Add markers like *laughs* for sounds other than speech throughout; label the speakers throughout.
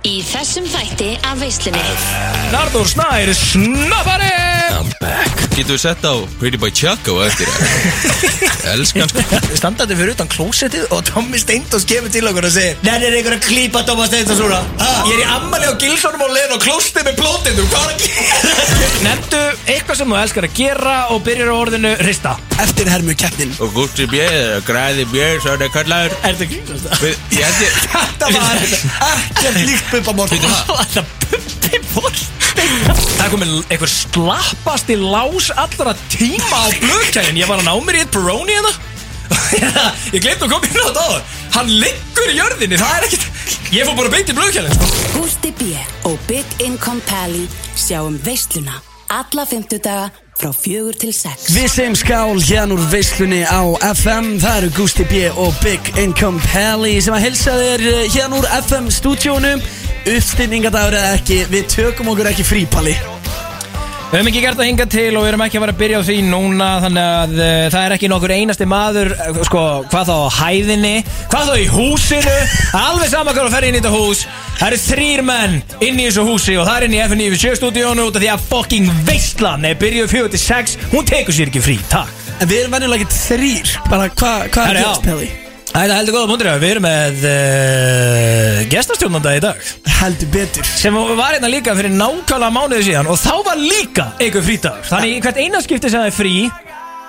Speaker 1: Í þessum þætti af veislunni
Speaker 2: Arnur Snær Snappari
Speaker 3: I'm back Getur við sett á Pretty Boy Choco eftir Elskan sko.
Speaker 2: Standandi fyrir utan klósettið og Tommi Steindós kemur til okkur og segir Nenni er einhver að klípa Tommi Steindós úr það Ég er í ammali á Gilsonum og leðin og klóstið með plótið Þú hvað er að gera Nefndu eitthvað sem þú elskar að gera og byrjar á orðinu rista
Speaker 4: Eftir hermu keppnin
Speaker 3: Og gústi björn Græði björn Svona kallar
Speaker 2: Er þetta grínast það?
Speaker 3: Við- Ég held ég
Speaker 4: Þetta var ekkert líkt bubba morgun
Speaker 2: Þetta bubbi vorstein Það er komið einhver slappasti lás allra tíma á blöðkælinn Ég var að ná mér í eitt brownie hérna *laughs* Ég glemt að koma inn á þetta áður Hann liggur í jörðinni, það er ekkert Ég fór bara beint í blöðkælinn sko.
Speaker 5: Gústi B. og Big Income Pally sjáum veisluna alla fymtudaga frá fjögur til sex.
Speaker 4: Við segjum skál hérna úr veislunni á FM Það eru Gusti B og Big Income Pally sem að helsa þér eh, hérna úr FM stúdjónum Uppstilningadagur eða ekki, við tökum okkur ekki frí, Palli
Speaker 2: Við höfum ekki gert það hinga til og við erum ekki að vera að byrja á því núna Þannig að uh, það er ekki nokkur einasti maður uh, Sko, hvað þá á hæðinni Hvað þá í húsinu Alveg sama hvað þú ferð inn í þetta hús Það eru þrýr menn inn í þessu húsi Og það er inn í F97 stúdíónu út af því að fucking veistlan Er byrjuð 46, hún tekur sér ekki frí, takk
Speaker 4: En við erum venjulega ekki þrýr, bara hvað hva
Speaker 2: Herra,
Speaker 4: er
Speaker 2: já.
Speaker 4: gerst, Palli?
Speaker 2: Það er heldur góða múndir Við erum með uh, gestastjórnanda í dag
Speaker 4: Heldur betur
Speaker 2: sem var hérna líka fyrir nákvæmlega mánuði síðan og þá var líka einhver frítagur þannig í hvert einaskipti sem það er frí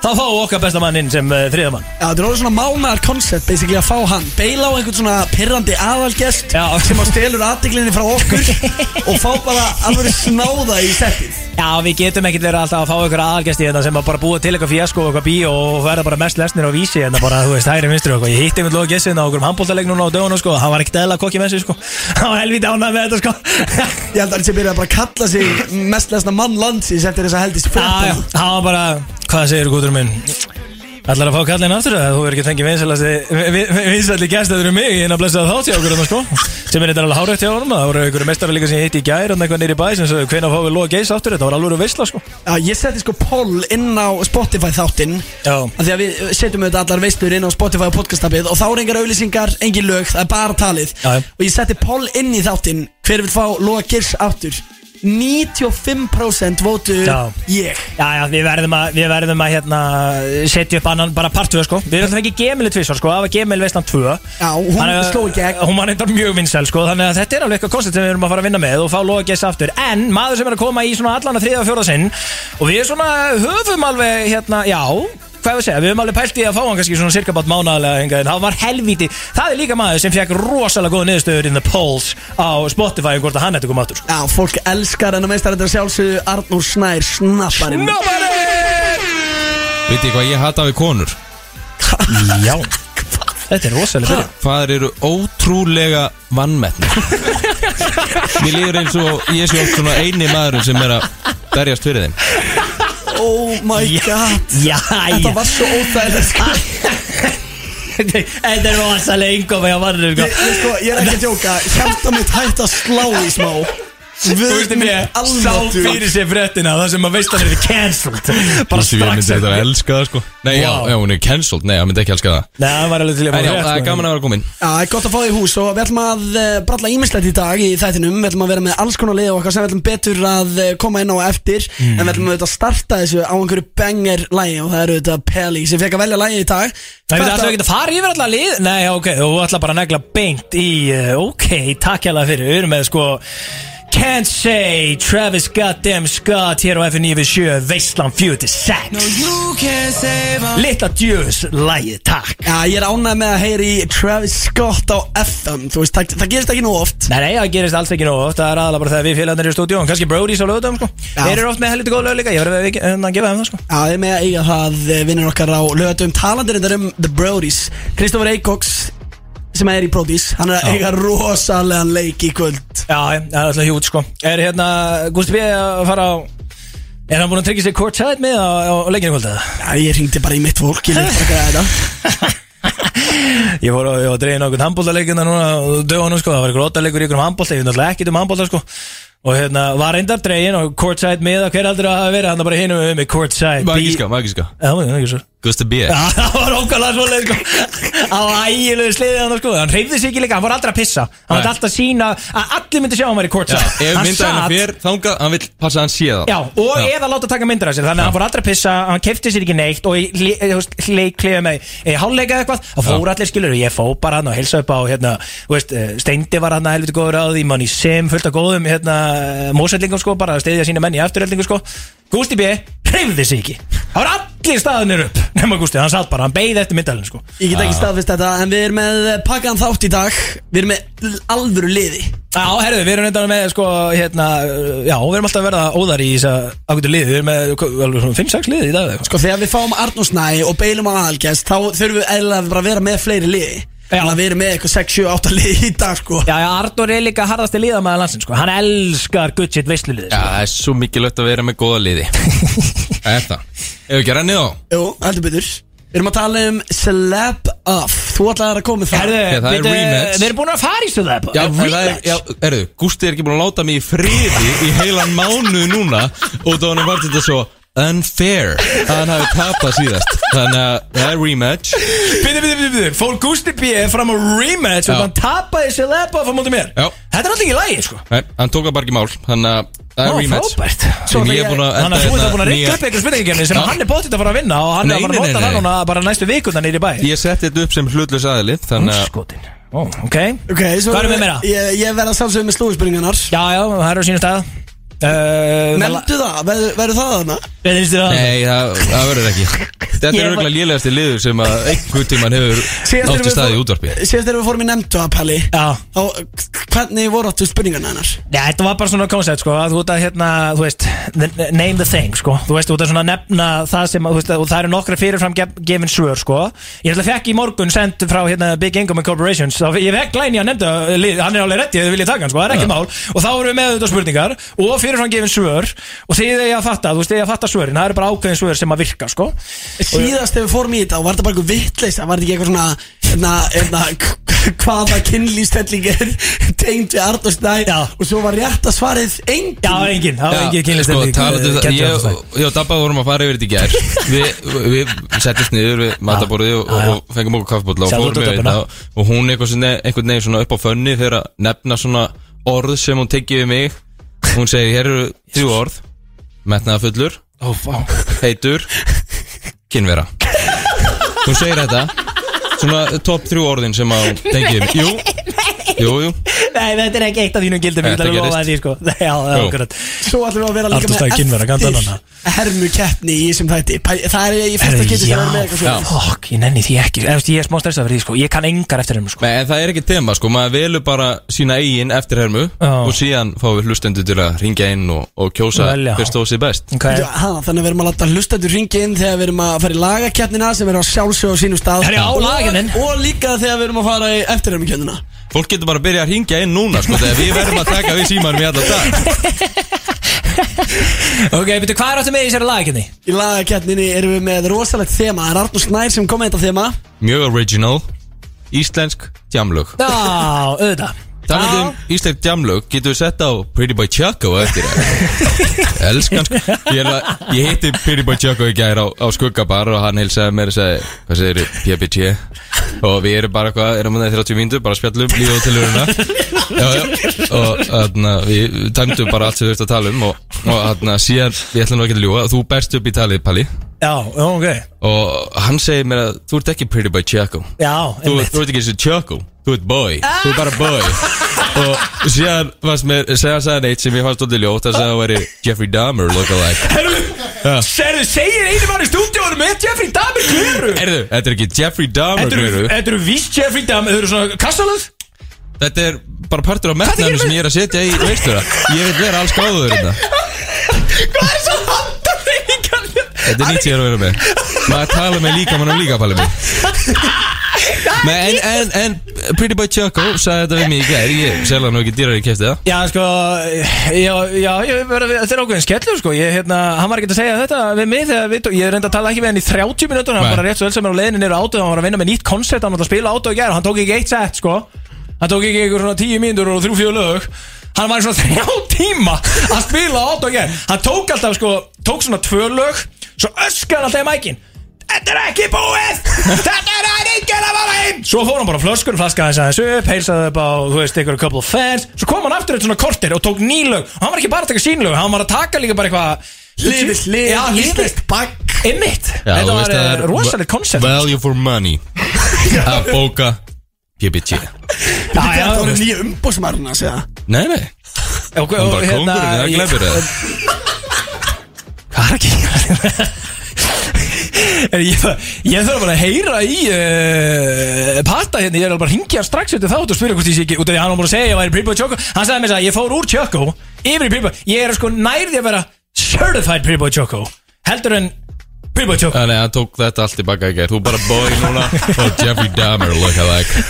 Speaker 2: þá fáum við okkar besta mann inn sem uh, þriðamann
Speaker 4: Já, þetta er orðið svona mánaðar koncept basically að fá hann Beila á einhvern svona pirrandi aðalgest
Speaker 2: Já.
Speaker 4: sem að stelur aðdeglinni frá okkur
Speaker 2: *laughs*
Speaker 4: og fá bara alveg snáða í settið
Speaker 2: Já, við getum ekkert verið alltaf að fá einhver aðalgæst í þetta sem að bara búa til eitthvað fjasko og eitthvað bíó og verða bara mest lesnir á vísi en það bara, þú veist, hægri minnstri og eitthvað Ég hitti einhvern loðu gessin á okkur um handbóltaleik núna á dögunum sko, hann var ekkert eðla kokki með sig sko *laughs* hann var helvítið ánað með þetta sko
Speaker 4: Ég held að hann sé byrjað bara að kalla sig mest lesna mann landsins eftir þess að heldist
Speaker 2: Já, Ah, já,
Speaker 4: fréttan
Speaker 2: hann var bara, hvað segir gútur minn? Ætlar að fá kallin aftur að þú er ekki fengið vinsætli gæst þetta eru mig inn að blessa þátt hjá okkur þarna, sko. sem er þetta alveg hárætt hjá honum það voru einhverju mestara líka sem ég hitti í gær og eitthvað nýri bæ sem sagði hvenær fáum við loða geis aftur þetta var alveg að veisla sko.
Speaker 4: Já, ég setti sko poll inn á Spotify þáttinn
Speaker 2: Já.
Speaker 4: Af Því að við setjum auðvitað allar veistur inn á Spotify og podcastabið Og þá eru engar auðlýsingar, engin lög, það er bara talið
Speaker 2: Já, já.
Speaker 4: Og ég setti poll inn í þáttinn Hver vil fá Lóa Girs aftur 95% votu
Speaker 2: Já.
Speaker 4: ég
Speaker 2: Já, já, við verðum að, við verðum að hérna, setja upp annan, bara part 2 sko. Við erum alltaf ekki gemili tvisvar sko, það var gemil veislan 2
Speaker 4: Já, hún sló í gegn.
Speaker 2: Hún var reyndar mjög vinsæl sko, þannig að þetta er alveg eitthvað konstant sem við erum að fara að vinna með og fá loga gæs aftur En maður sem er að koma í svona allana þriða og fjóra sinn og við svona höfum alveg, hérna, já, hvað við segja, við höfum alveg pælt í að fá hann kannski svona cirka bát mánaðlega hingað En það var helvíti, það er líka maður sem fekk rosalega góða niðurstöður in the polls á Spotify um hvort að hann ætti að koma aftur sko.
Speaker 4: Já, fólk elskar en að meistar þetta sjálfsögðu Arnúr Snær snapparinn
Speaker 3: Veit ég hvað ég hata við konur
Speaker 2: Já, þetta er rosalega byrjun.
Speaker 3: Fadir eru ótrúlega vannmettni Mér líður eins og ég sé oft svona eini maðurinn sem er að berjast fyrir þeim
Speaker 4: Oh my god
Speaker 2: Já,
Speaker 4: Þetta var svo óþægilegt sko.
Speaker 2: Þetta er rosalega yngum að varður
Speaker 4: ég, ég, sko, ég er ekki að djóka Hjarta mitt hætti að slá í smá Við
Speaker 2: Þú veist mér, sá fyrir sér fréttina Það sem að veist að það er cancelled Bara
Speaker 3: Ég myndi
Speaker 2: strax
Speaker 4: hérna.
Speaker 3: þetta að elska það sko Nei, já,
Speaker 2: Wow.
Speaker 3: já, hún er cancelled, nei, hann myndi ekki elska það
Speaker 2: Nei, það var alveg til að sko.
Speaker 3: En já, það er gaman að vera komin
Speaker 4: Já, það er gott að fá þig í hús og við ætlum að eh, bralla ímislegt í dag í þættinum Við ætlum að vera með alls konar lið og okkar sem við ætlum betur að eh, koma inn á eftir En
Speaker 2: Mm.
Speaker 4: við ætlum auðvitað að starta þessu á einhverju banger lagi og það eru auðvitað Peli sem fekk að velja lagi í dag
Speaker 2: Það er
Speaker 4: Þetta-
Speaker 2: alltaf ekki að fara yfir alltaf lið Nei, ok, þú ætla bara að negla beint í eh, Ok, takk hérlega fyrir Við erum með sko Can't say Travis Goddamn Scott Hér á F9V7 Veistland 46 Litta djöðs Lægið, takk
Speaker 4: Já, ég er ánægð með að heyri Travis Scott á FM Þú veist, það, það gerist ekki nú oft
Speaker 2: Nei, nei, það gerist alls ekki nóg oft, það er aðalega bara þegar við félagarnir eru í stúdíón, kannski Brody's á lögutum, sko.
Speaker 4: Já.
Speaker 2: Þeir eru oft með helviti góð lög líka, ég verði að, að, að gefa þeim það, sko.
Speaker 4: Já, ég er með að eiga það eh, vinnur okkar á lögatum talandir þetta um The Brodies Kristofur Eikoks sem er í Brodies hann er að eiga rosalegan leik í kvöld
Speaker 2: Já, já, það er alltaf hjút, sko. Er hérna, Gusti B. að fara á, er hann búin að tryggja sér courtside með á, á, á leikinu *laughs* kvöldið?
Speaker 4: Já, ég ringdi bara í mitt fólk ég leit ekki að þetta
Speaker 2: Ég fór að, ég var að dreina okkur handbóltaleikina núna, á dögunum, sko, það var ykkur óttaleikur í ykkur um handbólta, ég veit náttúrulega ekkert um handbólta, sko. Og hérna, var reyndar dregin og courtside miða, hver heldur að hafa verið hann bara hinum um í courtside?
Speaker 3: Magiska, magiska
Speaker 2: Já, það er ekki svo.
Speaker 3: Gusti B
Speaker 2: Já, það var ókvæmlega svoleið sko Á ægilegu sliðið hann sko Hann reyfði sig ekki líka, hann var aldrei að pissa Hann var
Speaker 3: Nei.
Speaker 2: alltaf að sína að allir myndi sjá hann var í kort
Speaker 3: Já, ef myndaðina fyrir þangað, hann vil passa að hann sé það
Speaker 2: Já, og eða láta taka myndir af sér Þannig að hann fór aldrei að pissa, hann kefti sér ekki neitt Og í hlé- eh, þú veist, leik kliða með e, Hálleika eða eitthvað, það fór allir skilur Ég fó bara hann og helsa upp á hérna, þú veist, eh, Steindi var hann að helviti góður á því Mann í sem fullt af góðum hérna, Mósætlingum sko, bara að steyðja sína menn í afturheldingu sko Gústi B. hreyfði sig ekki Það var allir staðinir upp *laughs* Nefna Gústi, hann satt bara, hann beigði eftir myndalinn sko
Speaker 4: Ég get ekki staðfist þetta En við erum með eh, pakkaðan þátt í dag Við erum með l- alvöru liði
Speaker 2: Já, herðu, við erum reyndan með sko, hérna, já, við erum alltaf að verða óðar í þess að ágættu liði, við erum með hva- alveg svona 5-6 liði í dag eða eitthvað, sko.
Speaker 4: Sko þegar við fáum Arnúsnæ og beilum á aðalgæst Þá þurfum við eðlilega bara að vera með fleiri liði
Speaker 2: Já.
Speaker 4: Þannig að við erum með eitthvað 6, 7, 8 liði í dag sko
Speaker 2: Já, já, Arnur er líka harðasti liðamæða landsins, sko, hann elskar gudsitt veisluliði,
Speaker 3: Já,
Speaker 2: sko.
Speaker 3: það er svo mikilvægt að vera með góða
Speaker 2: *laughs*
Speaker 3: liði Það er það Ef við gerum niður á
Speaker 4: Jú, heldur betur Við erum að tala um Slap Off Þú ætlaðir að koma með það
Speaker 2: Herðu,
Speaker 3: Já, það er
Speaker 2: bíddu,
Speaker 3: rematch.
Speaker 2: við erum búin að fara í stöðu það,
Speaker 3: Já, það er,
Speaker 2: rematch.
Speaker 3: já, erðu, Gústi er ekki búin að láta mig í friði í heilan mánu núna og þá hann var þetta svo unfair að hann hafi tapað síðast þannig að það er rematch
Speaker 2: Býðu, býðu, býðu, býðu, fór Gusti B. fram á rematch og
Speaker 3: Já.
Speaker 2: hann tapaði sér lepa á móti mér.
Speaker 3: Já.
Speaker 2: Þetta er alltaf ekki lægi, sko.
Speaker 3: Nei, hann tók að bara ekki mál þannig að það
Speaker 2: Ó,
Speaker 3: er rematch
Speaker 2: frábært.
Speaker 3: Sem ég er búin að hérna
Speaker 2: Þannig að þú ert að búin að ringa
Speaker 3: nýja-
Speaker 2: upp eitthvað spurningakerni sem
Speaker 3: Já.
Speaker 2: hann er bóttið að fara að vinna og hann er
Speaker 3: Nei,
Speaker 2: að fara
Speaker 3: nei,
Speaker 2: að
Speaker 3: nei,
Speaker 2: nota það
Speaker 3: nei.
Speaker 2: núna bara næstu vikundar nýri bæ.
Speaker 3: Ég setti þetta upp sem hlutlaus aðili þannig að
Speaker 2: Skotin. Ó, ok.
Speaker 4: Ok, svo
Speaker 2: Hvað erum við meira?
Speaker 4: Ég, ég verð að sjálfsögum með slúðspurningarnar
Speaker 2: Já, já, það eru á sínum stað uh,
Speaker 4: Meldu það, verður verður það þarna?
Speaker 2: Við finnst þér það
Speaker 3: Nei, það, það verður
Speaker 2: *laughs*
Speaker 3: ekki
Speaker 2: Ég
Speaker 3: Þetta er
Speaker 2: var-
Speaker 3: örgulega lélegasti liður sem að einhvern tímann hefur
Speaker 4: Síðast erum
Speaker 3: átti
Speaker 4: við
Speaker 3: staði í
Speaker 4: fór-
Speaker 3: útvarpi
Speaker 4: Síðast þegar við fórum í nefndu að pæli
Speaker 2: Já,
Speaker 4: Hvernig voru áttu spurningarna hennar?
Speaker 2: Nei, þetta var bara svona koncept sko að Þú ert að hérna, þú veist the- Name the thing, sko Þú veist, þú ert að svona nefna það sem að, þú veist, að- Og það eru nokkra fyrirfram gef- gefin svör, sko Ég ætla að fekk í morgun send frá hérna, Big Income Corporations þá, Ég fekk glæni að nefnda lið, Hann er alveg rétti, þið vilja taka hann, sko, það er ekki mál Og þá erum við með auðvitað spurningar Og fyrirfram gefin svör Og þið er að fatta, þú veist, þið er að fatta svörin Það eru bara ákveðin svör sem að virka, sko
Speaker 4: Síðast þegar við fórum í þetta og var þetta bara eitthvað vittleis Það var þetta ekki eitthvað svona hérna, hérna, *laughs* k- Hvaða kynlýstelling er *laughs* Tengd við Arnur Snæ
Speaker 2: Já.
Speaker 4: Og svo var rétt að svarið engin
Speaker 2: Já, engin, það var engin
Speaker 3: sko,
Speaker 2: kynlistendig
Speaker 3: talandi um það, ég, ég og Dabba vorum að fara yfir þetta í
Speaker 2: *laughs*
Speaker 3: gær Við, við settist niður við mataborðið og,
Speaker 2: já, já.
Speaker 3: og fengum okkur kaffibólla og
Speaker 2: Sjálf út
Speaker 3: fórum
Speaker 2: á
Speaker 3: yfir
Speaker 2: Dabbana.
Speaker 3: þetta og- og hún einhvern sinni- einhvern veginn svona upp á fönni þegar að nefna svona orð sem hún tekið við mig Hún segir, hér eru þrjú orð metnaðafullur,
Speaker 2: Ó, vá
Speaker 3: heitur kynvera Hún segir þetta svona top þrjú orðin sem að hún
Speaker 2: *laughs*
Speaker 3: tekið við mig Jú, jú, jú
Speaker 2: Nei, þetta er ekki eitt af þínum gildum Ég ætla
Speaker 3: Þetta
Speaker 2: að lofa
Speaker 3: gerist.
Speaker 2: því, sko *laughs* Já, já,
Speaker 3: Jú.
Speaker 2: akkurat
Speaker 4: Svo ætlum við að vera líka
Speaker 2: Arnór Snær kynvera, kanntu
Speaker 4: með
Speaker 2: annað?
Speaker 4: eftir hermu keppni í þessum þætti Pæ- Það er í fyrsta
Speaker 2: Herðu,
Speaker 4: getið sem er með eitthvað
Speaker 2: já,
Speaker 4: svona
Speaker 2: fokk, ég nenni því ekki Efst, Ég er smá stressað fyrir því, sko Ég kann engar eftir hennu, sko
Speaker 3: Nei, en það er ekki tema, sko, maður velur bara sína eigin eftirhermu
Speaker 2: Já.
Speaker 3: og síðan fáum við hlustendur til að ringja inn og, og kjósa
Speaker 2: Velja.
Speaker 3: hver stóð sér best
Speaker 2: okay.
Speaker 4: Já, ha, þannig að við erum að láta hlustendur ringi inn þegar við erum að fara í lagakeppnina sem er á sjálfsög á sínum stað
Speaker 2: Herri, á
Speaker 4: Og-
Speaker 2: lagakeppnin.
Speaker 4: Og líka þegar við erum að fara í eftirhæmikeppnina
Speaker 3: Fólk getur bara að byrja að ringja inn núna, sko, þegar við verðum að taka við símanum í alla dag
Speaker 2: ok, betur hvað er áttu með í sér að laga kynni?
Speaker 4: Í lagakeppninni erum við með rosalegt þema Það er Arnur Snær sem kom með þetta þema
Speaker 3: Mjög original, íslensk djamlög
Speaker 2: Já, auðvitað
Speaker 3: Talandi um íslensk djamlög, getur við sett á Pretty Boy Choco á eftir það Elskan, sko, ég, er að- ég hitti Pretty Boy Choco í gær á, á skuggabar og hann heilsaði mér og sagði, hvað segir PBT og við erum bara hvað, erum við 30 mínútur, bara spjallum líf og tilurina já, já, og þarna við tæmdum bara allt sem við að tala um og, og þarna síðan, ég ætla nú ekki að ljúga þú berst upp í talið, Palli
Speaker 2: Já, ok
Speaker 3: og hann segir mér að þú ert ekki Pretty Boy Choco
Speaker 2: Já,
Speaker 3: þú,
Speaker 2: einmitt
Speaker 3: þú ert ekki þessi tjökku Þú ert boy, þú ert bara
Speaker 2: Ah.
Speaker 3: boy Og síðan varst mér Segðan sagðan eitt sem ég fannst stóldið ljótt Það sagði að það væri Jeffrey Dahmer lookalike
Speaker 2: Herru, serðu, segir einu mann í stúdíónu með Jeffrey Dahmer Gleru
Speaker 3: Erðu, þetta er ekki Jeffrey Dahmer
Speaker 2: Þetta eh. eru-
Speaker 3: gleru.
Speaker 2: þetta eru víst Jeffrey Dahmer Þau eru svona kassalöð
Speaker 3: Þetta er bara partur
Speaker 2: Hvað
Speaker 3: af
Speaker 2: er
Speaker 3: metnaðinu
Speaker 2: þetta?
Speaker 3: sem ég er að setja í veistura Ég vil vera alls hérna. gáður þetta
Speaker 2: Hvað er svo handan reyningar?
Speaker 3: Þetta er nýtt ég er að vera með Maður tala með líka mann og líka pæli mig Men, en, en, en Pretty Boy Choco sagði þetta við mig í gær Ég selða nú ekki dýrar í kæfti það
Speaker 2: Já, sko, já, já, ég verið að þetta er ákveðin skellur, sko, ég, hérna, hann var ekki að segja þetta við mig þegar við, ég reyndi að tala ekki við hann í 30 minútur, hann
Speaker 3: Nei.
Speaker 2: bara rétt svo vel sem er á leiðinu niður á átöð, hann var að vinna með nýtt koncept, hann var að spila átöð í gær og hann tók ekki eitt sett, sko, hann tók ekki einhver svona 10 mínútur og 3-4 lög, hann var í svona *laughs* 3 tíma að spila átöð í gær, hann tók alltaf, sko, tók svona 2 lög, svo öskan alltaf í mækin, Þetta er ekki búið Þetta er að enginn að vara heim Svo fór hann bara á flöskur, flaskaði þess aðeins upp Heilsaði upp á, þú veist, ykkur couple of fans Svo kom hann aftur eitt svona kortir og tók nýlög Og hann var ekki bara að taka sínlög, hann var að taka líka bara eitthvað
Speaker 4: Liðið lið,
Speaker 2: Já,
Speaker 4: íslenskt
Speaker 2: liðist
Speaker 4: bagg
Speaker 2: Einmitt,
Speaker 3: Já, þú
Speaker 2: þetta
Speaker 3: veist
Speaker 2: var
Speaker 3: að það
Speaker 2: eh,
Speaker 3: er
Speaker 2: rosalegt koncept
Speaker 3: Value for money Að bóka PBG
Speaker 2: Já, já,
Speaker 4: Það
Speaker 2: þú
Speaker 4: voru
Speaker 2: veist.
Speaker 4: nýja umbósmarna Þetta
Speaker 3: Nei, nei,
Speaker 2: Og- og-
Speaker 3: hann bara
Speaker 2: hérna,
Speaker 3: kóngurinn eða
Speaker 2: ég-
Speaker 3: glæfur eða
Speaker 2: Hvað er ekki En ég, þarf- ég þarf bara að heyra í uh, Pata hérna, ég er alveg bara að hringja hann strax eftir þátt og spyrja hvort ég sé ekki út af því að hann var búin að segja að ég væri Pribbo Choco Hann sagði mér þess að ég fór úr Choco yfir í Pribbo Ég er sko nærði að vera certified Pribbo Choco heldur en Pribbo Choco
Speaker 3: Þannig að hann tók þetta allt í baka í gerð Þú bara bóði núna *laughs* og Jeffrey Dahmer look alike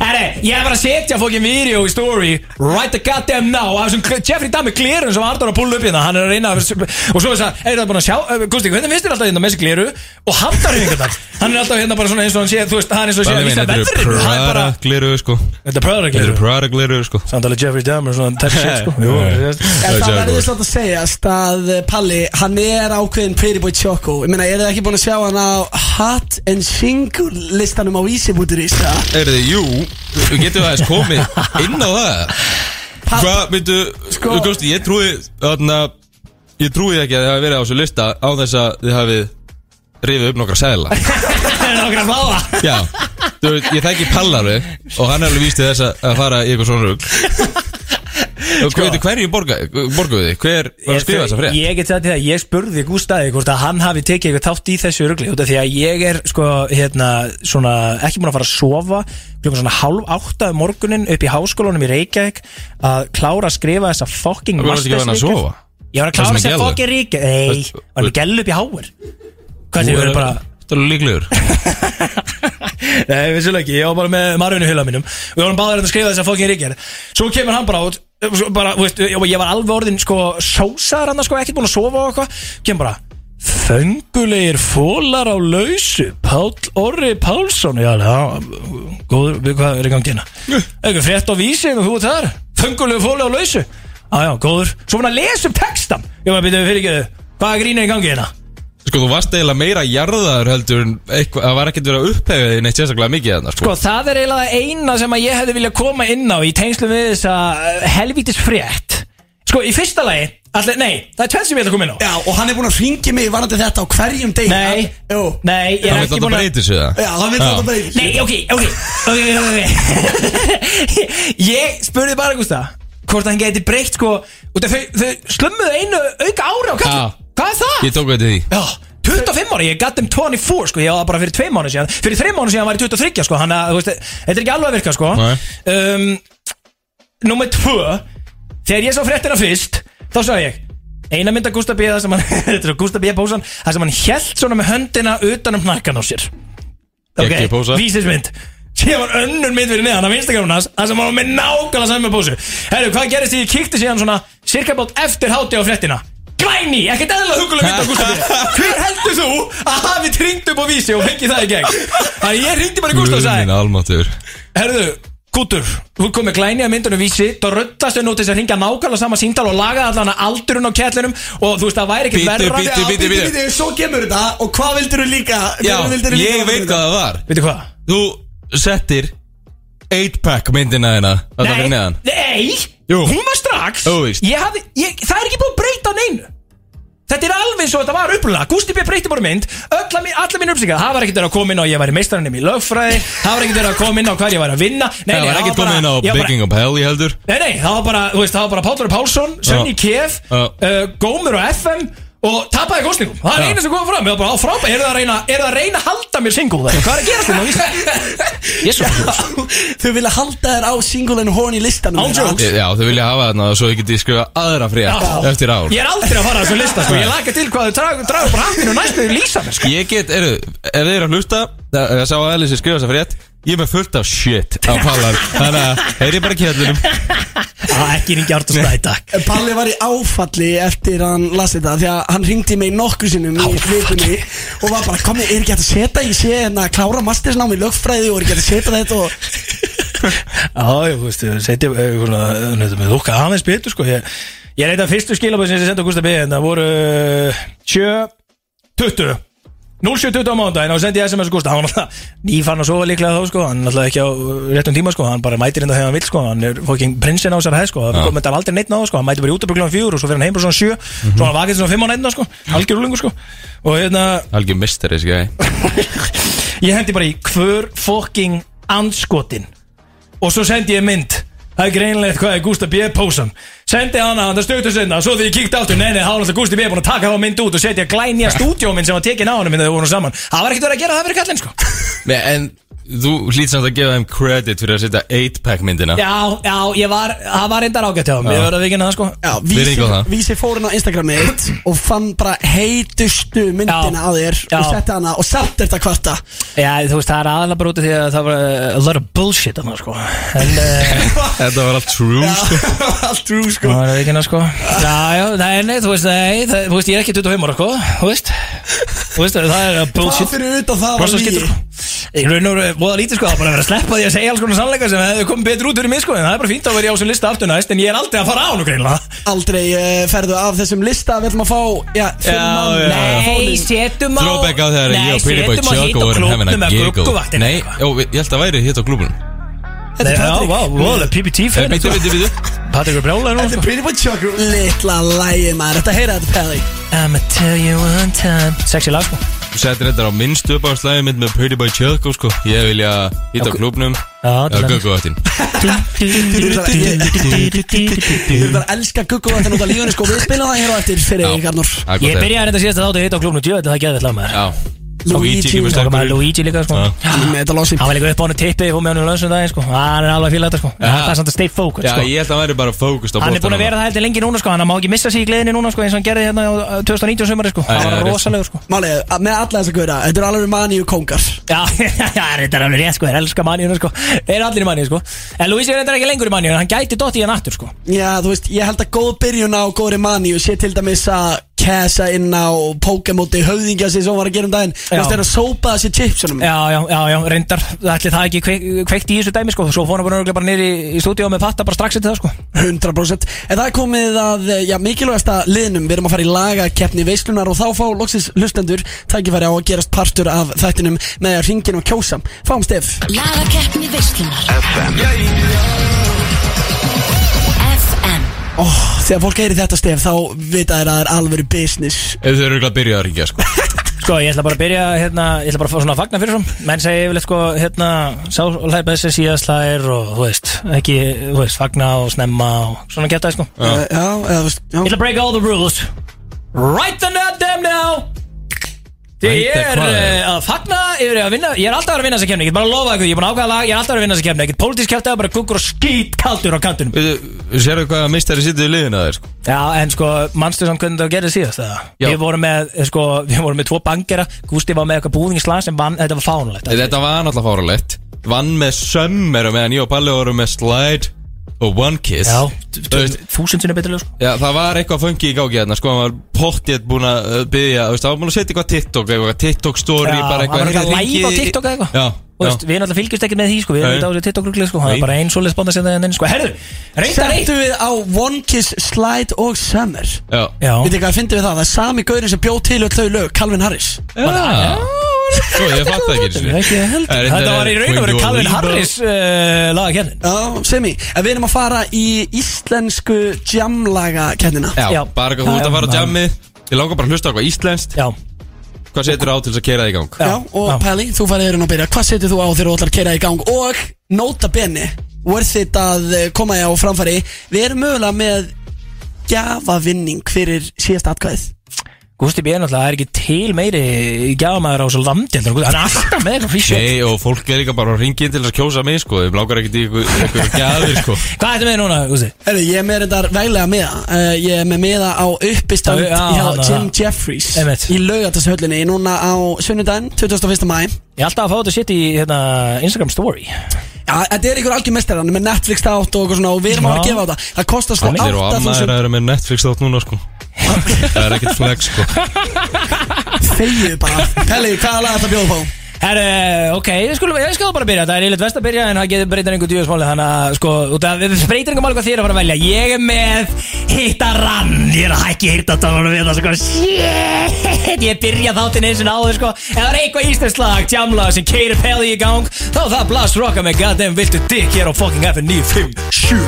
Speaker 2: Herre, ég er bara að setja fókin video í story right the goddamn now af þessum Cl- Jeffrey Dahmer glerun sem Arndór er að púla upp hérna hann er að reyna að vera- og svo er það, er það búin að sjá eh, Gusti, hvernig finnst þér alltaf hérna með þessi gleru og handarhefingarnar hann er alltaf hérna bara svona eins og hann sé þú veist, hann er eins og hann sé að
Speaker 3: Þannig
Speaker 2: vísa
Speaker 3: að þetta eru
Speaker 2: veðrinu hann er bara,
Speaker 3: Prada gliru sko
Speaker 2: þetta er pröðra
Speaker 3: Þetta eru
Speaker 2: gleru
Speaker 3: Prada gliru sko
Speaker 2: samtalið Jeffrey Dahmer svona tætt shit sko Jú,
Speaker 3: *laughs* Já, já.
Speaker 2: veist. *laughs*
Speaker 3: Það er
Speaker 4: Það
Speaker 3: Jaguar.
Speaker 4: verður slátt að segjast að eh, Palli, hann er ákveðin Pretty Boy Choco Ég meina, er þið ekki búin að sjá hann á Hot and Single listanum á Ísibútur.is eða?
Speaker 3: Er þið, jú, við getum aðeins komið inn á það Hvað, myndu, sko
Speaker 4: Sko-
Speaker 3: Kosti, ég trúi, þarna Ég trúi ekki að þið hafi verið á þessu lista Á þess að þið hafið rifið upp nokkra sæðla
Speaker 2: það er nokkra fláða
Speaker 3: Já, þú veist, ég þekki Pallari Og hann er alveg víst til þess að- að fara í eitthvað svona rugg Og sko, veitu, hverju borga, borguðu þið? Hver var að skrifa þessa frétt?
Speaker 2: Ég get sagt þér að ég spurði Gústaði hvort að hann hafi tekið eitthvað þátt í þessu rugli út af því að ég er sko hérna svona ekki múin að fara að sofa klukkan svona hálf átta um morgunin upp í háskólanum í Reykjavík að klára að skrifa þessa fucking
Speaker 3: Þú varst ekki að að
Speaker 2: mastersritgerð.
Speaker 3: sofa
Speaker 2: Ég var að
Speaker 3: Varstu
Speaker 2: klára
Speaker 3: með
Speaker 2: þessa
Speaker 3: gellu?
Speaker 2: fucking ríkja Nei,
Speaker 3: Varstu-
Speaker 2: var með gælu upp í háir Hvað
Speaker 3: Þú
Speaker 2: þið
Speaker 3: er
Speaker 2: verður bara
Speaker 3: Þú er líklegur
Speaker 2: Nei, vissulega ekki, ég var bara með marfinu hula mínum Við vorum báðir hérna að skrifa þess að fókin ríkjar Svo kemur hann bara út svo bara, þú veist, Ég ég var alveg orðin sko sósaðar hann sko, ekkert búin að sofa og eitthvað Kemur bara Föngulegir fólar á lausu Páll Orri Pálsson Já, já, góður, við hvað er í gangi hérna Eitthvað frétt á vísi og þú ert þar Föngulegir fólar á lausu Já, já, góður, svo fann að lesa upp textan Ég var að byrja fyrir ekki Hvað grínir í gangi hérna?
Speaker 3: Sko, þú varst eiginlega meira jarðaður heldur en eitthvað, það var ekkert verið að upphefja þig neitt sérstaklega mikið þarna, sko.
Speaker 2: Sko, það er eiginlega það eina sem að ég hefði viljað koma inn á í tengslum við þessa uh, helvítis frétt Sko, í fyrsta lagi, allir, nei, það er tvenn sem ég ætla að koma inn á
Speaker 4: Já, og hann er búin að hringi mig varandi þetta á hverjum degi
Speaker 2: Nei,
Speaker 4: Jú
Speaker 2: nei, ég er
Speaker 3: Hann veit
Speaker 2: ekki
Speaker 3: að
Speaker 2: búin
Speaker 3: það
Speaker 2: að
Speaker 3: breytir sig það.
Speaker 4: Já, hann vil
Speaker 3: Já.
Speaker 4: þetta bara
Speaker 2: Nei, ok, ok, ok, ok, *laughs* ok Ég spurði bara, Gústa, hvort hann geti breytt, sko út af Þau, þau slömmuðu einu auka ári á
Speaker 3: Já.
Speaker 2: kallum Hvað er það?
Speaker 3: Ég tók veit því.
Speaker 2: Já, 25 ára, ég gatt um 24 sko, ég á það bara fyrir 2 mánu síðan Fyrir 3 mánu síðan var ég 23 sko, hann að, þú veist, þetta er ekki alveg að virka sko
Speaker 3: Nei.
Speaker 2: um, Númer 2, þegar ég sá fréttina fyrst, þá sagði ég Eina mynd af Gústa B. það sem hann, *laughs* þetta er Gústa B. pósan Það sem hann held svona með höndina utan um hnakkan á sér
Speaker 3: Geggjuð pósa.
Speaker 2: vísismynd Sér var önnur mynd fyrir neðan af Instagramun hans Það sem hann var með nákvæmlega saman pósu Herru, hvað gerist því ég kíkti síðan svona Cirka bát eftir háti á fréttina Glæni, ekkert eðla hugulega mynd á Gústa B. Hver heldur þú að hafi tringt upp á vísi og fengið það í gegn? Þannig ég ringdi bara í Gústa og sagði
Speaker 3: Guðminn almatur.
Speaker 2: Herðu, Kútur, þú komið glænið að myndunum vísi þá rullast þau nú til þess að ringja nákvæmlega sama síndal og laga allan að aldurinn á kettlinum og þú veist það væri ekkert
Speaker 3: Bíddu,
Speaker 2: verra
Speaker 3: bíddu, bíddu, bíddu.
Speaker 4: Býtu, svo kemur þetta og hvað vildur þú líka?
Speaker 3: Já,
Speaker 4: Hverju vildirðu líka
Speaker 3: ég
Speaker 4: varðandi
Speaker 3: veit
Speaker 4: þetta?
Speaker 3: hvað það var.
Speaker 2: Veitu hvað?
Speaker 3: Þú settir 8-pack myndina þeina. Þetta fyrir neðan.
Speaker 2: nei,
Speaker 3: Jú.
Speaker 2: hún var strax
Speaker 3: Jú, víst.
Speaker 2: ég hafði, ég, það er ekki búin að breyta neinu Þetta er alveg svo þetta var upplulega Gusti B. breyti bara mynd Alla, mín- alla mín uppsýkja Það var ekkert verið að koma inn á að Ég væri meistarinn í lögfræði Það var ekkert verið að koma inn á Hvað ég væri að vinna Nei,
Speaker 3: Það
Speaker 2: nei,
Speaker 3: var ekkert
Speaker 2: bara-
Speaker 3: komið inn á
Speaker 2: ég var bara-
Speaker 3: Bigging Up Hell, ég heldur.
Speaker 2: Nei, nei, það var bara, þú veist, það var bara Pállur Pálsson, Sönni
Speaker 3: Já.
Speaker 2: Kef,
Speaker 3: Já.
Speaker 2: uh, Gómur og FM og tapaði kostningum. Það er
Speaker 3: Já.
Speaker 2: eina sem kom fram. Ég var bara á frábæð, eru það að reyna, eru það að reyna að halda mér single það? Hvað er að gerast hérna? þetta?
Speaker 3: *laughs*
Speaker 2: *laughs* Jésu.
Speaker 4: *laughs* Þau vilja halda þér á singulinu hón í listanum
Speaker 2: Án
Speaker 4: hérna. þeirra.
Speaker 2: jokes.
Speaker 3: Ég- Já, þau vilja hafa þarna svo ég geti skrifa aðra frétt eftir ár.
Speaker 2: Ég er aldrei að fara að þessu lista, sko. Ég laka til hvað þau dragur dragu bara hattinu og næstu þau lýsa mér, sko.
Speaker 3: Ég get, eru, ef þið eru að hlusta Það það sá að Ellis er skrifað þess að frétt Ég er með fullt af shit á pallar Þannig að, heyri bara kjallunum
Speaker 2: Það er ekki ringi árt að stæði, takk.
Speaker 4: Palli var í áfalli eftir að hann las þetta því að hann ringdi mig nokkur sinnum í vikunni og var bara, komi, er ekki hægt að setja ég sé en að klára mastersnám í lögfræði og er ekki hægt að setja þetta og
Speaker 2: Já, ég veist, ég seti eh, með þúkka aðeins betur sko Ég, eh, ég reyta fyrstu skilaböð sem ég sendi á Gústa B en það voru uh, 7, 20 07.20 á mándaginn og sendi ég SMS Gústa hann var náttúrulega nýfarn að sofa líklega þá sko hann er náttúrulega ekki á uh, réttum tíma sko hann bara mætir hérna þegar hann vil sko hann er fokking prinsinn á þessar hæð sko það komið þetta aldrei neitt náðu sko hann mætir bara í útöpuglega um fjúr og svo fyrir hann heim bara svona sjö svo hann vakið svona fimm á nættina sko algjör úlingu sko og hérna
Speaker 3: Algjör misteri, sko
Speaker 2: ég hendi bara í hver fokking anskotin og svo sendi ég mynd það er greinlegt hvað er Gústa B. Pósan sendi hana, það stöktu sinna svo því ég kíkti aftur, nei nei, þá var alltaf Gústi B. búin að taka þá mynd út og setja glænja stúdjóminn sem var tekin á hann minn þegar þau voru saman, það var ekkert verið að gera það fyrir kallinn sko
Speaker 3: Nei, en þú hlýt samt að gefa þeim credit fyrir að setja 8-pack myndina
Speaker 2: já, já, ég var, það var reyndar ágætt hjá mig, ég verði að vikina það sko
Speaker 4: Já,
Speaker 3: Virðing á það.
Speaker 4: vísi fór hann á Instagramið þitt og fann bara heitustu myndina
Speaker 2: Já.
Speaker 4: á þér
Speaker 2: Já.
Speaker 4: og setti hana og samt er þetta kvarta
Speaker 2: já, þú veist, það er aðalega bara út af því að það var uh, a lot of bullshit annars, sko. en, uh,
Speaker 3: Þetta var allt true, sko
Speaker 4: Allt trú sko
Speaker 2: Það er ekki ná sko Já, já, nei, nei, þú veist, nei það, Þú veist, ég er ekki 25 ára, sko Þú veist, þú veist, það er
Speaker 4: Það
Speaker 2: bullshit
Speaker 4: fyrir utan það
Speaker 2: Hvað
Speaker 4: var
Speaker 2: svo
Speaker 4: lygi.
Speaker 2: skilur Í raun og veru voða lítið sko, það er bara að vera að sleppa því að segja alls konar sannleika sem hefur komið betur út fyrir mig sko En það er bara fínt að vera í ásum lista aftur næst En ég er aldrei að fara á nú greinlega
Speaker 4: Aldrei uh, ferðu af þessum lista Við ætlum að fá Já, fimm mann
Speaker 2: já, já.
Speaker 4: Fá
Speaker 2: Nei,
Speaker 4: þig.
Speaker 2: setjum á
Speaker 3: Throwback á þegar ég og Pretty Boy Choco vorum hefina giggle Nei, jó, við- ég held að væri hitt á klúbunum
Speaker 4: Þetta er
Speaker 2: Já,
Speaker 4: Patrik.
Speaker 2: vá, voða
Speaker 3: Eh,
Speaker 2: PPT-finn
Speaker 3: Býtu, býtu, býtu
Speaker 2: Patrik er brjálæður nú
Speaker 4: Þetta
Speaker 2: sko.
Speaker 4: er Pretty Boy Choco Litla lægi maður Þetta heyra þetta Pelli
Speaker 2: I'ma tell you one time Sexy lag sko
Speaker 3: Þú settir þetta á minnstu upp á slæði mitt með Pretty Boy Choco, sko Ég vilja hitt á klúbunum
Speaker 2: Já,
Speaker 3: Já, gugguvöttin
Speaker 4: Þú verður að elska gugguvættin út af lífunni sko Við spilum það hér á eftir fyrir ykkur Arnur
Speaker 2: Ég byrjaði þetta síðast að þáttu hitt á klubnum Djöðu, það gerði þetta lag maður
Speaker 3: Já, Sko, E
Speaker 4: Luigi.
Speaker 3: Luigi kemur
Speaker 2: Það var
Speaker 3: sterkur
Speaker 2: Luigi líka sko
Speaker 3: Já.
Speaker 4: Ég með þetta losi
Speaker 2: Hann var líka upp á hann tippi og með hann um lausum daginn sko Hann er alveg að fíla þetta sko En
Speaker 3: Já.
Speaker 2: Það er samt að stay focused
Speaker 3: Já,
Speaker 2: sko
Speaker 3: ég held að hann væri bara fókust á
Speaker 2: Hann er búin að
Speaker 3: boltanum.
Speaker 2: vera það heldur lengi núna sko Hann má ekki missa sig í gleðinni núna sko eins og hann gerði hérna á, uh, 2019 sumari sko
Speaker 3: Nei,
Speaker 2: Það
Speaker 3: nei,
Speaker 2: var
Speaker 3: rétt.
Speaker 2: rosalegur sko
Speaker 4: Málið, að- með alla þessa guðra Þetta eru alveg maníu kongar
Speaker 2: Já, *laughs* þetta er alveg rétt sko Þeir elska manníuna sko Þeir eru allir í manníu sko En Luigi er reyndar ekki lengur í manníu Hann gæti dott í hann aftur sko
Speaker 4: Já, þú veist, ég held að góð byrjun á góðri maníu sé til dæmis að kæsa inn á Pokémóti höfðingja sér sem hún var að gera um daginn Þú veist, þeirra sópaða sér chipsunum
Speaker 2: Já, já, já, já, reyndar Ætli það ekki kveik, kveikt í þessu dæmi sko Svo fór hann bara örugglega bara niður í, í stúdíu með patta bara strax eftir það sko
Speaker 4: 100% En það er komið að, já, mikilvægasta liðnum Við erum að fara í lagakeppni veislunar og þá fá loksins hlustendur tækifæri á að gerast partur af þættinum með að ringin og kjósa Fáum stef
Speaker 5: Lagakeppni veislunar FM
Speaker 4: Ó, þegar fólk er í þetta stef þá vita þeir að það er alvöru business
Speaker 3: Ef þau eru ekki að byrja að ringja, sko
Speaker 2: Sko, ég ætla bara að byrja, hérna, ég ætla bara að fá svona að fagna fyrir svo Menn segja yfirleitt, sko, hérna, sálæpa þessi síðaslæðir og, þú veist, ekki, þú veist, fagna og snemma og svona geta sko Ég
Speaker 4: Já, Eh, já, eða, þú veist, já
Speaker 2: ætla að break all the rules Right the net them now Því
Speaker 3: Right
Speaker 2: ég
Speaker 3: the
Speaker 2: er
Speaker 3: hvað?
Speaker 2: eh, að fagna yfir að vinna, ég er alltaf að vera að vinna þessa kemni Ég get bara að lofa ykkur, ég er búin að ákvæða lag, ég er alltaf að vera að vinna þessa kemni Ekkert pólitísk kæftið, bara kukkur og skýt kaldur á kantinum
Speaker 3: Veitu, Sérðu hvað mistari sittur í liðinu að þér, sko
Speaker 2: Já, en sko, manstu samt hvernig það gerði síðast það?
Speaker 3: Já.
Speaker 2: Við vorum með, eh, sko, við vorum með tvo bankera Gústi var með eitthvað búðingislag sem vann, þetta var fánulegt
Speaker 3: Þetta var náttúrulega fáralegt Vann með sömmer og meðan ég og Palli voru með slide og one kiss
Speaker 2: Já,
Speaker 3: Þú veist,
Speaker 2: þúsund sinni betur lög sko.
Speaker 3: Já, það var eitthvað fungi í gangi hérna, sko, hann var pottið búin að uh, byggja, þú veist, hann var búin að setja eitthvað TikTok, eitthvað TikTok story,
Speaker 2: Já,
Speaker 3: bara
Speaker 2: hann var
Speaker 3: eitthvað
Speaker 2: eitthvað
Speaker 3: heyrðu,
Speaker 2: live á
Speaker 3: hringið í-
Speaker 2: TikTok eða eitthvað.
Speaker 3: Já,
Speaker 2: Þú
Speaker 3: já,
Speaker 2: veist, við náttúrulega fylgjumst ekkert með því sko, við erum
Speaker 3: Nei.
Speaker 2: þetta á þessu TikTok-ruglið sko, það
Speaker 3: Nei.
Speaker 2: er bara einn svoleið spónda sem það er enn sko, herðu, reyndar eitt
Speaker 4: Settum við á One Kiss, Slide og Summer
Speaker 3: já,
Speaker 2: Já,
Speaker 4: Við þið hvað að fyndum við það? Það er sami gaurinn sem bjóð til öll þau lög, Calvin Harris
Speaker 3: já, svo ég fatt
Speaker 2: Þetta
Speaker 3: ekki einu sinni.
Speaker 2: er ekki heldur.
Speaker 3: Eh,
Speaker 2: þetta var í raun og veru
Speaker 3: Queen
Speaker 2: Calvin
Speaker 3: Dua Lipa.
Speaker 2: Harris uh, laga kérnin
Speaker 4: Já, semi En við erum að fara í íslensku jamlaga kennina
Speaker 2: Já.
Speaker 3: Já, bara eitthvað þú ert
Speaker 2: Já,
Speaker 3: að fara á
Speaker 2: já.
Speaker 3: jammið, ég langar bara að hlusta á eitthvað íslenskt,
Speaker 2: Já,
Speaker 3: hvað setur á til þess að kera það í gang?
Speaker 2: já,
Speaker 4: og já. Peli, þú farið erinn að byrja Hvað setur þú á þegar þú ætlar að keira í gang? Og nota bene, worth it að eh, koma ég á framfæri Við erum mögulega með gjafavinning fyrir síðasta atkvæðið
Speaker 2: Gusti B. náttúrulega, það er ekki til meiri gjafamæður á svo landi heldur en Gústi- hann er alltaf með eitthvað físjó
Speaker 3: Nei, og fólk er líka bara að ringa inn til þess að kjósa mig, sko, þau langar ekkert í ykkur- ykkur gjafir, sko.
Speaker 2: Hvað ertu með núna, Gusti?
Speaker 4: Herru, ég er með þetta veglega miða uh, Ég er með miða á uppistand
Speaker 2: Já, já,
Speaker 4: hjá
Speaker 2: hana.
Speaker 4: Jim Jeffries
Speaker 2: Einmitt.
Speaker 4: Í laugatasshöllinni núna á sunnudaginn 21. mæ
Speaker 2: Ég er alltaf að fá þetta sitt í hérna, Instagram story
Speaker 4: Já, þetta er ykkur algjör mestar hann er með Netflix þátt og eitthvað svona og við erum að fara að
Speaker 2: Já.
Speaker 4: gefa á þetta Það kostar sko
Speaker 3: Hann er og amma er
Speaker 4: 8000
Speaker 3: að vera með Netflix þátt núna, sko. Það er ekkert
Speaker 2: *laughs*
Speaker 3: flex, sko.
Speaker 4: Þegju bara Pelli, hvaða lag ætla að bjóða upp á?
Speaker 2: Herre, ok, ég skulum, ég skal bara byrja Það er yfirleitt vest að byrja en það getur breytar einhver djúðismáli Þannig að, sko, út af, við breytir einhver mál hvað þér að fara að velja Ég er með Shit, að rann Ég er að hækki hirtatónunum við það sko. Shit, ég byrja þáttinn eins og náður sko. Ef það er eitthvað íslensk lag, tjamla sem keirir pelið í gang Þá er það Blast Rocka með Goddamn Viltu Dick hér á fucking FM 957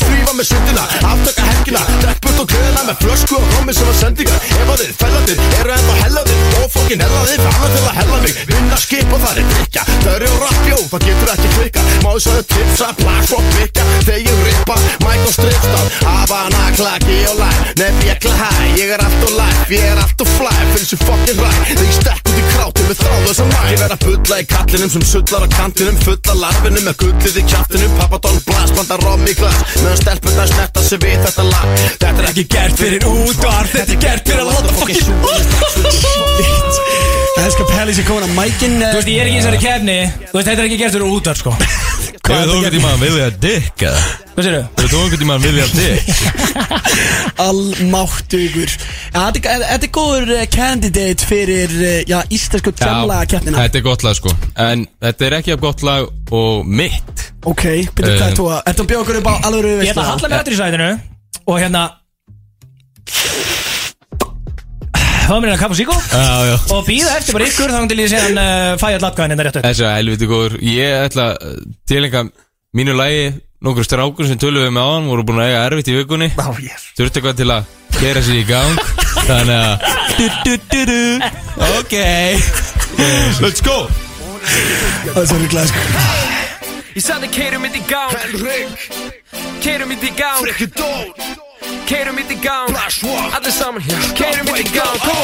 Speaker 6: Þrýfa með sundina, aftöka helgina Drekk burt og gleðina með flösku og rómi sem að sendinga Ef að þið fellaðir, eru ennþá hellaðir Og fokkin hellaðir, framlega til að hella mig Vinna skip og það er drikja Dörri og rappjó, það getur ekki klikka Máðu svo þau tipsa, plaks og klikka Þegar rippa, mæk og stripstað Havana, klaki og læn Nef ég kla hæ, ég er allt og life Ég er allt og fly, fyrir þessu fokkin ræ Þegar stekk út í krátum við þráðu þess að mæ Ég verð að bulla í kallinum sem sullar á kantinum Fulla larfinum með gullið í kjaftinum Pappadón blast, banda rom í glas Meðan stelpunna snetta sig við þetta lag Þetta er ekki gert fyrir útvarp Þetta er gert fyrir að láta fokkin út *laughs*
Speaker 4: Það er sko Pelli sem komin að mækin eh,
Speaker 2: Þú veist, ég er ekki í þessari kefni Þú veist, þetta er ekki gert fyrir útvar sko.
Speaker 3: Hefur þú einhvern tímann viljað dikk eða?
Speaker 2: Hvað sérðu?
Speaker 3: Hefur þú einhvern tímann viljað dikk?
Speaker 4: Allmáttugur Já, Þetta er- þetta er góður eh, candidate fyrir eh, já, íslensku tjamla keppnina
Speaker 3: þetta er gott lag sko En þetta er ekki af gott lag og mitt
Speaker 4: Ok, byrju hvað
Speaker 3: Eh.
Speaker 4: er þú að Ertu að bjóða okkur upp á alvöru
Speaker 2: Ég ætla að halla mér aftur í sætinu Og hérna Fá mér hérna kapp og síkó
Speaker 3: Já, já
Speaker 2: Og býða eftir bara ykkur Þannig til ég sé hann uh, fæja allafgæðin hérna rétt upp
Speaker 3: Þessi er helviti góður Ég ætla til einhver mínu lagi Nókur strákur sem töluðu með á hann Voru búin að eiga erfitt í vikunni
Speaker 4: Á, yes
Speaker 3: Þurfti eitthvað til að gera sér í gang Þannig að du, du, du, du. Ok Let's go
Speaker 4: Það er svo rugglega sko
Speaker 7: Ég sagði keirum mitt í gang,
Speaker 6: Henrik,
Speaker 7: keirum mitt í gang,
Speaker 6: Frikki Dór,
Speaker 7: keirum mitt í gang
Speaker 6: Flash Walk
Speaker 7: Allir saman hér, keirum mitt í gang
Speaker 6: Go!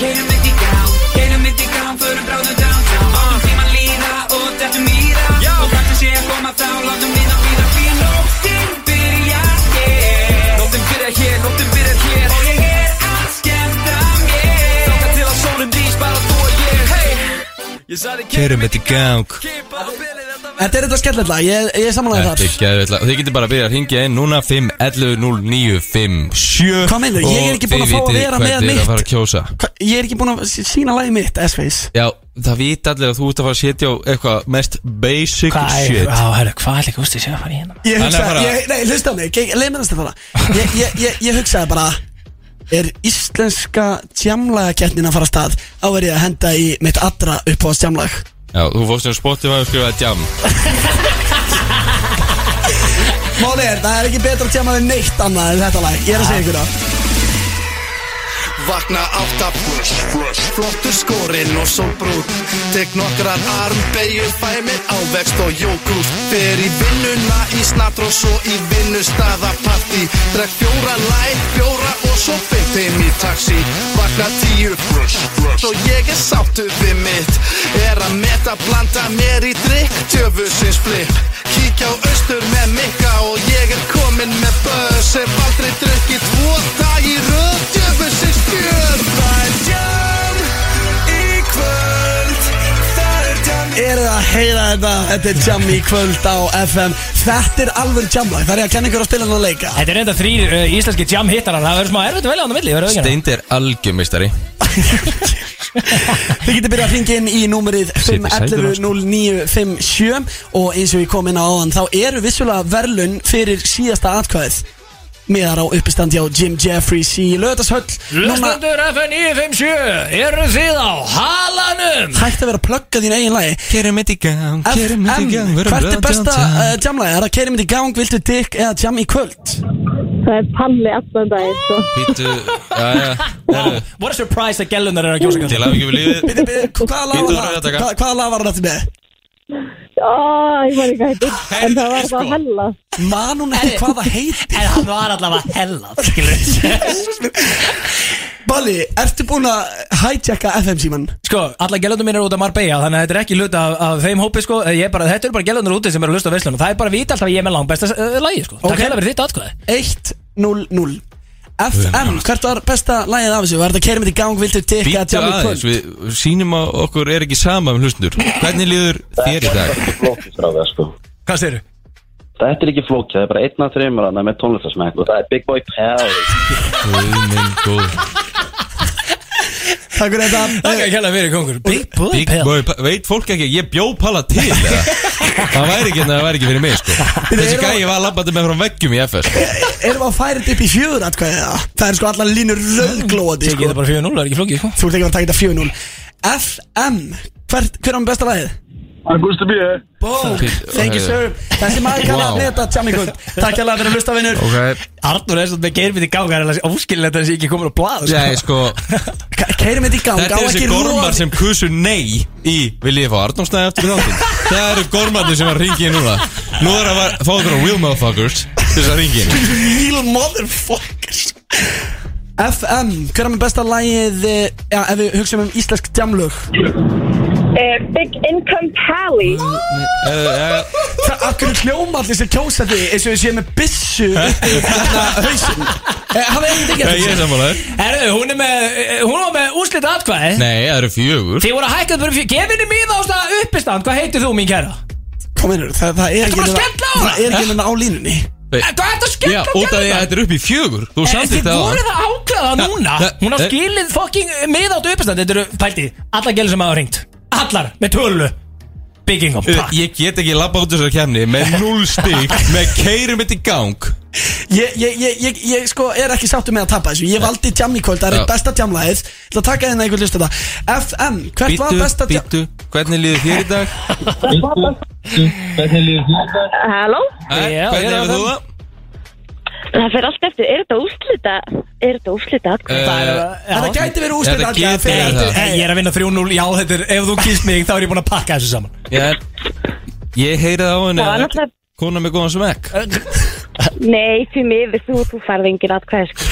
Speaker 7: Keirum mitt í gang, keirum mitt í gang, förum bráðum downtown Látum tíma líða og dettum í það Og kannski sé að koma þá, látum minna býða Því að nóttin byrjar hér Nóttin byrjar hér, nóttin byrjar hér Og ég er að skemmta mér Þáka til að sólum dís, bara þú og ég Hey, ég sagði
Speaker 3: Kerum þetta í gang
Speaker 7: Kipa á bilið, þetta
Speaker 4: Þetta er þetta skemmtilega, ég, ég er samanlega
Speaker 3: Þetta er
Speaker 4: þar
Speaker 3: geðveikt lag. Og Þið getur bara að byrja að ringja inn núna 5 11 0 9 5 7
Speaker 4: Hvað meinarðu? Ég er ekki búinn að fá að vera með
Speaker 3: Þið vitið hvað þið er
Speaker 4: mitt.
Speaker 3: að fara að kjósa
Speaker 4: Hva- Ég er ekki búin að sí- sína lagið mitt, S-Face
Speaker 3: Já, það vita allir að þú ert að fara að setja á eitthvað mest basic shit
Speaker 2: Á, herru, hvað er líka úst ég sé að fara í hérna?
Speaker 4: Ég
Speaker 3: Hann er
Speaker 4: hugsaði,
Speaker 3: bara-
Speaker 4: ég, nei, hlusta á mig, ge- leið mér næst að fara ég, ég, ég, ég hugsaði bara Er íslenska tjamlaga keppnin að fara af stað Þá er ég að henda í mitt allra upp á tjamlag
Speaker 3: Já, þú fórst um Spotify og skrifaði jam
Speaker 4: Máli er, það er ekki betra tjama við neitt annað en þetta lag, ég er að segja ykkur það
Speaker 6: Vakna átta Flottur skorinn og svo brút Tek nokkrar armbeigur Fæ mér ávext og jókrúst Fer í vinnuna í snatr og svo í vinnustaðapartí Drekk fjóra læg, fjóra og svo fynntinn í taxi Vakna tíu Svo ég er sáttu við mitt Er að meta blanda mér í drikk Tjöfusins flip Kíkja á austur með mikka og ég er komin með böð sem aldrei drukki tvo dag í röð djöfusins fjör Það er djörn í kvöld Það er djörn
Speaker 4: Eru það að heyra þetta? Þetta er Jam í kvöld á FM Þetta er alveg jamlag, það er ég að kenna ykkur að spila hann að leika
Speaker 2: Þetta er enda þrýr uh, íslenski jam hittarar Það verður smá erfitt að velja hann á milli verður það ekki hérna?
Speaker 3: Steind er algjörmistari
Speaker 4: Þið getur byrjað að hringja inn í númerið
Speaker 3: Sitt í sætinu,
Speaker 4: 511-0957 Og eins og ég kom inn á áðan Þá eru vissulega verlun fyrir síðasta atkvæðið Meðar á uppistand hjá Jim Jeffries í lögðashöll
Speaker 2: Hlustendur FN 957 Eru þið á halanum?
Speaker 4: hægt að vera að plugga þín eigin lagi
Speaker 3: Kerum þetta í gang,
Speaker 4: FM, hvert er besta
Speaker 3: eh,
Speaker 4: uh, jamlagi? Er það kerið mitt í gang, viltu dick eða jam í kvöld?
Speaker 8: Það er palli allan daginn, sko.
Speaker 3: Býtu, já, já,
Speaker 2: Wow, what a surprise að gellunar eru að kjósa
Speaker 3: til
Speaker 2: kannski.
Speaker 3: að við lífið
Speaker 4: Bíddu, bíddu, Hvaða lag
Speaker 3: Bíddu, þú
Speaker 4: var
Speaker 3: verður að
Speaker 4: það?
Speaker 3: taka.
Speaker 4: Hvað- Hvaða lag var það með?
Speaker 8: Ó, ég var ekki hættur. En það var
Speaker 3: sko.
Speaker 8: það hella.
Speaker 4: Man hún ekki hvað það heitir?
Speaker 2: En hann var allavega hella skilur.
Speaker 4: Balli, ertu búin að hijacka FM síman?
Speaker 2: Sko, alla gellunar mín eru út af Marbella Þannig að þetta er ekki hluta af, af þeim hópi sko. Ég er bara, Þetta eru bara gellunar úti sem eru að lusta á veislunum Það er bara að vita alltaf að ég er með langbesta uh, lagi sko.
Speaker 4: Ok.
Speaker 2: Takk hella fyrir þitt atkvæði
Speaker 4: 1-0-0 FM, hvert var besta lagið af þessu? Var þetta kerið mitt í gang, viltu tikka
Speaker 3: Býtu
Speaker 4: jam í
Speaker 3: aðeins,
Speaker 4: kvöld?
Speaker 3: við sýnum að okkur er ekki sama um hlustundur Hvernig líður þér í dag?
Speaker 9: flókistráða sko
Speaker 2: Hvað styrir?
Speaker 9: Þetta er ekki flókið, það er bara einn af þreymur annað með tónlistarsmæk og það er Big Boy Pell
Speaker 3: Guð minn góð
Speaker 4: Takk fyrir þetta *laughs*
Speaker 2: Takk hella fyrir kongur Big Boy
Speaker 3: Big
Speaker 2: Pill
Speaker 3: Boy, Pa- veit fólk ekki, að ég bjó pala til eða? Það væri ekki, það væri ekki fyrir mig sko. Þessi
Speaker 4: erum
Speaker 3: gæi var labbandi með frá veggjum í FS sko.
Speaker 4: Erum við að færa þetta upp í fjögur atkvæði eða? Það er sko allar línur rauðglóðandi
Speaker 2: Tekið
Speaker 4: sko.
Speaker 2: það bara 4-0, það er ekki flókið sko.
Speaker 4: Þú ert ekki að taka þetta fjögur núl FM, hver, hver er hann besta lagið?
Speaker 6: Augusta B
Speaker 4: Bók,
Speaker 3: Fínt.
Speaker 4: thank you sir Þessi maður kann
Speaker 3: Wow.
Speaker 4: að neta tjámingund Takk hérlega fyrir að hlusta vinnur
Speaker 3: Ok
Speaker 2: Arnur er svona með geirmyndi gangar Það er óskilin að það sé ekki komin á blað sko.
Speaker 3: Nei, sko
Speaker 4: Keirum þetta í gang,
Speaker 3: Þetta
Speaker 4: á
Speaker 3: er
Speaker 4: ekki
Speaker 3: þessi gormar
Speaker 4: roði
Speaker 3: sem kusu nei í Vil ég fá Arnómsnæði aftur í þáttum Það eru gormarnir sem að ringi inn núna Nú er að fara- fá okkur á real motherfuckers til Þess að ringi inn
Speaker 4: Real motherfuckers FM, hver er með besta lagið eh, Já, ef við hugsaum um íslensk tjámlög
Speaker 8: Eh, Big Income Pally
Speaker 3: Eh, eh,
Speaker 4: Það af hverju hljóma allir sem kjósa því eins og við séum með byssu uppi í þarna hausinn Eh, Hafið eitthvað ekki
Speaker 3: Nei, ég er samanlega
Speaker 2: Herðu, hún er með, eh, hún var með úslita atkvæði
Speaker 3: Nei, það eru fjögur
Speaker 2: Þið voru að hækkað bara fyrir Gefinni mín ásta uppistand, hvað heitir þú mín kæra?
Speaker 4: Kom innur, það, það er
Speaker 2: Ertu bara að
Speaker 4: hérna-
Speaker 2: skella á hana?
Speaker 4: Það er ekki hérna á línunni
Speaker 3: Nei.
Speaker 2: Eh, Hvað er þetta skemmt
Speaker 3: Já,
Speaker 2: að
Speaker 3: út af því
Speaker 2: gera
Speaker 3: að
Speaker 2: þetta?
Speaker 3: þetta er upp í fjögur Þú
Speaker 2: Eh,
Speaker 3: samtitt
Speaker 2: Þið
Speaker 3: það
Speaker 2: voru það áklæða
Speaker 3: Ja,
Speaker 2: núna
Speaker 3: ja,
Speaker 2: Hún har
Speaker 3: eh.
Speaker 2: skilið fucking miðátt uppistand Þetta eru, pælti, allar gælur sem hafa hringt Allar, með tölu Byggingum,
Speaker 3: Eh,
Speaker 2: takk
Speaker 3: Ég get ekki labba út þessar kemni Með null stig Með keirum mitt í gang
Speaker 4: Ég, ég, ég, ég, ég sko er ekki sáttu með að tapa þessu Ég valdi tjám í kvöld, það er
Speaker 3: Já.
Speaker 4: eitt besta tjámlagið Það taka hérna einhvern lista þetta FM, hvert var besta
Speaker 3: Býttu,
Speaker 4: tjám
Speaker 3: býttu Hvernig líður þér í dag?
Speaker 8: Halló
Speaker 3: Eh,
Speaker 2: Já, ég er
Speaker 3: Hvernig
Speaker 2: á
Speaker 3: hefur þú
Speaker 2: þeim.
Speaker 3: það?
Speaker 8: Það fer allt eftir, er þetta úrslita Er þetta úrslita atkvæði?
Speaker 2: Það er-
Speaker 3: Eh,
Speaker 2: já.
Speaker 4: Þetta gæti verið úrslit
Speaker 3: Þetta
Speaker 4: atkvæði,
Speaker 3: getur
Speaker 4: fyrir
Speaker 3: verið
Speaker 4: eftir-
Speaker 3: það.
Speaker 2: Hey, ég er að vinna 3-0, já þetta er, ef þú kýst mig þá er ég búin að pakka þessu saman
Speaker 3: Eh, Já, Ég heyrið á henni
Speaker 8: Það var
Speaker 3: að
Speaker 8: náttúrulega-
Speaker 3: Kona með góðan smekk
Speaker 8: Nei, því miður, þú, þú farði engin atkvæði sko.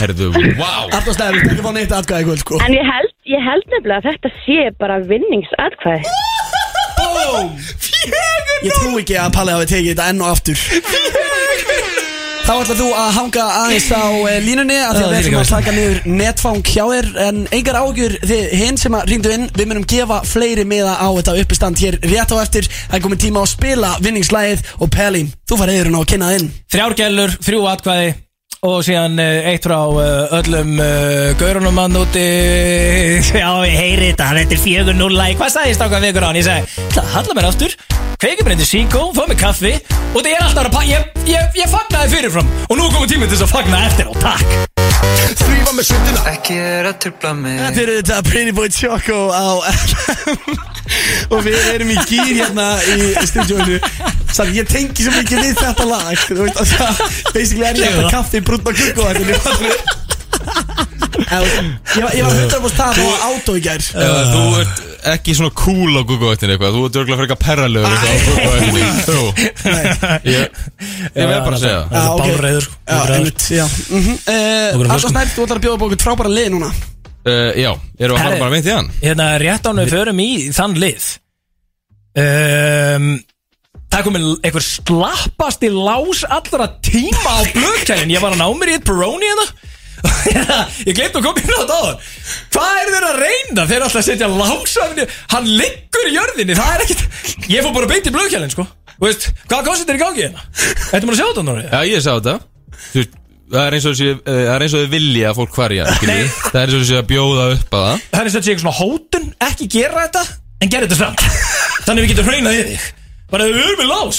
Speaker 3: Herðu, wow
Speaker 4: Arnór Snæður, þú ekki fá neitt atkvæði í kvöld sko
Speaker 8: En ég held, ég held nefnilega að þetta sé bara vinningsatkvæði
Speaker 4: Bóm Ég trú ekki að Palli hafi tekið þetta enn og aftur Þá ætlar þú að hanga aðeins á eh, línunni að því
Speaker 2: Já,
Speaker 4: að við
Speaker 2: þvílíka
Speaker 4: ætlum að
Speaker 2: veisla.
Speaker 4: taka niður netfang hjá þér en engar ágjur þið hinn sem að ringdu inn við munum gefa fleiri miða á þetta uppistand hér rétt á eftir það er komið tíma á að spila vinningslægið og Pelli, þú farið yfir hún á að kynna það inn
Speaker 2: Þrjár gælur, þrjú atkvæði og síðan eh, eitt frá eh, öllum uh, gaurunum mann úti *laughs* Já, ég heyri þetta, þetta er 4-0 lagi. Hvað sagði ég stáka vikur án? Ég sagði, það halla mér aftur Kveikir mér indi síkó, fá mér kaffi og þetta er alltaf að pa... Ég, ég, ég fagnaði fyrirfram og nú komum tíminn til þess að fagna eftir á takk
Speaker 6: Þrýfa með sundina
Speaker 7: Ekki er að trubla mig
Speaker 4: Þetta eru þetta Pretty Boy Choco á FM og við erum í gýr hérna í stundjónu Sann, ég tengi svo mikið við þetta lag Þú veist, að það basically er ég þetta kaffi, brúnn og kukku Ég var ég var 100% það og átó í gær
Speaker 3: Ef að Þú ert ekki svona cool á Google-öttin eitthvað Þú ert örgulega fyrir eitthvað perralögur eitthvað á
Speaker 2: *laughs*
Speaker 3: Google-öttin Þú Ég ég verð bara að segja það.
Speaker 2: Það er
Speaker 4: Já, ok.
Speaker 2: bálreiður sko.
Speaker 4: Já,
Speaker 2: Bálreiður.
Speaker 4: einmitt, já mhm.
Speaker 2: Okkur er
Speaker 4: Alltaf
Speaker 2: flöskum.
Speaker 4: snært, þú ætlar að bjóða upp á okkur frábæra lið núna
Speaker 3: Eh, Já, erum við að fara
Speaker 2: Herri.
Speaker 3: bara veint í hann?
Speaker 2: Hérna, rétt ánum við förum í þann lið um, Það er komin einhver slappasti lás allra tíma á blökkæðin Ég var að ná mér í eitt Peroni *laughs* hérna Ég glemt að koma inn á þetta áður Hvað er þeir að reyna? Þeir er alltaf að setja lásafni Hann liggur í jörðinni, það er ekkert Ég fór bara beint í blökkæðin, sko Þú veist, hvað kostið þeir í gangi hérna? Þetta maður að sjá þetta núna
Speaker 3: Já, ég sá þetta Þú veist, Það er eins og þessi, það er eins og þau vilja að fólk hverja
Speaker 2: Nei.
Speaker 3: Það er eins og þessi að bjóða upp að það
Speaker 2: þannig að þetta sé eitthvað svona hótun ekki gera þetta, en gera þetta samt þannig að við getum hreinaði þig bara við erum við lás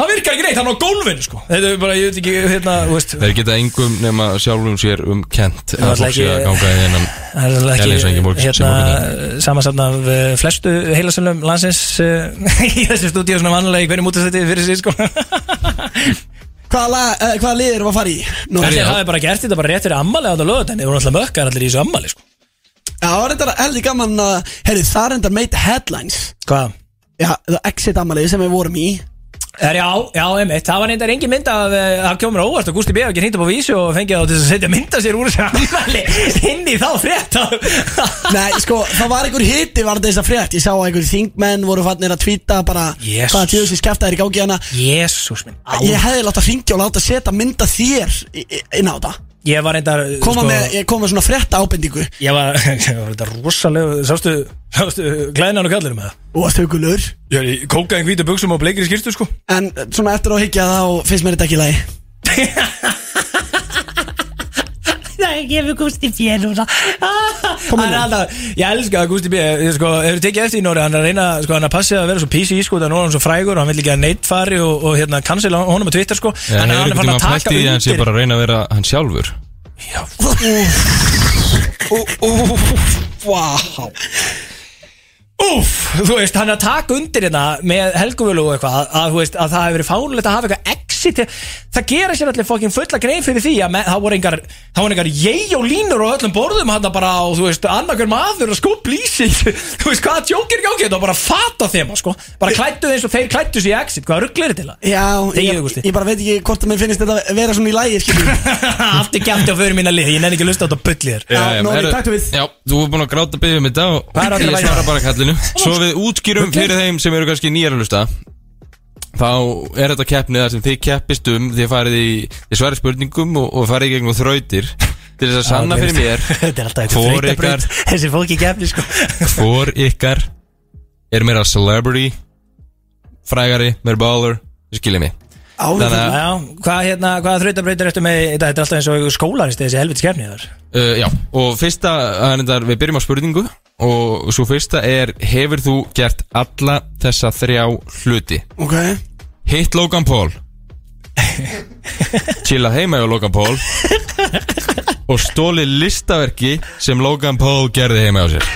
Speaker 2: það virkar ekki neitt, hann á gólfinu sko þetta er bara, ég veit ekki, hérna, þú veist
Speaker 3: Þeir geta engum nema sjálfum sér um kent
Speaker 2: var
Speaker 3: að fólk
Speaker 2: ekki-
Speaker 3: sé að ganga í hennan
Speaker 2: það er
Speaker 3: Ég les
Speaker 2: alltaf
Speaker 3: ekki
Speaker 2: ekki,
Speaker 3: morgun- sem
Speaker 2: hérna samansapn af eh, flestu heilasölum landsins eh, *laughs* í þessu stúdíu svona vanlega í hvernig mútastætti fyrir sig sko *laughs*
Speaker 4: Hvaða lag- eh, hvaða lið erum við að fara í? Nú,
Speaker 2: Ætli,
Speaker 3: já.
Speaker 2: það er bara gert þetta bara rétt fyrir ammali á þetta lögut en þeir voru alltaf mökkar allir í þessu ammali sko
Speaker 4: Já, það var reyndar heldig gaman að Herri, það er reyndar meit headlines
Speaker 2: hvað?
Speaker 4: Já, það exit amalegi sem við vorum í
Speaker 2: Er, Eh, já, já, einmitt, það var reyndar engin mynd að það kemur óvart og Gústi B. hafði ekki hringt upp á vísu og fengið þá til þess að setja mynda sér úr þessu ammali inn í þá frétt
Speaker 4: *laughs* Nei, sko, það var einhver hiti var þess að frétt Ég sá að einhver þingmenn voru fannir að tvíta bara
Speaker 2: Jesus.
Speaker 4: hvaða tjóðu sem skefta er í gangi hana
Speaker 2: Jésús minn á.
Speaker 4: Ég hefði látt að ringja og láta setja mynda þér í- í- inn á þetta
Speaker 2: Ég var reyndar
Speaker 4: Koma
Speaker 2: sko,
Speaker 4: með, ég kom með svona frétta ábendingu
Speaker 2: Ég var, *laughs* ég var reyndar rosalega Sástu, sástu glæðinan og kallir með það
Speaker 4: og að stökulur
Speaker 2: Ég er í kókaðin hvítu buksum og bleikir í skýrstu *laughs* sko
Speaker 4: En eh, svona eftir á að higgja þá finnst mér þetta ekki í lagi
Speaker 2: Nei,
Speaker 10: gefið Gusti B. núna
Speaker 2: Hann er alltaf, ég elska að Gusti B ég, sko, hefur tekið eftir í Nóri, hann er að reyna sko, hann er að passa að vera svo písi í sko, þannig að nú er hann svo frægur og hann vil ekki að neitt fari og, og hérna cancela honum á Twitter sko,
Speaker 3: Já,
Speaker 2: en
Speaker 3: hefur
Speaker 2: hann er
Speaker 3: Eh, einhvern
Speaker 2: fann
Speaker 3: tímann
Speaker 2: að
Speaker 3: pælt
Speaker 2: taka
Speaker 3: í því að hann sé
Speaker 2: undir
Speaker 3: bara að reyna að vera hann sjálfur
Speaker 2: Vá Úf, þú veist, hann er að taka undir hérna með Helguvölu og eitthvað að, að, þú veist, að það hefur verið fánulegt að hafa eitthvað exit það gera sér allir fokkin fulla grein fyrir því að með, það voru engar, það voru engar ég og línur á öllum borðum hann bara og þú veist, annarkur maður að skúpla í sig *laughs* þú veist, hvaða tjókir gangi þetta og bara fata þeim, sko, bara klættu eins og þeir klættu sér í exit, hvaða rugglir þetta *laughs* til
Speaker 4: Já,
Speaker 2: Þegiðu,
Speaker 4: ég,
Speaker 2: Gústi.
Speaker 4: ég bara veit ekki hvort að mér finnst þetta vera svona í lægi
Speaker 2: *laughs* það aftur gæmti á fyrir mína lið, ég nenni ekki að lusta á þetta bullir
Speaker 4: Já, Nóri,
Speaker 3: herru,
Speaker 4: taktu við.
Speaker 3: Eh, Já, þú er búin að gráta byggja um þetta og
Speaker 2: Hvað er að
Speaker 3: ég
Speaker 2: gera?
Speaker 3: svara bara kallinu Svo við útskýrum
Speaker 2: Bullið.
Speaker 3: fyrir þeim sem eru kannski nýjar að hlusta Þá er þetta keppnið þar sem þið keppist um Þið farið í, þið svarið spurningum og, og farið í gegnum þrautir Til þess að sanna fyrir mér
Speaker 2: *laughs* Þetta er alltaf eitthvað
Speaker 3: Hvor
Speaker 2: þreytabraut.
Speaker 3: ykkar,
Speaker 10: Þessi fólki gefni sko
Speaker 3: hvor ykkar er meira celebrity Frægari, meira baller Þið skiljið mig
Speaker 4: Áður
Speaker 3: Þannig að-
Speaker 2: Já, hvað hérna, hvaða þrautabrautir ertu með í dag? Þetta er alltaf eins og skólaristi þessi helviti skefni þar
Speaker 3: Uh, já, og fyrsta, það er reyndar- við byrjum á spurningu og svo fyrsta er hefur þú gert alla þessa þrjá hluti?
Speaker 4: Ok,
Speaker 3: Hitt Logan
Speaker 2: *laughs*
Speaker 3: Paul Chilla heima hjá Logan Paul og stóli listaverki sem Logan Paul gerði heima hjá sér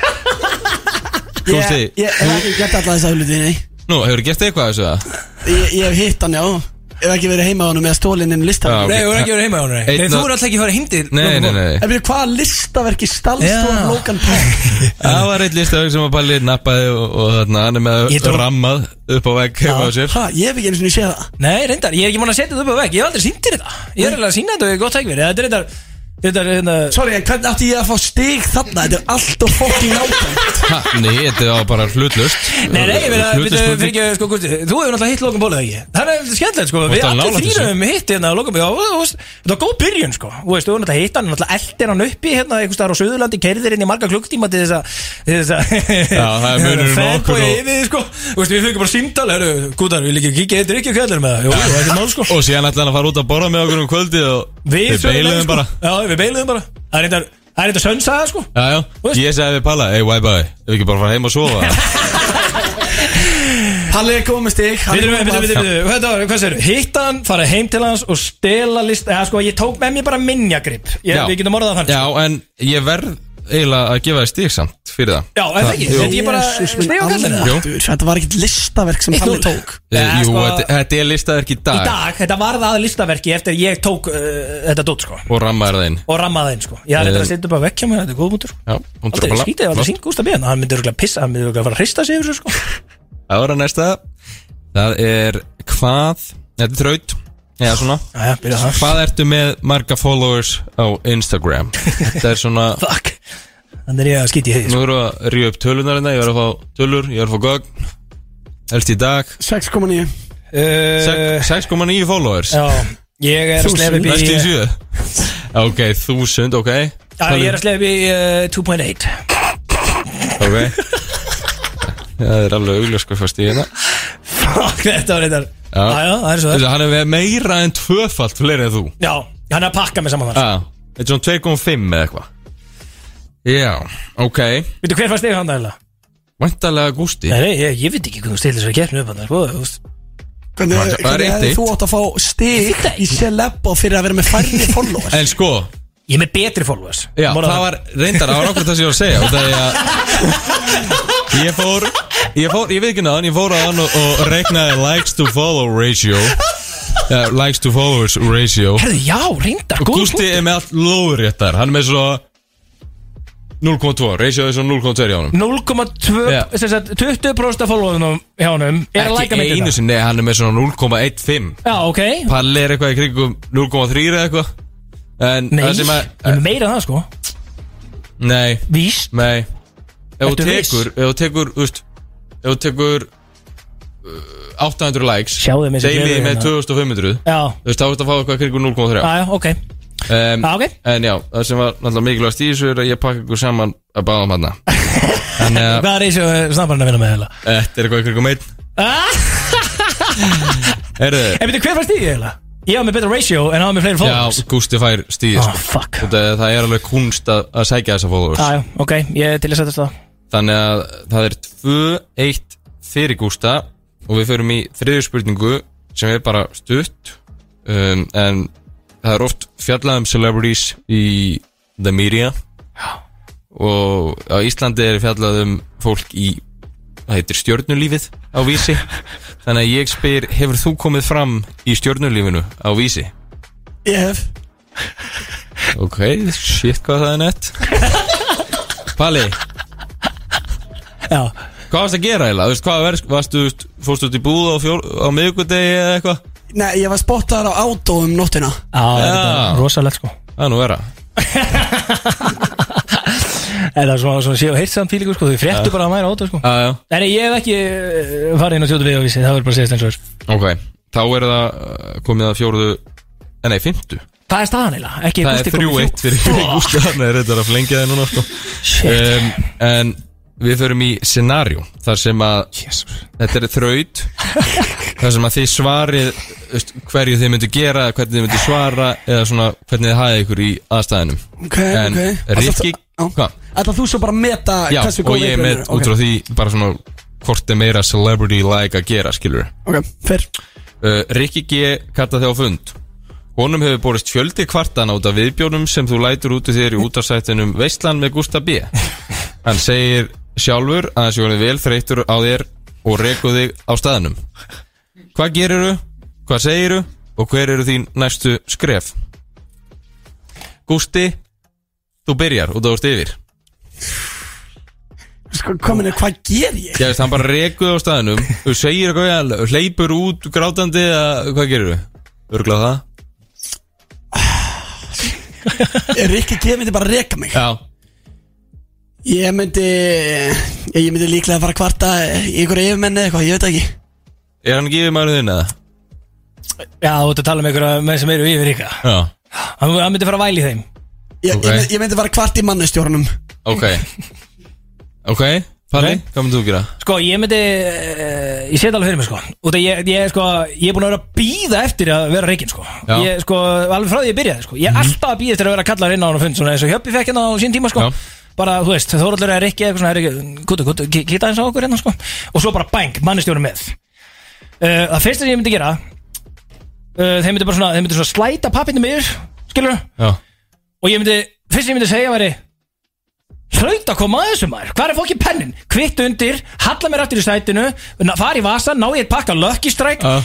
Speaker 3: Gústi,
Speaker 4: ég, ég hef ekki gert alla þessa hluti, nei
Speaker 3: nú, hefur gert eitthvað af þessu það?
Speaker 4: Ég, ég hef hitt hann, já Ég hef ekki verið heima á hann með stólininn
Speaker 3: Já,
Speaker 4: listaverk
Speaker 3: ok.
Speaker 2: Nei, þú er ekki verið heima hjá hún, nei
Speaker 3: Einn
Speaker 2: Nei, Þú
Speaker 3: og-
Speaker 2: er alltaf ekki farið hindi
Speaker 3: Nei, nei, nei,
Speaker 4: En við hvaða listaverki stálstór
Speaker 2: Já.
Speaker 4: Logan Paul
Speaker 3: það var eitt listaverk sem að Palli nappaði og, og þarna, hann er með
Speaker 2: Ég trú-
Speaker 3: rammað upp á vegg heima hjá sér
Speaker 4: Ha, ég hef ekki einu sinni séð það
Speaker 2: Nei, reyndar, ég er ekki mann að setja þetta upp á vegg Ég hef aldrei sýndir þetta Ég er alveg að sýna þetta og ég er gott tækveri Þetta er reyndar, þetta er hérna
Speaker 4: Sorry, en hvernig átti ég að fá stig þarna? Þetta er allt og fokkin nákvæmt
Speaker 3: ha, Nei, þetta var bara hlutlust
Speaker 2: Nei, nei, ég meina,
Speaker 3: Hlutlaus
Speaker 2: byrju,
Speaker 3: spurning.
Speaker 2: fyrir ekki, sko, Gusti Þú hefur náttúrulega hitt Logan Paul eða ekki Það er skemmtilegt, sko, við
Speaker 3: Varstu alveg
Speaker 2: allir
Speaker 3: nálægt þessu?
Speaker 2: þrýrum hitt hérna á Logan Paul Já, þú veist, Þetta var góð byrjun, sko Þú veist, þú hefur náttúrulega hitt hann, náttúrulega eldir hann uppi hérna einhvers staðar á Suðurlandi, keirðir inn í marga klukktíma til þess að til þess að-
Speaker 3: Já, það er
Speaker 2: *laughs*
Speaker 3: munurinn á
Speaker 2: Fanboy
Speaker 3: okkur og-
Speaker 2: yfir þig, sko. Þú veist, Við fengum bara símtal, herru, gútar, vil ekki kíkja eittir ekki kveldur með það Jú, jú, þetta er mál, sko
Speaker 3: Og síðan ætlaði hann að fara út að borða með okkur um kvöldi og
Speaker 2: Við sögðum
Speaker 3: beiluðum
Speaker 2: sko.
Speaker 3: bara
Speaker 2: Já, við beiluðum bara Það er reyndar- það er eitthvað sönsaða sko
Speaker 3: Já, já,
Speaker 2: Veist-
Speaker 3: ég sagði við Palla, hey, why bye, ef við ekki bara fara heim og sofa
Speaker 4: Palli er komið stig hann er
Speaker 2: Við erum, við
Speaker 4: komið
Speaker 2: erum, við erum, hvað er það, er, hitta hann, fara heim til hans og stela list, eða sko, ég tók með mér bara minjagrip, ég,
Speaker 3: Já.
Speaker 2: við getum orðað þannig sko.
Speaker 3: Já, en ég verð eiginlega að gefa þér stík samt fyrir það
Speaker 2: Já, en það ekki,
Speaker 3: jú.
Speaker 2: þetta ég bara
Speaker 4: Jesús minn
Speaker 2: steg á kallinu
Speaker 3: Jú.
Speaker 4: almáttugur, Þetta var ekkert listaverk sem Palli tók
Speaker 3: Eh,
Speaker 2: Já,
Speaker 3: Jú,
Speaker 2: sko-
Speaker 3: þetta- þetta er listaverk í
Speaker 2: Í
Speaker 3: dag
Speaker 2: dag, þetta varð að listaverki eftir ég tók uh, þetta dótt sko
Speaker 3: Og rammaður þeim
Speaker 2: og rammaði einn sko, ég
Speaker 3: Eh.
Speaker 2: er eitthvað að setja upp að vekkja mig, þetta er góð mútur
Speaker 3: Já, hún
Speaker 2: Aldrei skítið, aldrei sínt Gústa Björn, hann myndi örgulega pissa, hann myndi örgulega fara að hrista sig yfir þessu sko
Speaker 3: Ára næsta Það er hvað, þetta er þraut Já, svona
Speaker 2: Jæja, byrja það
Speaker 3: Hvað ertu með marga followers á Instagram?
Speaker 2: *laughs*
Speaker 3: Þetta er svona
Speaker 2: Fuck, þannig er ég að skítið í heiði sko.
Speaker 3: Nú erum við að ríða upp tölunarina, ég verð að fá tölur, ég verð að fá gögn Elst í dag
Speaker 4: 6,9
Speaker 3: Sex- 6,9 followers
Speaker 2: Eh. Já, ég er að slefa upp í
Speaker 3: Næstu í
Speaker 2: *laughs*
Speaker 3: sjö Ok, 1000, ok
Speaker 2: Já, ég er að slefa upp í eh, 2.8
Speaker 3: Ok Það er alveg augljós hvað fyrst í hérna
Speaker 2: Fuck, þetta var reyndar
Speaker 3: Já.
Speaker 2: Já, já, það er svo það
Speaker 3: Þessi, hann er með meira en tvöfalt fleiri en þú
Speaker 2: Já, hann er að pakka mig saman þar
Speaker 3: Já, þetta er svona 2,5 eða eitthvað Já, ok
Speaker 2: Veitu hver fannst þig hann dæla?
Speaker 3: Væntalega Gústi
Speaker 2: Nei, nei, ég, ég veit ekki hvernig þú stilir þess að keppni upp hann sko, þú veist.
Speaker 4: Hvernig,
Speaker 3: Bara- bara
Speaker 4: hvernig
Speaker 3: eitt
Speaker 4: hefði
Speaker 3: eitt.
Speaker 4: þú átt að fá stig í Celebo fyrir að vera með færri followers?
Speaker 3: En sko,
Speaker 2: Ég er með betri followers
Speaker 3: já,
Speaker 2: Mála
Speaker 3: það var reyndar, það var okkur það sem ég var að segja út af því að Ég fór, ég fór, ég veit ekki náðan, ég fór að hann og, og reiknaði likes to follow ratio uh, Likes to followers ratio
Speaker 2: Herðu, já, reyndar,
Speaker 3: Og
Speaker 2: góð
Speaker 3: Gústi
Speaker 2: punktur.
Speaker 3: er með allt lóðréttar Hann er með svo 0.2 Reisja þessu 0.2 hjá hann
Speaker 2: 0,2
Speaker 3: Já.
Speaker 2: sem sagt, 20% af followerunum hjá honum er að læka
Speaker 3: Ekki
Speaker 2: myndir
Speaker 3: einu
Speaker 2: það
Speaker 3: sinni, nei, hann er með svona 0.15
Speaker 2: Já, ok
Speaker 3: Palli er eitthvað í kringum 0.3 eða eitthvað En
Speaker 2: Nei,
Speaker 3: það
Speaker 2: ég
Speaker 3: sem
Speaker 2: er
Speaker 3: að
Speaker 2: með meira en það sko
Speaker 3: Nei,
Speaker 2: Vís
Speaker 3: nei Ef þú
Speaker 2: Ertu viss?
Speaker 3: tekur, ef þú tekur, þú veist Ef þú tekur uh, 800 likes
Speaker 2: Sjáðu mig sem
Speaker 3: Deilið
Speaker 2: gleður
Speaker 3: með
Speaker 2: hérna.
Speaker 3: 2500
Speaker 2: Já,
Speaker 3: Þú veist, þá ertu að fá eitthvað í kringum 0.3
Speaker 2: já, ok
Speaker 3: um,
Speaker 2: Já, Ah, ok.
Speaker 3: En já, það sem var náttúrulega mikilvægast í þessu er að ég pakka ykkur saman að báðum
Speaker 2: *laughs*
Speaker 3: hann Þannig að
Speaker 2: Hvað er þessu snabbarinn að vinna með eiginlega?
Speaker 3: Þetta er eitthvað ykkur um einn
Speaker 2: Ah,
Speaker 3: Herðu,
Speaker 2: En veitu, hver fannst þig eiginlega? Ég hafa með betra ratio en hafa með fleiri followers
Speaker 3: Já, Gústi fær stíð
Speaker 2: Ah, fuck
Speaker 3: það, það er alveg kunst að, að sækja þessa followers
Speaker 2: Já, já, ok, ég er til að setja það
Speaker 3: Þannig að það er 2-1 fyrir Gústa og við förum í þriðju spurningu sem er bara stutt um, en það er oft fjallað um celebrities í the media og á Íslandi er fjallað um fólk í það heitir stjörnulífið á
Speaker 2: *laughs*
Speaker 3: vísi þannig að ég spyr, hefur þú komið fram í stjörnulífinu á vísi?
Speaker 4: Ég hef
Speaker 3: Ok, shit hvað það er nett Palli
Speaker 2: Já
Speaker 3: Hvað varst að gera eiginlega? Þú veist, hvað verð, varstu, fórstu út í búð á, fjól, á miðvikudegi eða eitthvað?
Speaker 4: Nei, ég var spottaður á átó um nóttina
Speaker 2: þetta er rosalegt sko
Speaker 3: Það er nú vera
Speaker 2: Eða svona, svona séu heitt samt fílingu sko, þau fréttu bara að mæra áttu sko
Speaker 3: Já, já
Speaker 2: Nei, nei, ég hef ekki eh, farið inn á sjótu við á vísi, það verður bara að segja eins og þess
Speaker 3: Ok, þá er það uh, komið að fjóruðu eh, Nei, fymtu
Speaker 2: Hvað er staðan eila? Ekki
Speaker 3: Það er 3-1 fyrir Gústi Þannig er þetta að flengja það núna sko. um, En við förum í scenarjó Þar sem að Þetta er þraut Þar sem að þið svarið þú veist, Hverju þið myndu gera, hvernig þið myndu svara Eða svona hvernig þið hafið ykkur í aðstæðinum
Speaker 4: Ok,
Speaker 3: En
Speaker 4: ok.
Speaker 3: Rikki Hvað?
Speaker 4: Ætla þú svo bara að meta
Speaker 3: Já,
Speaker 4: hversu
Speaker 3: og
Speaker 4: góð
Speaker 3: ég er
Speaker 4: viðbrögðin
Speaker 3: með út frá því bara svona hvort er meira celebrity-like að gera, skilur
Speaker 4: Ok, ok, fyrr
Speaker 3: uh, Rikki G. kallaði á fund Honum hefur borist fjöldi kvartana út af viðbjónum sem þú lætur út úr þér í útastættinum Veistlan með Gústa B. Hann segir sjálfur að þessi honum vel þreytur á þér og rekur þig á staðnum Hvað gerirðu? Hvað segiru? Og hver eru þín næstu skref? Gústi, þú byrjar út af úrst yfir
Speaker 4: Sko, komin er, hvað ger ég?
Speaker 3: Já, veist, hann bara rekuð á staðinum Þú segir eitthvað, ja, hleypur út grátandi eða hvað gerir við? Örglað það?
Speaker 4: Er Rikki G myndi bara reka mig
Speaker 3: Já
Speaker 4: Ég myndi Ég myndi líklega að fara að kvarta í einhverju yfirmenni eða eitthvað, ég veit það ekki
Speaker 3: Er hann ekki yfirmaður þinn eða?
Speaker 2: Já, þú ert að tala um einhverja menn sem eru yfir ykkar
Speaker 3: Já
Speaker 2: Hann hann myndi fara að væli þeim
Speaker 4: Ég,
Speaker 3: Ok.
Speaker 4: ég, myndi- ég myndi fara að kvarta í mannustjórnum
Speaker 3: Ok Ok, Palli, hvað myndir þú gera?
Speaker 2: Sko, ég myndi, uh, ég set alveg fyrir mig sko Út að ég, ég, sko, ég er búin að vera að býða eftir að vera reikinn sko
Speaker 3: Já. Mhm.
Speaker 2: Ég, sko, alveg frá því ég byrjaði sko Ég er alltaf að býða eftir að vera kallar inn á hann og fund Svona eins og hjöppi fekk hérna á sín tíma sko
Speaker 3: Já.
Speaker 2: Bara, þú veist, Þóraldur er ekki eitthvað svona "Herri, Kútu, kútu, ki- kíkta eins á okkur hérna sko Og svo bara bang, mannistjóri með uh, Það fyrsta sem ég myndi gera uh, Þeir myndi bara svona, þeir myndi svona slæta pappinu mér Skilur
Speaker 3: Já
Speaker 2: Og ég myndi, fyrst sem ég myndi segja væri Hlaut að koma að þessu maður Hvar er fólki pennin? Kvitt undir, halla mér aftur í sætinu na- Far í vasan, ná ég eitt pakka Lucky Strike
Speaker 3: Já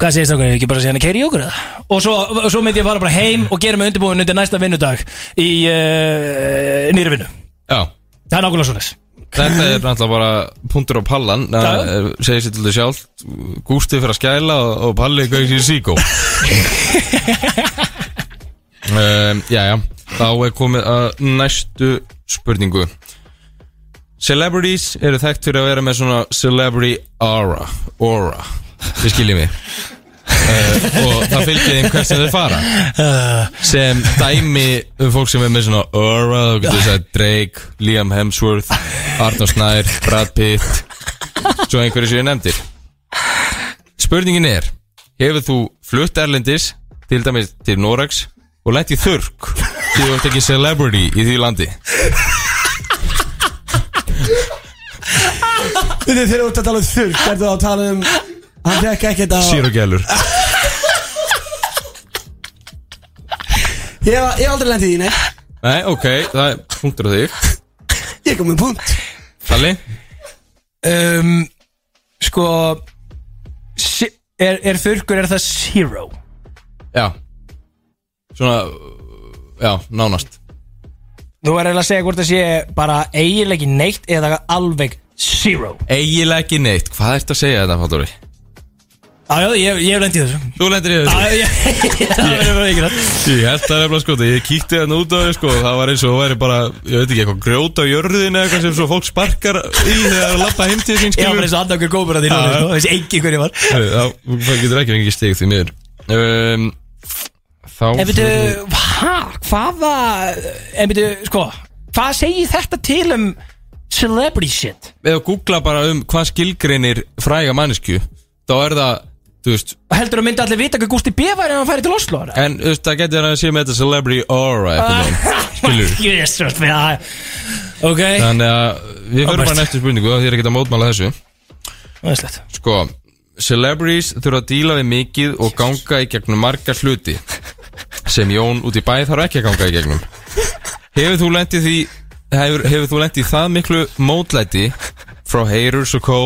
Speaker 2: Hvað segist okkur, ekki bara segja hann að keiri í okkur eða? Og svo, og svo myndi ég fara bara heim og gera mig undirbúin undir næsta vinnudag Í uh, nýri vinnu
Speaker 3: Já
Speaker 2: Það er nákvæmlega svona
Speaker 3: Þetta er náttúrulega bara punktur á pallan
Speaker 2: Já.
Speaker 3: Það segir sér til þau sjálf Gústi fyrir að skæla og, og Palli gauði sér síkó um, Jæja, þá er komið að næstu spurningu Celebrities eru þekkt fyrir að vera með svona celebrity aura Aura, þið skiljið mig uh, og það fylgir þeim hvert sem þeir fara sem dæmi um fólk sem er með svona aura, þú getur þess að Drake, Liam Hemsworth, Arnold Snær, Brad Pitt svo einhverju sem ég nefndir Spurningin er hefur þú flutt erlendis til dæmis til Norex og lent í þurrk því þú ert ekki celebrity í því landi
Speaker 4: Þegar þú ert að tala um þurr, er þú að tala um Hann fekk ekkert að
Speaker 3: Zero gælur
Speaker 4: Ég hef ég hef aldrei lendið í því, nei
Speaker 3: Nei, ok, það er punktur á þig
Speaker 4: Ég kom með punkt
Speaker 3: Palli,
Speaker 2: um, Sko si- er, er þurrkur, er það zero?
Speaker 3: já svona, já, nánast
Speaker 2: Þú er eiginlega að segja hvort það sé bara eiginlega ekki neitt Eða alveg zero
Speaker 3: eiginlega ekki neitt, hvað ertu að segja þetta, Fáttúri?
Speaker 2: Jájá, ég, ég hef lendið þessu
Speaker 3: Þú lendir í þessu
Speaker 2: Já, já, já, *laughs* Það verður bara ekki rætt
Speaker 3: Ég held það nefnilega sko, ég kíkti þarna út á þau sko Það var eins og það væri bara, ég veit ekki, eitthvað grjót á jörðin eða eitthvað sem svo fólk sparkar í þegar það er að lappa heim til
Speaker 2: Ég
Speaker 3: þín
Speaker 2: var
Speaker 3: skilur
Speaker 2: bara eins og andakur gómur að því núna
Speaker 3: Já, já.
Speaker 2: sko. Þessi engi hverju var
Speaker 3: Herru, þá það getur ekki fengið stig því miður um, Þá
Speaker 2: En veitu, hæ, hvaða En veitu, sko Hvað segir þetta til um celebrity shit
Speaker 3: Eða googla bara um hvað skilgreinir fræga mannesku Þá er það, þú veist
Speaker 2: Heldur að myndi allir vita hvað Gústi B væri ef hann færi til Oslo eða?
Speaker 3: En þú veist, það getur hann að sé með þetta celebrity aura
Speaker 2: Ah.
Speaker 3: uh, Skilur
Speaker 2: Jesus, við að Ok
Speaker 3: Þannig að við förum bara næstu spurningu og þér er ekkert að mótmála þessu
Speaker 2: Æðislegt.
Speaker 3: Sko, celebrities þurfa að díla við mikið og ganga í gegnum marga hluti sem Jón út í bæ þarf ekki að ganga í gegnum Hefur þú lendið því hefur, hefur þú lendið það miklu mótlæti frá Heyrus og Co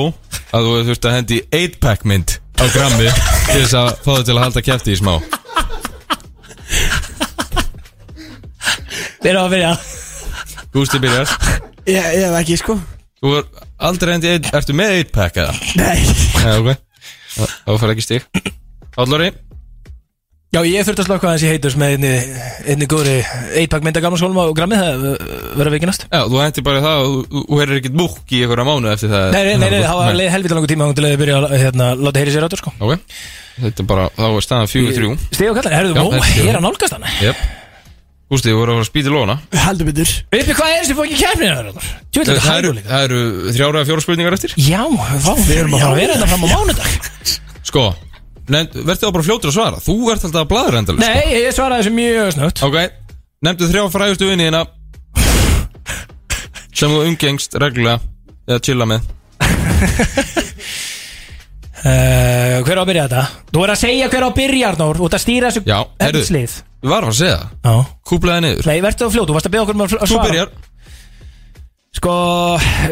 Speaker 3: að þú þurft að hendi 8-pack mynd á grammi til þess að fá þau til að halda kæfti í smá
Speaker 2: Við erum að byrja
Speaker 3: Gústi byrjar
Speaker 4: Ég, ég hef ekki sko
Speaker 3: Þú er aldrei hendi, eitt- ertu með 8-pack eða?
Speaker 4: Nei
Speaker 3: Já, ok Þá- Þá fær ekki stig Allari
Speaker 2: Já, ég þurfti að slökka aðeins í heiturs með einni, einni góðri eitpak mynda gamla skólum á grammið það uh, verður vikinast
Speaker 3: Já, þú hendir bara það og þú- þú herir ekkert múkk í einhverja mánu eftir það
Speaker 2: Nei, nei, nei, nei, það var helvita langur tíma þangað til að ég byrja að hérna, láta heyri sér áttur sko
Speaker 3: Ok, þetta er bara, þá er staðan 4-3
Speaker 2: Stig og kallar, herðu,
Speaker 3: Já,
Speaker 2: ó,
Speaker 3: þetta er-
Speaker 2: hér að nálgast hann
Speaker 3: Jep Gústi, þú voru að fara að spýta í lóna
Speaker 4: Heldur betur
Speaker 2: Uppi, hvað er þessi fókin kefnið það? Jú, þetta er
Speaker 3: Það eru,
Speaker 2: hæguleika
Speaker 3: það eru þrjára eða fjóra spurningar eftir
Speaker 2: Já, vá, við erum að fara að vera þetta fram á
Speaker 3: *laughs*
Speaker 2: mánudag
Speaker 3: Sko, nefnd, verður það bara fljótur að svara Þú ert alltaf að bladra endalist
Speaker 2: Nei, ég svaraði þessu mjög snögt
Speaker 3: Ok, nefndu þrjá frægustu vinni þína Sem þú umgengst reglulega Eða chilla með
Speaker 2: Uh, hver á að byrja þetta? Þú er að segja hver á að byrja, Arnór Þú ert að stýra þessu
Speaker 3: Já, heyrðu.
Speaker 2: hendslið
Speaker 3: Ég var að fara að segja það
Speaker 2: Já
Speaker 3: Kúplaði niður
Speaker 2: Nei, verður þú fljót, þú varst að byrja okkur um að fl- að
Speaker 3: Þú
Speaker 2: svara
Speaker 3: byrjar
Speaker 2: Sko,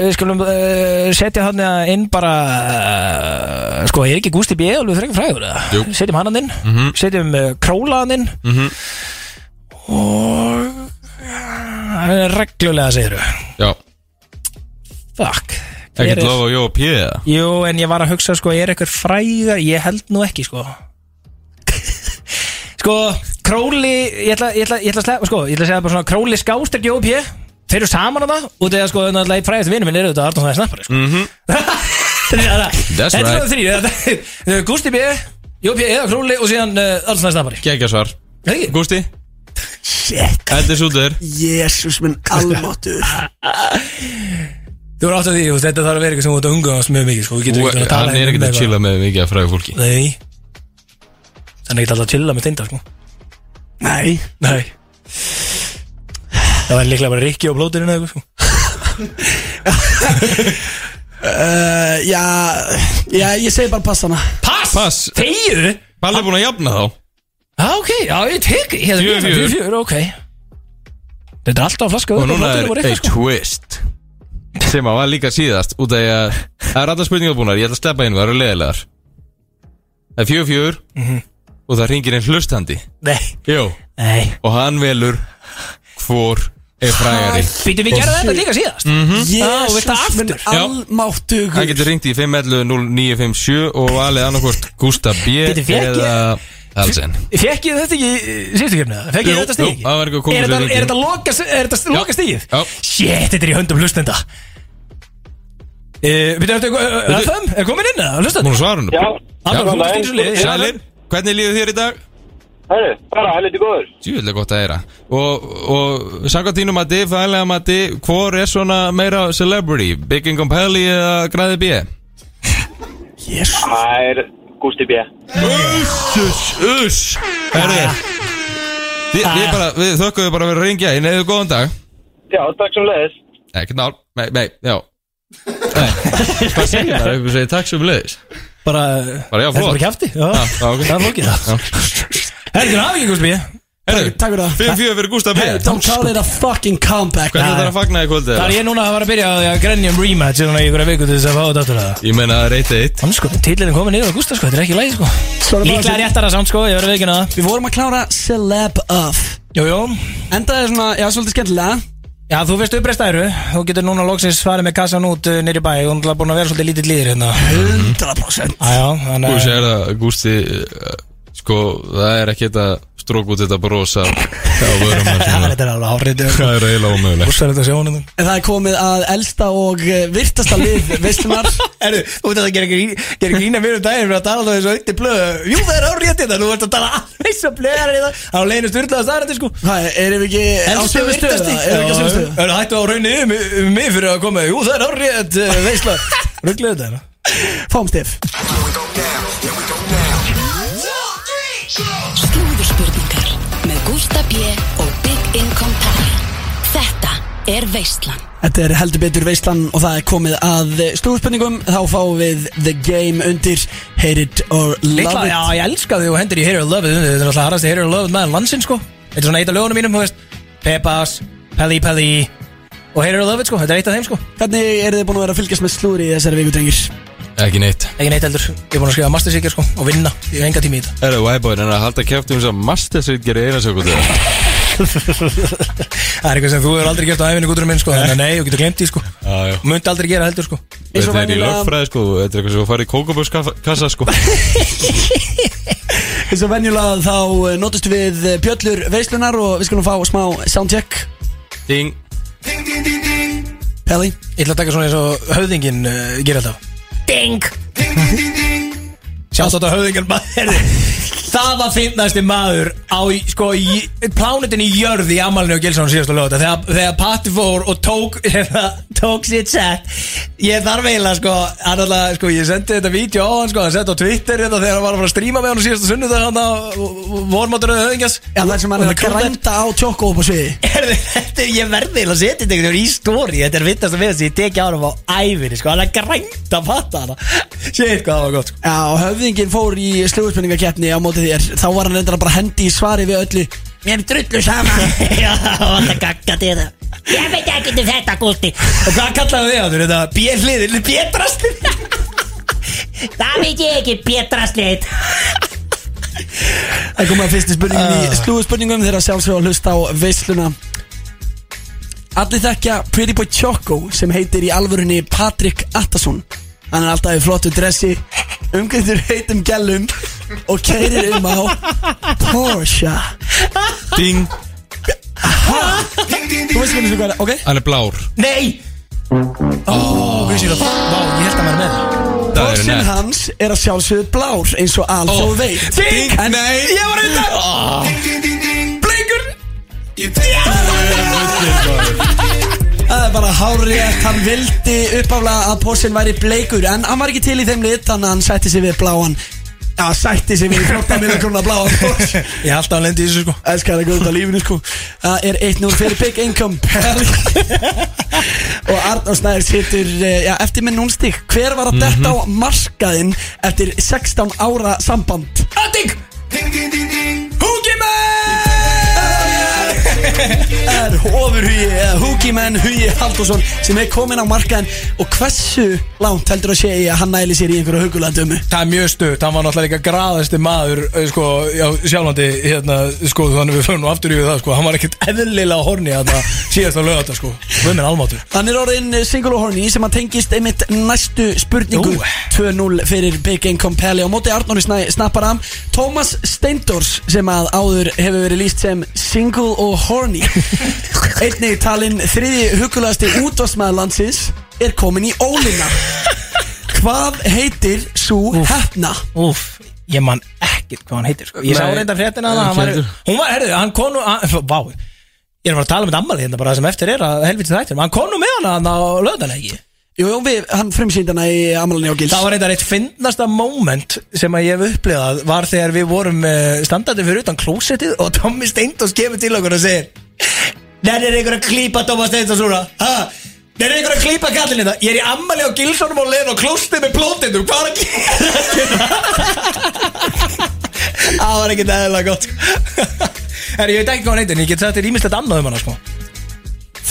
Speaker 2: við skulum uh, setja hann inn bara uh, Sko, ég er ekki Gústi B. Alveg þrengi frægur eða?
Speaker 3: Jú.
Speaker 2: Setjum hann hann inn Setjum uh, Króla hann inn
Speaker 3: Mhm.
Speaker 2: Og uh, Reglulega segir þú
Speaker 3: Já,
Speaker 2: Fuck Hver
Speaker 3: ekkert
Speaker 2: er-
Speaker 3: lofa að jóa pjöða
Speaker 2: Jú, en ég var að hugsa, sko, er eitthvað frægar Ég held nú ekki, sko *laughs* Sko, Króli Ég ætla, ég ætla, ég ætla, að slefa, sko, ég ætla að segja bara svona Króli skástert Jóp ég Þeir eru saman að það Og það er sko, náttúrulega eitt frægast vinur minn er auðvitað Arnóð það er snappari, sko
Speaker 3: Mhm.
Speaker 2: Þannig að
Speaker 3: That's
Speaker 2: *laughs* Þetta
Speaker 3: right.
Speaker 2: er *laughs* þrý Gústi B, Jóp ég eða Króli Og síðan uh, Arnóð það er snappari
Speaker 3: Gekja svar
Speaker 2: Er það ekki?
Speaker 3: Gústi,
Speaker 4: Shit
Speaker 3: þetta er sútur
Speaker 4: Jésús minn almáttur
Speaker 2: Þú er átt að því, þú veist, þetta þarf að vera eitthvað sem þú ert að umgangast mjög mikið, sko Við getum ekki svona að tala
Speaker 3: Hann er
Speaker 2: um
Speaker 3: ekkert að
Speaker 2: eitthvað.
Speaker 3: chilla með mikið af frægu fólki
Speaker 2: Nei Hann er ekkert alltaf að chilla með steinda, sko
Speaker 4: *laughs* Nei
Speaker 2: Nei Það var líklega bara Rikki og blóturinn eða eitthvað sko.
Speaker 4: uh, Já Já ég segi bara passana
Speaker 2: Pass!
Speaker 3: Pass.
Speaker 2: Þegiðu?
Speaker 3: Palli er búin að jafna þá
Speaker 2: Já, ok, já, ég tek ég hefði
Speaker 3: Fjögur,
Speaker 2: bíðað,
Speaker 3: fjögur.
Speaker 2: fjögur, ok Þetta er alltaf að flaska
Speaker 3: Og
Speaker 2: upp á
Speaker 3: núna
Speaker 2: blóturinn
Speaker 3: er
Speaker 2: og
Speaker 3: eitt
Speaker 2: eitthvað, sko.
Speaker 3: twist Sem að var líka síðast Út af því að Það er allar spurningar búnar Ég ætla að sleppa einu Það eru leðilegar Það er fjögur fjögur
Speaker 2: Mhm.
Speaker 3: Og það ringir einn hlustandi
Speaker 2: Nei,
Speaker 3: Jó
Speaker 2: nei
Speaker 3: Og hann velur Hvor er frægari
Speaker 2: Býtum við gerða þetta líka síðast mm. Já, og þetta
Speaker 4: Jésús minn
Speaker 2: aftur.
Speaker 3: Já.
Speaker 4: almáttur
Speaker 3: Hann getur ringt í 511-0957 Og valið annarkvort Gústa B
Speaker 2: Bíddu, fékk ég-
Speaker 3: Eða Alsen
Speaker 2: Fekk ég þetta ekki í síðustu kemni? Fekk ég
Speaker 3: Jú,
Speaker 2: þetta stíð?
Speaker 3: jú, það var ekki að koma
Speaker 2: Er
Speaker 3: sér
Speaker 2: þetta-
Speaker 3: lengi.
Speaker 2: er þetta loka, er þetta
Speaker 3: Já.
Speaker 2: loka stíð?
Speaker 3: Já.
Speaker 2: Shit, þetta er í höndum hlustenda Uh, Við erum þetta að þömm, er komin inn að hlusta
Speaker 3: Múnu svara hann
Speaker 11: Já,
Speaker 2: Hann var hlusta í þessu liði
Speaker 3: Sælir Hvernig líður þér í dag?
Speaker 11: herru, bara helviti góður
Speaker 3: Júlega gott að heyra Og, og samkvæmt þínu mati, fælega mati Hvor er svona meira celebrity? Big Income Pelli eða Græði B?
Speaker 11: Það er Gústi B
Speaker 3: Uss, uss, uss Herri Við, við,
Speaker 4: Ah.
Speaker 3: bara, við þökkum við bara að vera að ringja Ég neyðu góðan dag
Speaker 11: Já, takk sem leðis
Speaker 3: Ekki nál, nei, nei, já Nei, hvað segir það? Ég segi takk sem leiðis
Speaker 2: Bara, þetta
Speaker 3: Bara já,
Speaker 2: er
Speaker 3: flott.
Speaker 2: bara kæfti
Speaker 4: Ah,
Speaker 3: Já, já, ok.
Speaker 2: Það er flókið það Herri, þú hafa ekki um Gusti B
Speaker 3: Herri,
Speaker 4: takk fyrir það.
Speaker 3: Fyrir fyrir fyrir Gústa B
Speaker 4: Don't call it a fucking comeback
Speaker 3: Hvernig þarf að fagna í kvöldi?
Speaker 2: Það er ég núna að fara að byrja á því að grenja um rematch Þannig að ég verið að viku til þess að fá þetta aftur að það
Speaker 3: Ég meina það er eitt eitt
Speaker 2: Hann sko, títlinn komin niður á Gústa sko, þetta er ekki lægi sko
Speaker 4: Svona bara
Speaker 2: Líklega
Speaker 4: sem-
Speaker 2: réttara samt sko, ég verið að vikina það
Speaker 4: Við vorum að klára celeb of
Speaker 2: Jú, jú,
Speaker 4: Endaði svona, já, svolítið skemmtilega
Speaker 2: já þú veist uppreist æru Þú getur núna loksins farið með kassan út uh, niður í bæ Þú er búin að vera svolítið lítill líðir hérna
Speaker 4: 100%
Speaker 2: Æjá, þannig
Speaker 3: Þú
Speaker 2: að
Speaker 3: segir það, Gústi eh, Sko, það er ekki þetta strók út þetta brosa á vörum hans
Speaker 4: Það
Speaker 3: núna.
Speaker 4: er alveg hárið
Speaker 3: Það er eiginlega ómögulegt
Speaker 4: Rússar þetta sjónum En það er komið að elsta og eh, virtasta lið
Speaker 3: *laughs*
Speaker 4: veislunar
Speaker 2: Erðu, þú veit að það gerir grín- gerir grína mér um daginn fyrir að tala alveg þessu auðvitað blöð Jú, það er árétt þetta, þú ert að tala alveg svo blöðar í það á leginu styrlaða staðarandi sko
Speaker 4: Það er ef ekki á
Speaker 2: Elstu
Speaker 4: sömu stöðu,
Speaker 2: virtasti
Speaker 4: það er ekki á sömu stöðu.
Speaker 2: Er það hættu á rauninni um, um mig fyrir að koma Jú, það er árétt uh, *laughs* veisla Rugglega þetta hérna
Speaker 4: Fáum stif
Speaker 5: Slúðurspurningar með Gústa B. og Big Income Tally. Þetta er Veistland.
Speaker 4: Þetta er heldur betur veislan og það er komið að slúðspenningum Þá fáum við The Game undir Hate it or love
Speaker 2: Litla,
Speaker 4: it
Speaker 2: já, ég elska þig og hendur í Hate or Love It Þetta er alltaf harrasti Hate or Love It maður landsinn sko Þetta er svona eitt af lögunum mínum, þú veist Peppas, Pelli Pelli og Hate or Love It sko, þetta er eitt af þeim sko
Speaker 4: Hvernig eru þið búin að vera að fylgjast með slúðri í þessari viku, drengir? *laughs*
Speaker 3: Ekki neitt
Speaker 2: Ekki neitt eldur, ég er búin að skrifa mastersíkir sko og vinna, ég hef enga tími í þetta
Speaker 3: Er það væbóin en að halda kæftum þess að mastersveit gerir eina sekundu
Speaker 2: Það er eitthvað sem þú hefur aldrei gert á æfinni gúturum minn sko Þannig að nei, þú getur glemt því sko
Speaker 3: Jájá
Speaker 2: Mundi aldrei gera heldur sko Eins og
Speaker 3: Þetta er í
Speaker 2: venjulega-
Speaker 3: lögfræði sko Þetta er eitthvað sem þú farið í kókabúskassa sko
Speaker 4: Eins og venjulega þá notist við bjöllur veislunar og við skulum fá smá soundcheck
Speaker 3: *laughs* Ding
Speaker 4: Pelli
Speaker 2: Ég ætla að taka svona eins og höfðingin uh, gerir alltaf Ding Sjátt þetta höfðingin maður Það var finnasti maður á í- sko, í- plánetinni Jörð í Amalni og Gilsson síðasta lögta þegar, þegar Patti fór og tók hérna, tók sitt set ég þarf eiginlega sko, hann alltaf, sko ég sendi þetta vídeo á hann sko, hann setti á Twitter þetta þegar hann var að fara að stríma með hann á síðasta sunnudag hann á vormáturöðu höfðingas
Speaker 4: Já, það sem hann er að grænda á tjókko upp á sviði
Speaker 2: Herðu, þetta er, ég verði að setja þetta einhvern veginn í stóri Þetta er vittast að við þess að ég teki á hann á æfinni sko. Hann er grænt að fatta hana Sér hvað það var gott sko.
Speaker 4: Já, og höfðingin fór í slúðspurningakeppni á móti þér Þá var hann reyndar að bara hendi í svari við öllu
Speaker 10: Mér er
Speaker 2: *laughs*
Speaker 10: drullu saman Já, það gagga til það Ég veit ekki um þetta, Gústi
Speaker 2: Og hvað kallaðu þið á þetta? B-hliðin, B-drastin
Speaker 10: Það veit ég ekki, Pétraslit
Speaker 4: Það kom að fyrstu spurningin í slúðspurningum þegar sjálfsög að hlusta á veisluna Allir þekkja Pretty Boy Choco sem heitir í alvörunni Patrik Attason Hann er alltaf í flottu dressi umgöndur heitum gælum og keirir um á Porsche
Speaker 3: Ding
Speaker 4: Þú veist hvernig sem hvað er, ok?
Speaker 3: Hann er blár
Speaker 2: Nei Ó, hvað sér það? Vá, ég held að maður með það
Speaker 3: Það er
Speaker 4: Porschen
Speaker 3: nett
Speaker 4: hans er að sjálfsögðu blár eins og alþjóð veit
Speaker 2: Ding,
Speaker 4: En-
Speaker 3: Nei
Speaker 2: ég var auðvitað Blingur
Speaker 4: Það er bara hárið Hann vildi uppáflega að Porschen væri bleikur En hann var ekki til í þeim lit Þannig að hann sætti sig við bláan Já, sætti sig við 14 minna krona bláan Porsche
Speaker 2: Ég held að hann lendi í þessu sko
Speaker 4: Elskar það góð út á lífinu sko Það er 1-0 fyrir Big
Speaker 2: *laughs*
Speaker 4: Income Pell Og Arnór Snæður situr eh, já, eftir með núnstík Hver var að detta á markaðinn Eftir 16 ára samband
Speaker 2: Ötting Húkimenn
Speaker 4: er ofurhugi eða húkimenn Hugi Haldursson sem er komin á markaðin og hversu langt heldur að sé í að hann næli sér í einhverju hugulandömu
Speaker 2: Það er mjög stutt, hann var náttúrulega líka graðasti maður eh, sko, já, sjálfandi hérna, sko, þannig við förum nú aftur yfir það sko. hann var ekkert eðlilega á horni þarna síðast á lögata, sko, við minn almátur
Speaker 4: Hann er orðin single og horny sem að tengist einmitt næstu spurningu
Speaker 2: Ú.
Speaker 4: 2-0 fyrir Big Income Peli á móti Arnóri Snæ snapparam Tómas Steindors sem að áður hefur verið líst sem single og
Speaker 2: *laughs*
Speaker 4: horny einnig talinn þriði hugulegasti útvarsmaður landsins er komin í ólina Hvað heitir svo hefna?
Speaker 2: Úf, ég man ekkert hvað hann heitir sko. Ég sá
Speaker 3: Nei,
Speaker 2: reynda fréttina að
Speaker 3: ekki
Speaker 2: hann var
Speaker 3: heldur.
Speaker 2: Hún var, herðu, hann konu hann, f- Vá, ég er að fara að tala um þetta ammali hérna bara það sem eftir er að helviti þættir Hann konu með hann á lögata ekki
Speaker 4: Jú, jú, við, hann frumsýndi hana í Amalani og Gils
Speaker 2: Það var eitthvað eitt finnasta moment sem að ég hef upplifað var þegar við vorum eh, standandi fyrir utan klósettið og Tommy Steindors kemur til okkur og segir Nær er einhver að klípa Tommy Steindors úr það Nær er einhver að klípa kallin þetta Ég er í ammali á Gilsonum og leðin og klóstið með plótindur Hvað er að gera *laughs* þetta? Það var ekkert eðlilega gott sko. *laughs* Herri, ég veit ekki hvað hann heitir en ég get sagt þér ímislegt annað um hana sko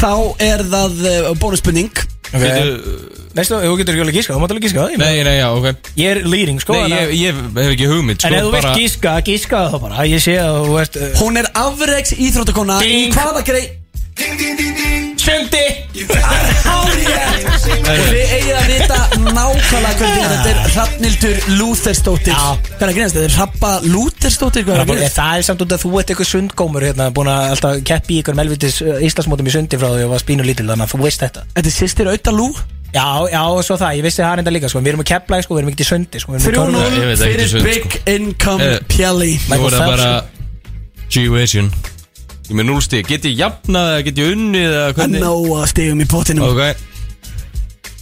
Speaker 4: Þá er það uh, bónusspurning
Speaker 3: Bíddu,
Speaker 2: Veistu, þú getur ekki alveg gíska, þú mátt alveg gíska það, ég meina.
Speaker 3: Nei, nei, já, ok
Speaker 2: Ég er leading sko
Speaker 3: Nei,
Speaker 2: þannig að-
Speaker 3: ég, ég hef ekki hugmynd sko
Speaker 2: En ef þú
Speaker 3: bara-
Speaker 2: vilt gíska, gíska það bara Ég sé að þú ert uh,
Speaker 4: Hún er afreiks íþróttakona Í
Speaker 2: Ding.
Speaker 4: hvaða grei
Speaker 2: Sundi
Speaker 4: Og þið eigið að vita nákvæmlega hvernig er. þetta er Hrafnildur Lúthersdóttir Hvað er að greinast? Þetta er Hrappa Lúthersdóttir Hvað er að
Speaker 2: Bara,
Speaker 4: greinast?
Speaker 2: Það er samt út að þú ert eitthvað sundgómur hérna, búin að alltaf keppi í ykkur melvitis Íslandsmótum í sundi frá því og var spínu lítil þannig að þú veist þetta
Speaker 4: Þetta er sýstir Auta Lú
Speaker 2: Já, já, og svo það, ég vissi það reynda líka sko. Við erum að kepla, sko, við erum ekkert í sundi sko, við erum í körfu.
Speaker 4: 3-0
Speaker 3: Ég veit ekki
Speaker 4: fyrir
Speaker 3: sund,
Speaker 4: Big Income
Speaker 3: Eh,
Speaker 4: Pjelli
Speaker 3: Nú er það bara G-Vision Ég með 0 stík, get ég jafnað eða get ég unnið eða
Speaker 4: Að
Speaker 3: hvernig
Speaker 4: náa stegum í potinum
Speaker 3: Ok,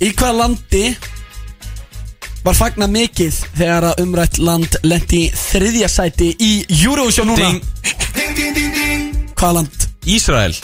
Speaker 4: Í hvað landi var fagnað mikið þegar að umrætt land lendi þriðja sæti í Eurovision núna?
Speaker 3: Ding.
Speaker 4: Hvað land?
Speaker 3: Ísrael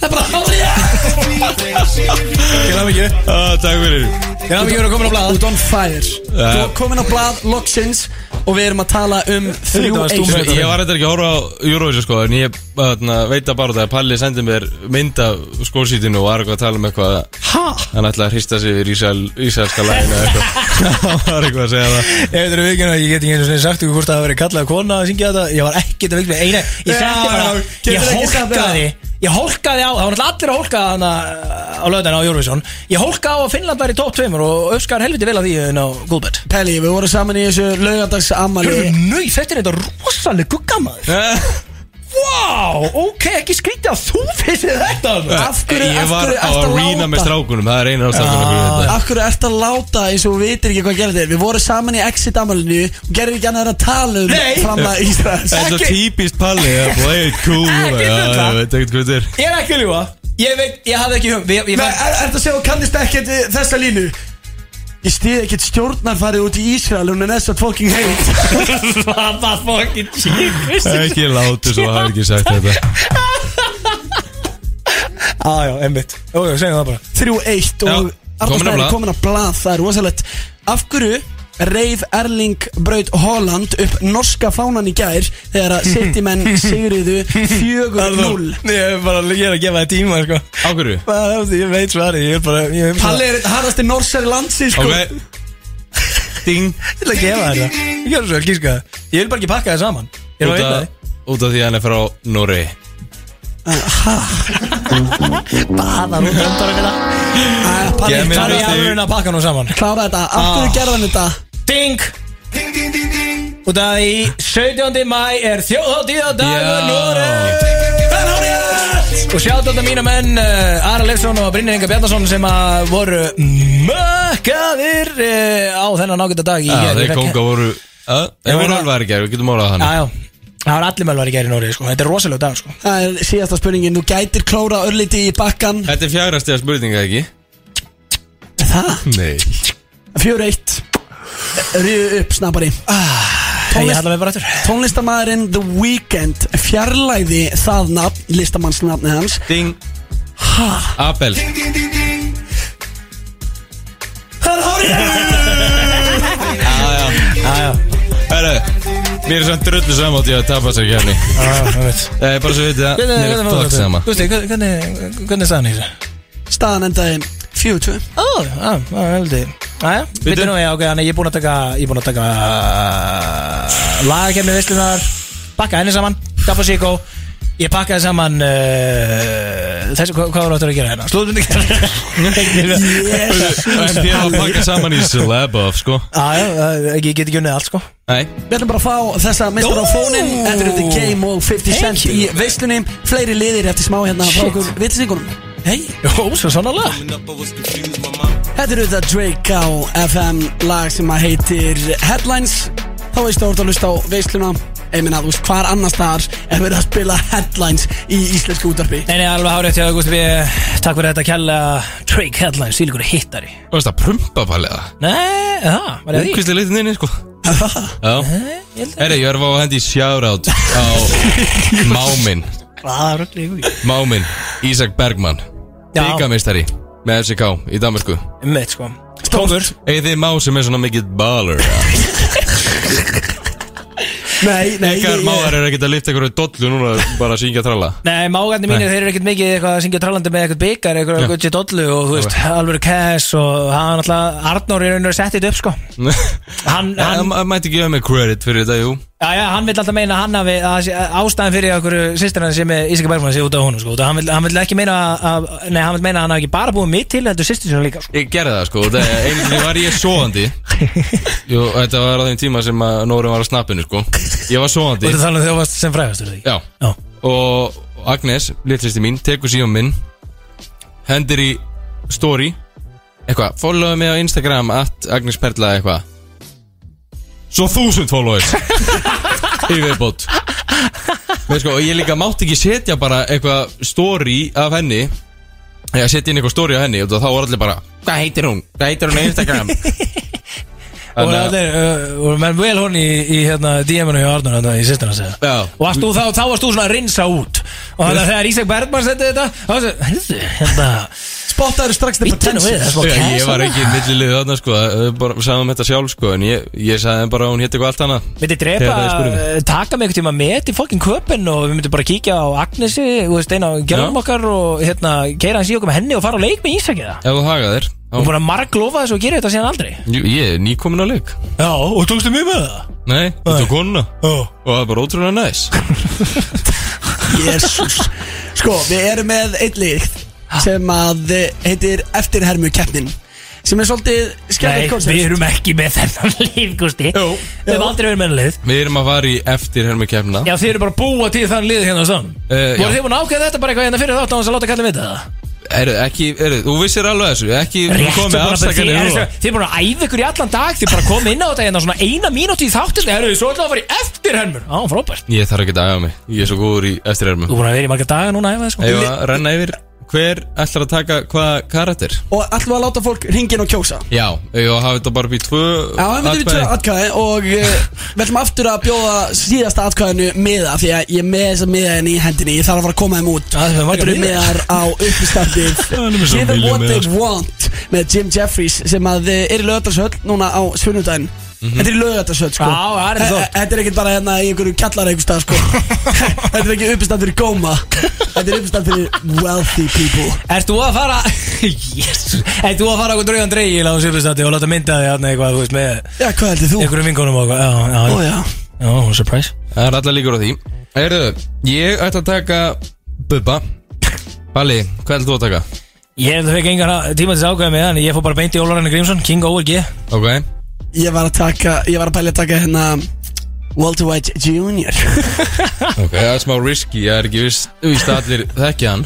Speaker 4: Það er bara hárið
Speaker 2: Til hamingju.
Speaker 3: ah, Takk fyrir
Speaker 2: Til hamingju, við erum komin á blað.
Speaker 4: Út on fire Þú er komin á blad loksins og við erum að tala um þrjú
Speaker 2: var
Speaker 4: eitt
Speaker 2: stúmur.
Speaker 3: Ég var eitthvað ekki að horfa á Eurovision sko En ég þarna, veit að bara það að Palli sendi mér mynd af skórsítinu og var eitthvað að tala um eitthvað að
Speaker 2: Ha?
Speaker 3: Hann ætlaði að hrista sig yfir Ísrael, ísraelska lægina eitthvað *laughs* Hann var eitthvað að segja það
Speaker 2: Ég veit að við ekki, ég get ekki einu sinni sagt ykkur hvort það hafi verið kallað kona að syngja þetta Ég var ekkert að vikla eina, Ég setti
Speaker 4: Já,
Speaker 2: bara,
Speaker 4: já, getur
Speaker 2: ég
Speaker 4: ekki sagt
Speaker 2: hólkaði Ég hólkaði á, það var náttúrulega allir að hólka hana á löðan á Eurovision Ég hólkaði á að Finnland væri í top 2 og öskar helviti vel að því en á Gulbert
Speaker 4: Pelli, við vorum saman í þessu laugardags
Speaker 2: Hörðu,
Speaker 4: ammali
Speaker 2: nöy, þetta er þetta rosalega gugga maður
Speaker 4: Eh.
Speaker 2: Vá, ok, ekki skrítið að þú vissið þetta
Speaker 4: Af hverju- af
Speaker 3: Ég var
Speaker 4: hverju
Speaker 3: á
Speaker 4: ertu að
Speaker 3: arena
Speaker 4: láta? Ah,
Speaker 3: með strákunum Það er einar ástæðan fyrir þetta
Speaker 4: Af hverju ert að láta eins og við vitir ekki hvað gerðið er Við vorum saman í exit ammalinu og gerðum ekki annað en að tala um
Speaker 2: Nei.
Speaker 4: framlega Ísraels
Speaker 3: Þetta er
Speaker 2: Ekki-
Speaker 3: típist
Speaker 2: *laughs*
Speaker 3: Palli Það er bara, hey, cool
Speaker 2: Ekki
Speaker 3: já,
Speaker 2: bulla.
Speaker 3: Ég veit ekkert hvað þetta er
Speaker 2: Ég er ekki að ljúa Ég veit, ég hafði ekki hugum ég, ég *laughs*
Speaker 4: Nei,
Speaker 2: var,
Speaker 4: er, ertu að segja að þú kannist ekkert við þessa línu? Ég stið ekkert stjórnarfarið út í Ísrael Hún er næst að fucking heit
Speaker 2: Hvað var fokkin tíkus
Speaker 3: Ekki látu svo hafa ekki sagt þetta
Speaker 2: Jájá, einmitt Jú, jú, segjum það bara
Speaker 4: 3-1
Speaker 3: Já,
Speaker 4: og
Speaker 3: komin á
Speaker 4: Arnarsnæri
Speaker 3: blað.
Speaker 4: komin að blað Það er rosalegt Af hverju reif Erling Braut Holland upp norska fánan í gær Þegar að
Speaker 2: *laughs*
Speaker 4: Citymenn sigriðu 4-0
Speaker 2: Ég er bara, ég er að gefa það tíma, sko
Speaker 3: Á hverju?
Speaker 2: Það er, ég veit svarið, ég er bara ég er
Speaker 4: Palli er einn harðasti norsari landsins sko.
Speaker 3: Ok Ding
Speaker 2: Ég er að gefa það þetta Ég er svo vel kíska það Ég vil bara ekki pakka það saman *laughs* Ég er að
Speaker 3: Út
Speaker 2: veitna
Speaker 3: af- Út af því að hann er frá Noregi
Speaker 2: Baðar og döndar og þetta
Speaker 4: Æ,
Speaker 3: Ég
Speaker 4: Palli,
Speaker 2: Það er
Speaker 3: meina-
Speaker 4: klára-
Speaker 2: í alveg að pakka nú saman
Speaker 4: klára þetta Af hverju
Speaker 2: Ah.
Speaker 4: gerðan þetta?
Speaker 2: Ding Út af því 17. mæ er þjóðháttíða dagur
Speaker 3: Já.
Speaker 2: Noreg Og sjátt þetta mína menn uh, Ara Leifsson og Brynjar Inga Bjarnason sem að voru mökkaðir uh, á þennan ágæta dag í
Speaker 3: Já,
Speaker 2: gær. Ég
Speaker 3: Ah, þeir
Speaker 2: fekk-
Speaker 3: konga voru Þeir voru
Speaker 2: meina-
Speaker 3: alvar ekki, við getum orðað hann
Speaker 2: Já, já Það var allir mölvar í gæri Noreg sko. Þetta er rosalega dag sko.
Speaker 4: Það er síðasta spurningin Þú gætir klóra örliti í bakkan
Speaker 3: Þetta er fjagra stiga spurninga ekki?
Speaker 4: Það
Speaker 3: Nei
Speaker 4: 4-1 Ríðu upp snappari
Speaker 2: Ah, Ég
Speaker 4: Tónlist,
Speaker 2: halla mig bara aftur
Speaker 4: Tónlistamæðurinn The Weeknd fjarlæði það nafn listamannsnafni hans
Speaker 3: Ding Abel Ah, Herru, mér er samt drullu saman átt ég að tapa sér kefni
Speaker 2: Hvernig
Speaker 3: Það er bara svo vitið að Mér er
Speaker 2: hvernig-
Speaker 3: flokk saman
Speaker 2: Gústi, hvernig- hvernig- hvernig er staðan í þessu?
Speaker 4: Staðan endaði 4-2
Speaker 2: Ó, já, það er heldur Næja,
Speaker 3: Bíddu.
Speaker 2: við nú, já, ok, þannig ég er búinn að taka Ég er búinn að taka uh, Lagakefni veislunar Bakka henni saman, Gaffa Siko Ég pakkaði saman uh, Þessi, hva, hvað var þetta að gera hérna? Slúðundi
Speaker 4: Yes.
Speaker 3: En þér var að pakka saman í slab off, sko
Speaker 2: *laughs* Já, já, ég get ekki unnið allt, sko
Speaker 3: Nei
Speaker 4: Við ætlum bara að fá þessa meistar á
Speaker 2: Jú.
Speaker 4: fónin Þetta eru The Game og 50 Cent
Speaker 2: Thank
Speaker 4: í
Speaker 2: you.
Speaker 4: veislunni Fleiri liðir eftir smá hérna frá
Speaker 2: Shit.
Speaker 4: okkur vitlisingunum Hei,
Speaker 2: Jó, svo sannarlega
Speaker 4: þetta eru þetta Drake á FM lag sem að heitir Headlines Þá veistu að orða að hlusta á veisluna Ég meina, þú veist, hvar annars þar er verið að spila Headlines í íslensku útarpi
Speaker 2: Nei, nei, alveg hárið til Augusti B Takk fyrir þetta kjalla Drake Headlines, sílíkur hittari
Speaker 3: Þú veist að prumpa palið það
Speaker 2: Nei, það, var það því?
Speaker 3: Úkvistlega litið
Speaker 2: *laughs*
Speaker 3: nynni, sko
Speaker 2: Ég held
Speaker 3: Já
Speaker 2: að-
Speaker 3: Herri, ég er að fá að hendi sjárátt
Speaker 2: *laughs*
Speaker 3: á Mámin
Speaker 2: Hvað ruggli í hugi?
Speaker 3: Mámin, Ísak Bergmann
Speaker 2: Já.
Speaker 3: Byggamistari með FCK í Danmarku
Speaker 2: Mitt, sko Kókur
Speaker 3: Egið þið má sem er svona mikið baller eða?
Speaker 4: Nei, nei,
Speaker 3: Ykkar máðar er ekkert að lifta ykkur dollu núna bara að syngja tralla
Speaker 2: Nei, mágarnir mínir, þeir eru ekkert mikið eitthvað að syngja trallandi með eitthvað byggar, eitthvað Gucci Dollu og þú veist, alveg Cass og hann alltaf, Arnór er raunir að setja þetta upp sko Hann,
Speaker 3: Hann
Speaker 2: hann,
Speaker 3: mætti gefa mig credit fyrir þetta, jú
Speaker 2: Já, já, hann vil alltaf meina að hann hafi, að það sé- að ástæðan fyrir okkur sýstir hann sé með Ísika Bergman sé út af honum, sko, og hann vil, hann vil ekki meina að, að- nei, hann vil meina að hann hafi ekki bara búið mitt til, heldur sýstir sinna líka, sko.
Speaker 3: Ég gerði það sko, það er einu sinni var ég svoandi Jú, þetta var á þeim tíma sem að Nóri var á snappinu sko Ég var svoandi
Speaker 2: Þú ert að tala um þegar þú varst sem frægastur því.
Speaker 3: Já,
Speaker 2: Já.
Speaker 3: Og Agnes, litlisti mín, tekur síðan minn Hendir í story Eitthvað, followa mig á Instagram At Agnes Perla eitthvað Svo þúsund followers Í viðbót Veist sko, og ég líka mátti ekki setja bara eitthvað story af henni Eða setja inn eitthvað story af henni Og þá var allir bara, hvað heitir hún? Hvað heitir hún á
Speaker 2: *laughs*
Speaker 3: Instagram?
Speaker 2: Og allir, uh, og menn vel hún í, í hérna, DM-inu hjá Arnur, hérna, í sýstir hans, eða.
Speaker 3: Já
Speaker 2: Og varst þú, þá, þá varst þú svona að rinsa út, og þannig að þegar Ísak Bergman setti þetta, þá varst þú, hérna, hérna,
Speaker 4: spottaður strax
Speaker 2: the potential.
Speaker 3: Já, ég var ekki millilið þarna sko þau bara sagði um þetta sjálf sko en ég, ég sagði þeim bara að hún hétt eitthvað allt annað
Speaker 2: Myndi
Speaker 3: Þegar þau
Speaker 2: drepa,
Speaker 3: spurðu mig.
Speaker 2: eh, taka mig einhvern tíma með í fokkin köpinn og við myndum bara kíkja á Agnesi, þú veist, eina á gerðum
Speaker 3: Já.
Speaker 2: okkar og hérna, keira hans í okkur með henni og fara á leik með Ísaki það.
Speaker 3: Ef þú haga þér
Speaker 2: Þú er búin að marglofa þessu og gera þetta síðan aldrei.
Speaker 3: Jú, Ég er nýkomin á leik
Speaker 2: Já, og tókstu mjög með það?
Speaker 3: Nei, þú tók konuna
Speaker 2: oh.
Speaker 3: Og það er bara ótrúlega næs
Speaker 4: Jésús Sko, við erum með eitt líkt sem að eh, heitir Eftirhermu keppnin sem er svolítið
Speaker 2: Nei,
Speaker 4: skemmtilegt
Speaker 2: við erum ekki með þennan *laughs* lið, Gusti. Jú. Við hefum aldrei verið með hennan lið.
Speaker 3: Við erum að fara í eftir hermi kemna
Speaker 2: Já, þið eru bara að búa til þann lið hérna og sann.
Speaker 3: uh,
Speaker 2: Voru þið búin að ákveða þetta bara eitthvað hérna fyrir þátt á hans að láta kalla við þetta?
Speaker 3: Eru, ekki, eru, þú vissir alveg þessu Ekki
Speaker 2: Rétt, þú
Speaker 3: komið
Speaker 2: bara-
Speaker 3: afsakandi
Speaker 2: þið-
Speaker 3: núna.
Speaker 2: þið- Þið er búin að æfa ykkur í allan dag Þið er bara komið inn á þetta hérna svona eina mínúti í þáttin Það eru svo alltaf að fara í eftirhermur Á, frábært
Speaker 3: Ég þarf ekki að daga mig Ég er svo góður í eftir hermi
Speaker 2: Þú er búin að vera í marga daga núna að æfa þig, sko.
Speaker 3: Eða renna yfir Hver ætlar að taka hvaða karakter?
Speaker 4: Og ætlum við að láta fólk ringin og kjósa
Speaker 3: Já, ég hafa þetta bara upp í tvö
Speaker 4: Já, við myndum við tvö
Speaker 3: atkvæði.
Speaker 4: atkvæði og eh, við ætlum aftur að bjóða síðasta atkvæðinu miða því að ég er með þessa miðaðin í hendinni ég þarf að fara að koma þeim út
Speaker 2: Það er margar
Speaker 4: Þetta eru
Speaker 2: miðar.
Speaker 4: miðar á
Speaker 2: *laughs*
Speaker 4: uppistandið
Speaker 2: hann er með svo
Speaker 4: Give them
Speaker 2: milljón
Speaker 4: what
Speaker 2: miðar,
Speaker 4: they
Speaker 2: sko.
Speaker 4: want með Jim Jeffries sem að eh, er í lögatarsöld núna á sunnudaginn Þetta er í lögatarsöld sko
Speaker 2: Mhm. Já, það er
Speaker 4: Eh,
Speaker 2: þótt.
Speaker 4: eh, Þetta er ekkert bara hérna í einhverju kjallar einhver
Speaker 2: *laughs*
Speaker 4: stað sko Þetta er ekki uppistand fyrir góma Þetta er uppistand fyrir wealthy people
Speaker 2: Ert þú að fara *laughs* yes. Ert þú að fara okkur draugan dreigil á Sjöfnstandi og láta mynda þig hérna eitthvað þú veist, með
Speaker 4: Já, hvað heldur þú?
Speaker 2: einhverjum vingunum og eitthvað Já, já,
Speaker 4: Ó já
Speaker 2: já, hún er surprise
Speaker 3: Það er allar líkur á því Erðu, ég ætla að taka Bubba Balli, hvað ætla þú að taka?
Speaker 2: Ég held að fekk engan tíma til þess ákveða með þannig ég fór bara beint í Ólarinni Grímsson, King OLG
Speaker 3: Ok
Speaker 4: Ég var að taka, ég var að pæla að taka hérna Walter White Jr.
Speaker 3: Ok, það er smá risky, ég er ekki viss Vist að allir þekkja hann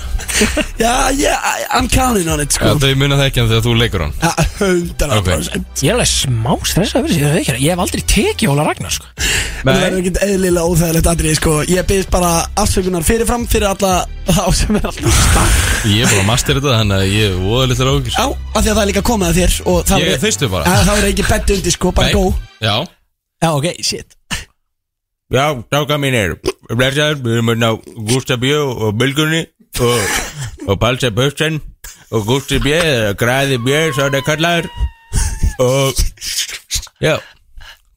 Speaker 4: *laughs* Já, yeah, I- I'm counting on it,
Speaker 3: ja,
Speaker 4: sko
Speaker 3: Þau muna þekkja hann þegar þú leikur hann
Speaker 4: Ja, 100%
Speaker 2: Ég er alveg smá stressað fyrir sér, ég, ég hef aldrei tekið Óla Ragnar sko.
Speaker 4: Það verður ekkert eðlilega óþægilegt andrið, sko Ég byrðist bara afsökunar fyrirfram fyrir alla þá sem er alltaf
Speaker 3: Ég er bara að master þetta, þannig að ég er voðalegt að rákir
Speaker 4: Já, af því að það er líka komið að þér og það
Speaker 3: Ég
Speaker 4: verður-
Speaker 3: er þyrstur bara.
Speaker 4: Ja, Það verður ekki bett undir, sko, bara
Speaker 3: Nei.
Speaker 4: go
Speaker 3: Já
Speaker 4: Já, ok, shit
Speaker 3: Já, táka mín er Blessaður, við erum hérna á Gústa Bjö og Bylgunni og, og Balsa Bössan og Gústi Bjö eða Græði Bjö, svo er það kallaður og Já,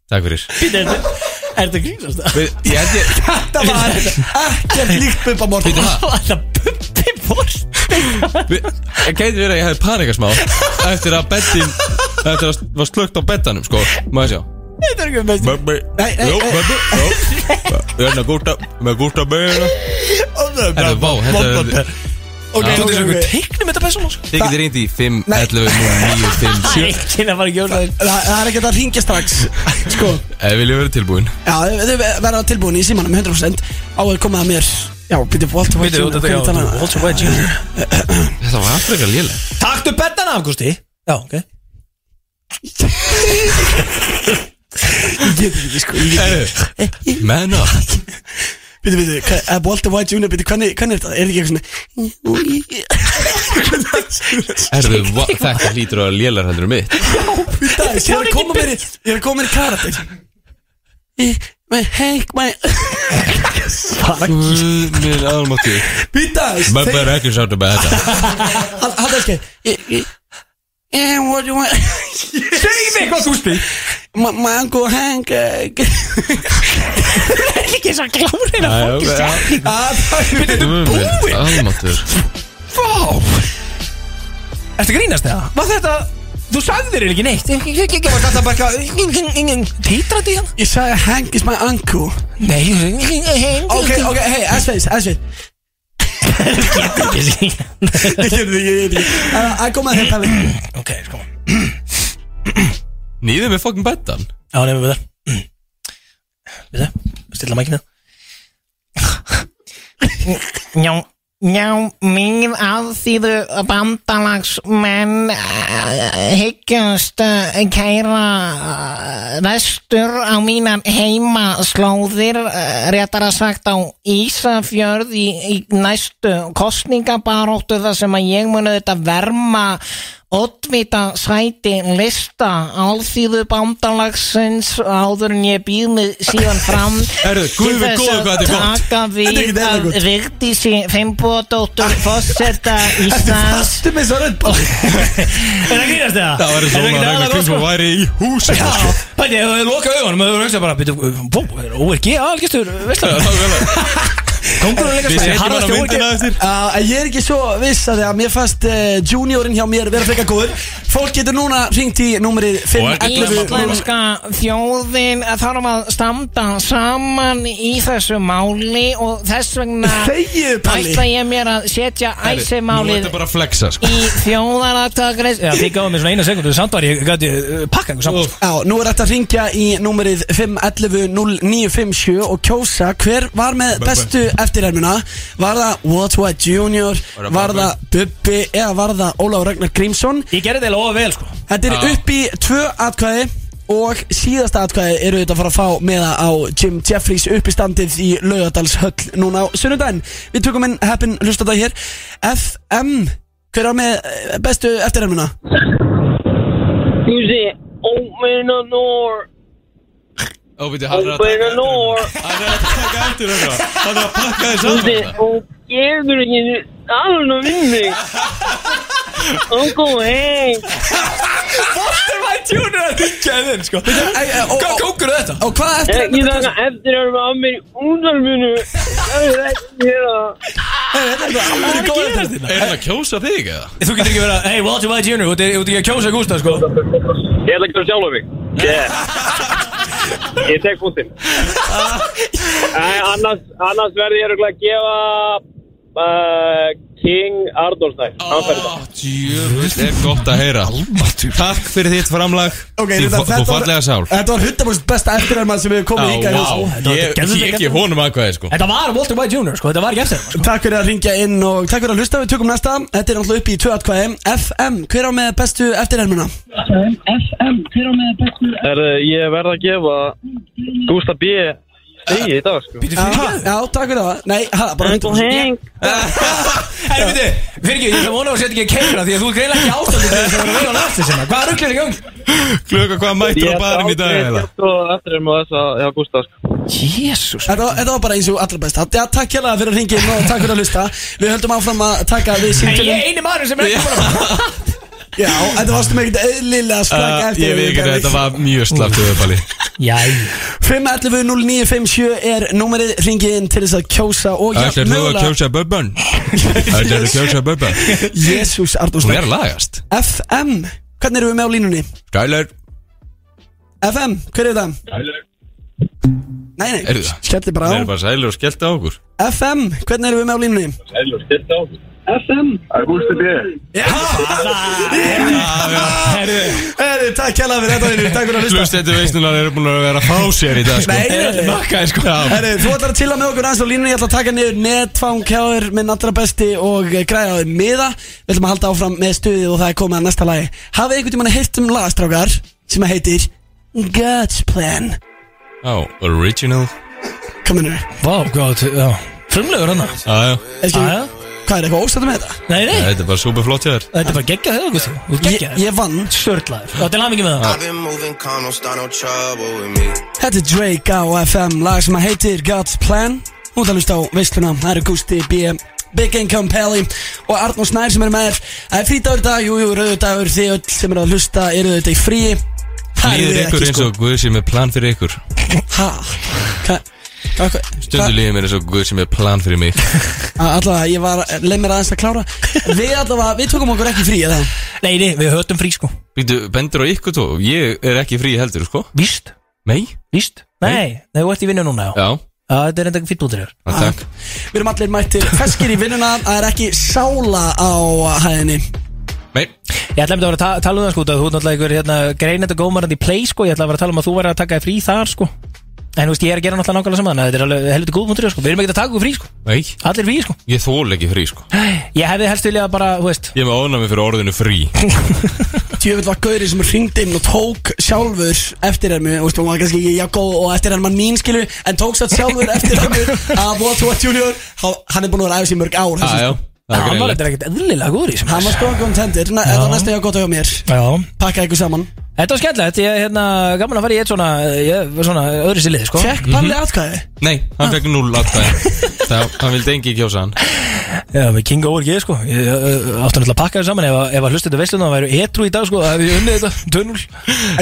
Speaker 3: takk fyrir
Speaker 2: Er þetta grínast það?
Speaker 3: Við- Ég held ég *laughs*
Speaker 4: Þetta var ekkert líkt bubba morgun
Speaker 3: Býtu, ha?
Speaker 2: Þetta bubbi borst
Speaker 3: Við- Ég gæti verið að ég hefði panikað smá Eftir að bettin Eftir að var slögt á bettanum sko Má ég sjá
Speaker 2: Þetta er ekki mest
Speaker 3: Böbbi
Speaker 4: Nei, nei,
Speaker 3: Jó,
Speaker 4: nei.
Speaker 3: böbbi Jó Ég er að gústa Með gústa böbbi Þetta er vá Þetta er
Speaker 4: Ok,
Speaker 2: Þú
Speaker 4: ok,
Speaker 2: veist okkur
Speaker 4: ok
Speaker 2: teiknum þetta persónum sko.
Speaker 3: Þið getur reyndi í 5, 11, 9, 5, 7
Speaker 2: Reykjana var ekki orðað
Speaker 4: Það það er ekkert að ringja strax, sko
Speaker 3: Ef vil ég vera tilbúin
Speaker 4: Já, þau verða tilbúin í símanum 100% á að koma að mér Já, byrju Walter White Jr. hvernig talar hann?
Speaker 2: Walter White Jr.
Speaker 3: Þetta var aftur eitthvað léleg
Speaker 2: Taktu bettan af, Gusti Já, ok
Speaker 4: Ég get ekki, sko ég get ekki.
Speaker 3: Man up
Speaker 4: Byrju, byrju, hva- eh, Walter White Jr. byrju, hvernig hvernig er þetta? Er þetta ekki eitthvað
Speaker 3: Erðu, va- Þetta hlýtur að vera lélar heldur en mitt
Speaker 4: svona Ég er að koma mér í- ég er að koma mér í karakter Ég- my- Hey, my
Speaker 3: Guð minn almátti
Speaker 4: Býta
Speaker 3: Böbbi er ekki sáttu með þetta
Speaker 4: Hald það ekki Ég- ég- eh, What do you *laughs* want
Speaker 2: Segð mig hvað þú spil
Speaker 4: My my uncle Hank eh,
Speaker 2: Það er ekki svo glárið að
Speaker 3: Æ,
Speaker 2: fokki
Speaker 3: ok, já.
Speaker 2: setning
Speaker 4: Ah,
Speaker 3: Guð minn almáttur
Speaker 2: Ertu grínast það? Var þetta Þú sagðir þér ekki neitt Ég- Ég ég- ég var alltaf bara eitthvað Títrandi hann
Speaker 4: Ég sagði Hank is my uncle
Speaker 2: Nei
Speaker 4: Ok, ok, hey, S-Face, S-Face *laughs* Ég getur ekki, ég getur ekki Það er að koma að hérna
Speaker 2: Ok, sko
Speaker 3: Nýðum við fokkin betan
Speaker 2: Já, nefnum við það Við það, stilla hérna. mækina
Speaker 12: Já, já, mér aðþýðu bandalagsmenn eh, hyggjast eh, kæra eh, vestur á mínar heimaslóðir eh, réttara sagt á Ísafjörð í, í næstu kostningabaróttu þar sem að ég muni þetta verma Oddvita sæti lista alþýðu bandalagsins áður en ég býð mig síðan fram
Speaker 3: Herru, guð
Speaker 12: til
Speaker 3: minn
Speaker 12: þess
Speaker 3: góður,
Speaker 12: að
Speaker 3: hvað þetta er gott.
Speaker 12: taka
Speaker 3: Þetta er
Speaker 12: við
Speaker 3: ekkert eðlilega
Speaker 12: að
Speaker 3: gott.
Speaker 12: Vigdísi Fimboðdóttur
Speaker 2: *laughs*
Speaker 12: Fossetta Íslands
Speaker 4: Fastu með svo rödd
Speaker 2: Er það grínast eða?
Speaker 3: Það væri
Speaker 2: Er
Speaker 3: svona
Speaker 2: ekki
Speaker 3: að
Speaker 2: aðalega
Speaker 3: einhver
Speaker 2: gott,
Speaker 3: kringum
Speaker 2: sko?
Speaker 3: væri í húsi sko.
Speaker 2: Já, bæti, ef þau loka augunum Þau hugsa bara, býtu, bú, er ORG aðalgistur Visslar Kongurinn líka
Speaker 4: Við setjum
Speaker 2: harðasti
Speaker 4: hana á
Speaker 2: ORG.
Speaker 4: myndina eftir. Já, Uh, en Ég er ekki svo viss að því að mér fannst uh, juniorinn hjá mér vera frekar góður Fólk getur núna ringt í númerið 511
Speaker 12: Íslenska þjóðin þarf að standa saman í þessu máli og þess vegna
Speaker 10: *laughs*
Speaker 3: Þegiðu, Palli.
Speaker 12: ætla ég mér að setja
Speaker 3: Nú
Speaker 12: æsimálið
Speaker 3: ertu bara að flexa sko
Speaker 12: í þjóðaratkvæðagreis
Speaker 2: Já, þið gáðu mér svona eina sekundu Samt var ég, gæti pakka einhver saman
Speaker 4: Já, nú er þetta að ringja í númerið 511 0957 og kjósa hver var með bestu eftirhermuna Var það What's What Junior,
Speaker 2: Var það
Speaker 4: var það Bubbi eða var það Ólaf Ragnar Grímsson
Speaker 2: Ég gerði þetta alveg vel sko
Speaker 4: Þetta er
Speaker 2: Já.
Speaker 4: upp í tvö atkvæði og síðasta atkvæði eru þetta að fara að fá meða á Jim Jeffries uppistandið í Laugadals höll núna á sunnudaginn. Við tökum inn heppin hlusta hér. FM, hver var með eh, bestu eftirhermuna?
Speaker 13: Guzi, open a door
Speaker 3: Ó, býttu, hann er að
Speaker 13: Open a door
Speaker 3: taka eftir þetta Hann er að pakka þess að
Speaker 13: Guzi, og gefur ekki alveg við mig Uncle Hank
Speaker 2: Foster my tuner að þykja þinn sko
Speaker 4: Hvað
Speaker 2: kókur þetta?
Speaker 4: eh, Og hvað
Speaker 13: Ekki taka eftir að vera að mér í útarfinu Það er ekki hér að
Speaker 4: Þetta er
Speaker 2: alveg góð eftir
Speaker 3: Er hann að kjósa þig eða?
Speaker 2: Þú getur ekki verið að, hey, Walter White Jr. Þú ert þú ert ekki að kjósa Gústa sko
Speaker 11: Ég ætla ekki að sjálfa mig yeah. Ég tek fútinn Nei, annars, annars verði ég örugglega að gefa uh, King Ardolstæl Hann fær þetta
Speaker 3: Jöfull er gott að heyra Takk fyrir þitt framlag
Speaker 4: Ok,
Speaker 3: Þín fa-
Speaker 4: þetta-
Speaker 3: Þú
Speaker 4: þetta var-
Speaker 3: fallega sál
Speaker 4: Þetta var 100% besta eftirherma sem við komum í
Speaker 3: Já, vá, ég ég ekki honum aðkvæði sko
Speaker 2: Þetta var Walter White Jr. sko, þetta var ekki eftir hann, sko.
Speaker 4: Takk fyrir að ringja inn og takk fyrir að hlusta við tökum næsta Þetta er alltaf upp í tvö atkvæði FM, hver á með bestu eftirhermuna? FM, hver á með bestu
Speaker 11: Er, eh, ég verð að gefa Gústa B. stegi í dag sko.
Speaker 4: Já, já, takk fyrir það Nei, ha, bara
Speaker 11: Uncle Hank.
Speaker 2: Hey, veitu, fyrir ekki, ég ætla að vona að þú setja ekki að keira Því að þú er greinlega ekki ástandið til þess að vera veið á næstu sinna Hvað rugglir í gang?
Speaker 3: Klukka hvað mættur á barinn um í dag eða?
Speaker 11: Og eftir um þess að hjá Gústa sko.
Speaker 2: Jésús
Speaker 4: Þetta þetta var bara eins og allra besta Já, takk hérna fyrir að ringja inn og takk fyrir að hlusta Við höldum áfram að taka við
Speaker 2: Nei,
Speaker 4: síntilum
Speaker 2: ég er eini maður sem er ekki búin
Speaker 4: Já, þetta varstu með ekkert eðlilega slag
Speaker 3: Uh,
Speaker 4: eftir
Speaker 3: Ég veit ekki að þetta var mjög slapt öðupalli
Speaker 2: Jæ
Speaker 4: 511 0957 er númerið ringið inn til þess að kjósa og já,
Speaker 3: Ætlar þú að kjósa böbban? Ætlar þú að kjósa
Speaker 4: *laughs*
Speaker 3: böbban?
Speaker 4: Jésús, Arnús
Speaker 3: Hún er að lagast
Speaker 4: FM, hvernig erum við með á línunni?
Speaker 3: Skylar
Speaker 4: FM, hver er það? Nei, nei,
Speaker 3: Er það?
Speaker 4: skellir bara á
Speaker 3: Hún er bara sælir og skellti á okkur
Speaker 4: FM, hvernig erum við með á línunni?
Speaker 11: Sæljur, stilt á okkur
Speaker 4: FM
Speaker 11: Gústa B.
Speaker 4: Herru, takk hérna fyrir þetta vinur, takk fyrir að hlusta
Speaker 3: Hlustendur veislunar eru búin að vera að fá sér í dag sko.
Speaker 4: Nei, nei, nei.
Speaker 3: Makkaðir, sko.
Speaker 4: Herru, þú ætlar að tilla með okkur aðeins á línunni Ég ætla að taka niður netfang hjá þér minn allra besti og eh, græða á þér miða Við ætlum að halda áfram með stuðið og það er komið að næsta lagi Hafið einhvern tímann heilt um lagastrákar sem heitir God's Plan
Speaker 3: Já, original
Speaker 4: Kominu
Speaker 2: Vá, gott, já Frumlegur hann
Speaker 3: Já, já
Speaker 4: Eski, Hvað er eitthvað óstættum með þetta?
Speaker 2: Nei, nei
Speaker 3: Þetta er bara superflott hjá þér
Speaker 2: Þetta er bara geggjað þegar, Gusti Þú geggjað
Speaker 4: Ég vann
Speaker 2: Störtlaður Já, til hamingi með
Speaker 14: I've
Speaker 2: það
Speaker 14: been moving calm, don't start no trouble with me.
Speaker 4: Þetta er Drake á FM, lag sem að heitir God's Plan Út að hlusta á veisluna, það eru Gusti B, Big Income Pally og Arnó Snær sem er með þér Það er frítagur í dag, jú, jú, rauður dagur, þið öll sem eru að hlusta eru þetta í fríi Það eru
Speaker 3: Líður
Speaker 4: þið
Speaker 3: ykkur
Speaker 4: ekki
Speaker 3: eins
Speaker 4: sko
Speaker 3: og Guð sé með plan fyrir ykkur
Speaker 4: Ha, hva,
Speaker 3: Stundu lífið mér eins og Guð sem er plan fyrir mig
Speaker 4: Alltaf, Ah, ég var, leið mér aðeins að klára Við allavega, við tókum okkur ekki frí eða
Speaker 2: Nei, nei, við höfðum frí sko
Speaker 3: Býtu, bendur á ykkur tó Ég er ekki frí heldur, sko
Speaker 2: Víst
Speaker 3: Nei
Speaker 2: Víst Nei, nei, þú ert í vinnu núna
Speaker 3: Já
Speaker 2: Já, þetta er enda fýtt út í þér
Speaker 3: Já, takk
Speaker 4: Við erum allir mættir feskir í vinnuna Það er ekki sála á hæðinni
Speaker 3: Nei
Speaker 2: Ég ætla að vera að ta- tala um það sko út af Þú ert náttúrulega ykkur hérna, greinandi og gómarandi í play sko Ég ætla að vera að tala um að þú væri að taka þér frí þar sko En þú veist, ég er að gera náttúrulega nákvæmlega saman Þetta er alveg helviti góð punktur sko Við erum ekki að taka okkur frí sko
Speaker 3: Nei
Speaker 2: Allir frí sko
Speaker 3: Ég þól ekki frí, sko
Speaker 2: Ég hefði helst viljað bara, þú veist
Speaker 3: Ég er með ónæmi fyrir orðinu frí
Speaker 4: Tjöfull var gaurið sem ringdi inn og tók sjálfur eftirhermu Þú veist, hún var kannski ekki jafn góð og eftirherman mín skilu En tók satt sjálfur eftirhermu að What What Junior Há- Hann er búin að vera aðeins í mörg ár þessi,
Speaker 3: Já, já
Speaker 4: sko.
Speaker 3: Það er
Speaker 2: Hann var
Speaker 3: greinilegt.
Speaker 2: þetta ekkert eðlilega góður í sem
Speaker 4: Hann var sko kontentir Þetta var næstu ég að gota hjá mér
Speaker 2: Já
Speaker 4: Pakka ykkur saman
Speaker 2: Þetta var skemmtilegt, ég hérna, gaman að fara í eitt svona, ég, svona öðru sér lið, sko
Speaker 3: Mhm.
Speaker 4: Fekk Palli atkvæði?
Speaker 3: Nei, hann fekk núl
Speaker 2: *laughs*
Speaker 3: atkvæði Það, hann vildi engi kjósa hann
Speaker 2: Já, með King Over G, sko Ég ö, ö, átti náttúrulega að pakka þér saman Ef, að- ef að hlustu þetta veisluna, það væri etru í dag, sko Það hefði ég unnið þetta, tunnul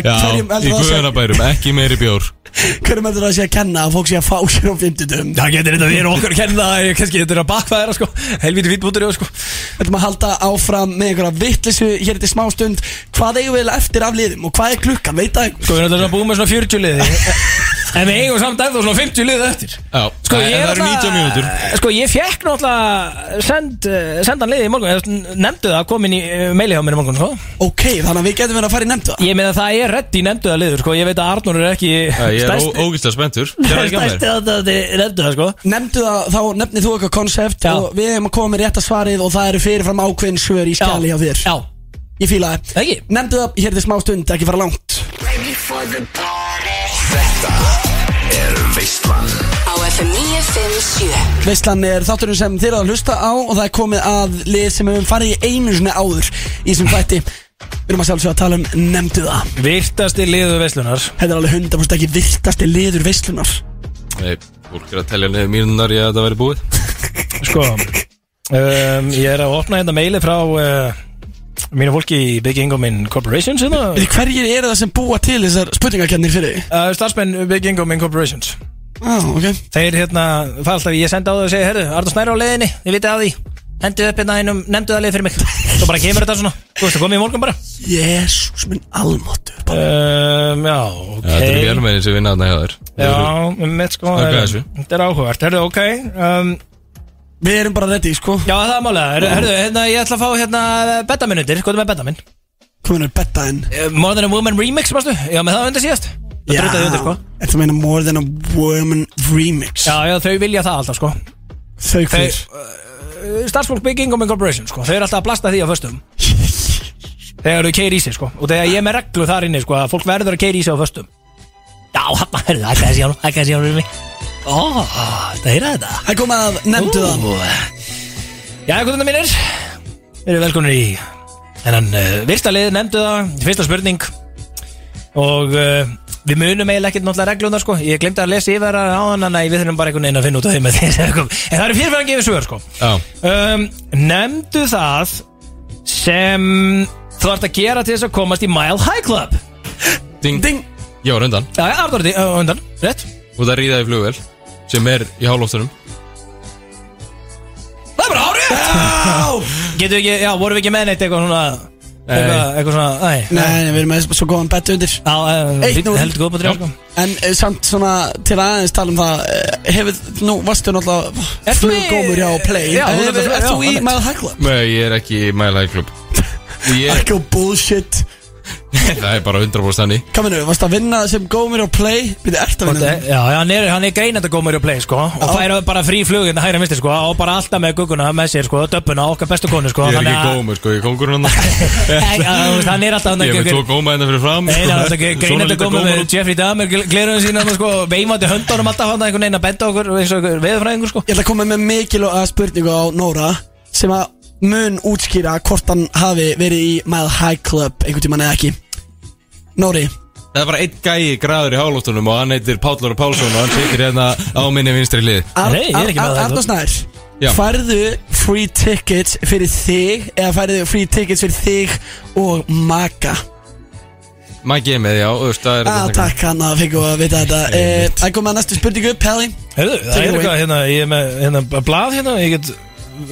Speaker 3: Já, í guðunabærum, ekki meiri bjór
Speaker 4: Hverjum heldur það sé að kenna að fólk sé að fá sér á 50 dögum?
Speaker 2: Það getur þetta verið okkur að kenna það, ég- kannski þetta er að bakfa þeirra, sko Helviti fýtt bútur, sko
Speaker 4: Þetta maður halda áfram með einhverja vittlisu hér til smá stund Hvað eigum við eiginlega eftir af liðum og hvað er klukkan, veit það
Speaker 2: Sko, við erum alltaf búið með svona 40 liði En við eigum samt ennþá svona 50 liði eftir
Speaker 3: Já,
Speaker 2: Sko, ég er
Speaker 3: en það eru
Speaker 2: alltaf-
Speaker 3: 90 mínútur
Speaker 2: Sko, ég fekk náttúrulega send, eh, sendan liði í morgun eða svona, Nefndu það, kom inn í eh, maili hjá mér í morgun, sko
Speaker 4: Ok, þannig að við getum verið að fara í nefndu
Speaker 2: Ég með að það er reddi í nefndu það liður, sko Ég veit að Arnur er ekki
Speaker 3: Já, Ég
Speaker 2: *laughs*
Speaker 3: er
Speaker 2: stærsti-
Speaker 3: ógæslega spenntur Gerðu ekki að mér.
Speaker 2: stærsti aðdáandi nefndu það, sko
Speaker 4: Nefndu það, þá nefnið þú eitthvað konsept og við hefum að koma með rétta svarið og það eru fyrirfram ákveðin svör í skjali hjá þér
Speaker 2: Já
Speaker 4: Ég fíla það
Speaker 2: Ekki
Speaker 4: Nefndu það hér til smá stund, ekki fara langt
Speaker 15: Er veistlan
Speaker 5: Á FM 957
Speaker 4: Veistlan er þátturinn sem þið eru að hlusta á og það er komið að lið sem hefum farið í einu sinni áður í þessum fætti Við erum að sjálfsögja að tala um nefndu það
Speaker 2: Virtasti liður veislunar
Speaker 4: Þetta er alveg 100% ekki virtasti liður veistlunar
Speaker 3: Nei, fólk er að telja niður mínunar í að það væri búið
Speaker 2: Sko, um, ég er að opna hérna meili frá uh, mínu fólki í Big Income in Corporations hérna.
Speaker 4: Bíddu, Hverjir eru það sem búa til þessar spurningakennir fyrir því?
Speaker 2: uh, Starfsmenn Big Income in Corporations
Speaker 4: Já, ok
Speaker 2: Þeir hérna, það er alltaf, ég sendi á þau og segi Herru, Arnur Snæri á leiðinni, ég viti að því Hendu upp hérna einum, nefndu það leið fyrir mig Svo bara kemur þetta svona, þú veist það komið í morgun bara
Speaker 4: Jésús minn almáttur
Speaker 2: um, Já, ok
Speaker 3: Já, Þetta eru vélmenni sem vinna þarna hjá þér
Speaker 2: Já, um mitt sko
Speaker 3: Þakka
Speaker 2: er-
Speaker 3: þessu.
Speaker 2: Þetta er áhugavert, herðu, ok um,
Speaker 4: Við erum bara ready, sko
Speaker 2: Já, það er málega, herðu, herðu hérna, ég ætla að fá hérna betaminutir, hvað er með betamin?
Speaker 4: Komin er betta en
Speaker 2: Uh, More Than A Woman Remix, mástu? Já, með það undir síðast Það drutaði undir, sko
Speaker 4: Þetta meina More Than A Woman Remix
Speaker 2: Já, já, þau vilja það alltaf, sko
Speaker 4: Þau hver
Speaker 2: Uh, Starfsfólk Big Income Corporation, sko Þau eru alltaf að blasta því á föstum Þegar þau keir í sig, sko Og þegar ég er með reglu þar inni, sko Að fólk verður að keir í sig á föstum Já, hann, herðu, hækka þessi á nú Hækka þessi á nú fyrir mig Ó, þetta heyra þetta
Speaker 4: *laughs* Það kom að nefndu það
Speaker 2: Jæja, góðan mínir Við erum velkomin í þennan uh, virsta lið, nefndu það, fyrsta spurning og uh, við munum eiginlega ekkert náttúrulega reglunar sko ég glemdi að lesa yfir að áðan að nei, við þurfum bara einhvern veginn að finna út af þeim að þeir- en það eru fyrirfæðan gefið svör sko
Speaker 3: Já,
Speaker 2: um, nefndu það sem þú ert að gera til þess að komast í Mile High Club
Speaker 3: ding,
Speaker 4: ding.
Speaker 3: Já, rundan
Speaker 2: Já, ja, Arnur, uh, undan, rétt
Speaker 3: Og það ríða í flugvel sem er í hálóftunum
Speaker 2: Það er bara árið Getur við ekki, já, vorum við ekki með neitt eitthvað svona
Speaker 3: Nei.
Speaker 2: eitthvað, eitthvað svona, æ
Speaker 4: Nei, við erum með svo góðan betta undir
Speaker 2: Já, eh,
Speaker 4: Eitt núll.
Speaker 2: heldur góð búin sko
Speaker 4: En eh, samt svona til aðeins tala um það eh, Hefur, nú varstu náttúrulega
Speaker 2: Ertu í-
Speaker 4: Flugómur hjá Play Eh,
Speaker 2: Já, þú ert
Speaker 4: Hefur-
Speaker 2: náttúrulega-
Speaker 4: Ert þú
Speaker 2: já,
Speaker 4: í
Speaker 2: einmitt.
Speaker 4: Mile High Club?
Speaker 3: Nei, ég er ekki í Mile High Club ég,
Speaker 4: Ekki á bullshit
Speaker 3: Það er bara 100% þannig
Speaker 4: Kaminu, varstu að vinna sem góðmur hjá Play Við ert að vinna það
Speaker 2: Já, já, hann er, hann er greinandi gómur í play, sko Og fær bara frí flugin, hæra misti, sko Og bara alltaf með gugguna með sér, sko Döppuna, okkar bestu konu, sko
Speaker 3: Ég er
Speaker 2: þannig
Speaker 3: ekki
Speaker 2: að-
Speaker 3: gómur, sko, ég er kóngurinn hann
Speaker 2: *laughs* Nei, já, þú veist, Hann er alltaf
Speaker 3: Ég er með tvo góma hérna fyrir fram
Speaker 2: Nei,
Speaker 3: sko.
Speaker 2: hann er alltaf ge-
Speaker 3: Svona
Speaker 2: greinandi
Speaker 3: lítið
Speaker 2: gómur
Speaker 3: gómur
Speaker 2: með
Speaker 3: út.
Speaker 2: Jeffrey Dahmer gl- Glerun sína, þarna, sko Veimandi höndunum alltaf hann einhvern veginn að benda okkur eins og einhver veðurfræðingur, sko
Speaker 4: Ég ætla að koma með mikilvæga spurningu á Nóra sem að mun útskýra hvort hann hafi verið í Mile High Club einhvern tímann eða ekki Nóri,
Speaker 3: Það er bara einn gæi graður í hálóftunum og hann heitir Pállur Pálsson og hann situr hérna á minni vinstri hlið
Speaker 2: Nei, ég er ekki með það,
Speaker 4: Arnars Nær
Speaker 3: Já.
Speaker 4: Færðu free tickets fyrir þig eða færðu free tickets fyrir þig og maka
Speaker 3: Maggi er með, já, þú veist, það er hérna
Speaker 4: Ah,
Speaker 3: þetta-
Speaker 4: takk hann að fengu að vita þetta Eh, Það kom að næstu spurningu, Pelli
Speaker 2: Herðu, það
Speaker 4: Take it
Speaker 2: er
Speaker 4: away.
Speaker 2: eitthvað hérna, ég er með hérna, blað hérna, ég get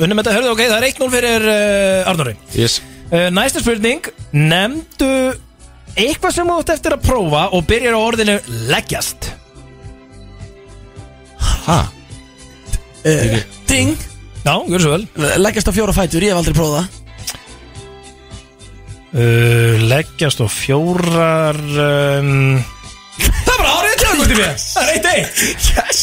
Speaker 2: unnum þetta, herðu, ok, það er 1-0 fyrir uh, Arnóri
Speaker 3: Yes
Speaker 2: uh, Næsta spurning, nefndu eitthvað sem þú átt eftir að prófa og byrjar á orðinu leggjast
Speaker 3: Hæ?
Speaker 4: Uh, ding
Speaker 2: Já, gjör svo vel
Speaker 4: Leggjast á fjóra fætur, ég hef aldrei
Speaker 3: *laughs*
Speaker 4: prófað það
Speaker 2: uh, Leggjast og fjórar um... Það er bara árið til að gutti mér Það er eitt eitt
Speaker 4: Yes,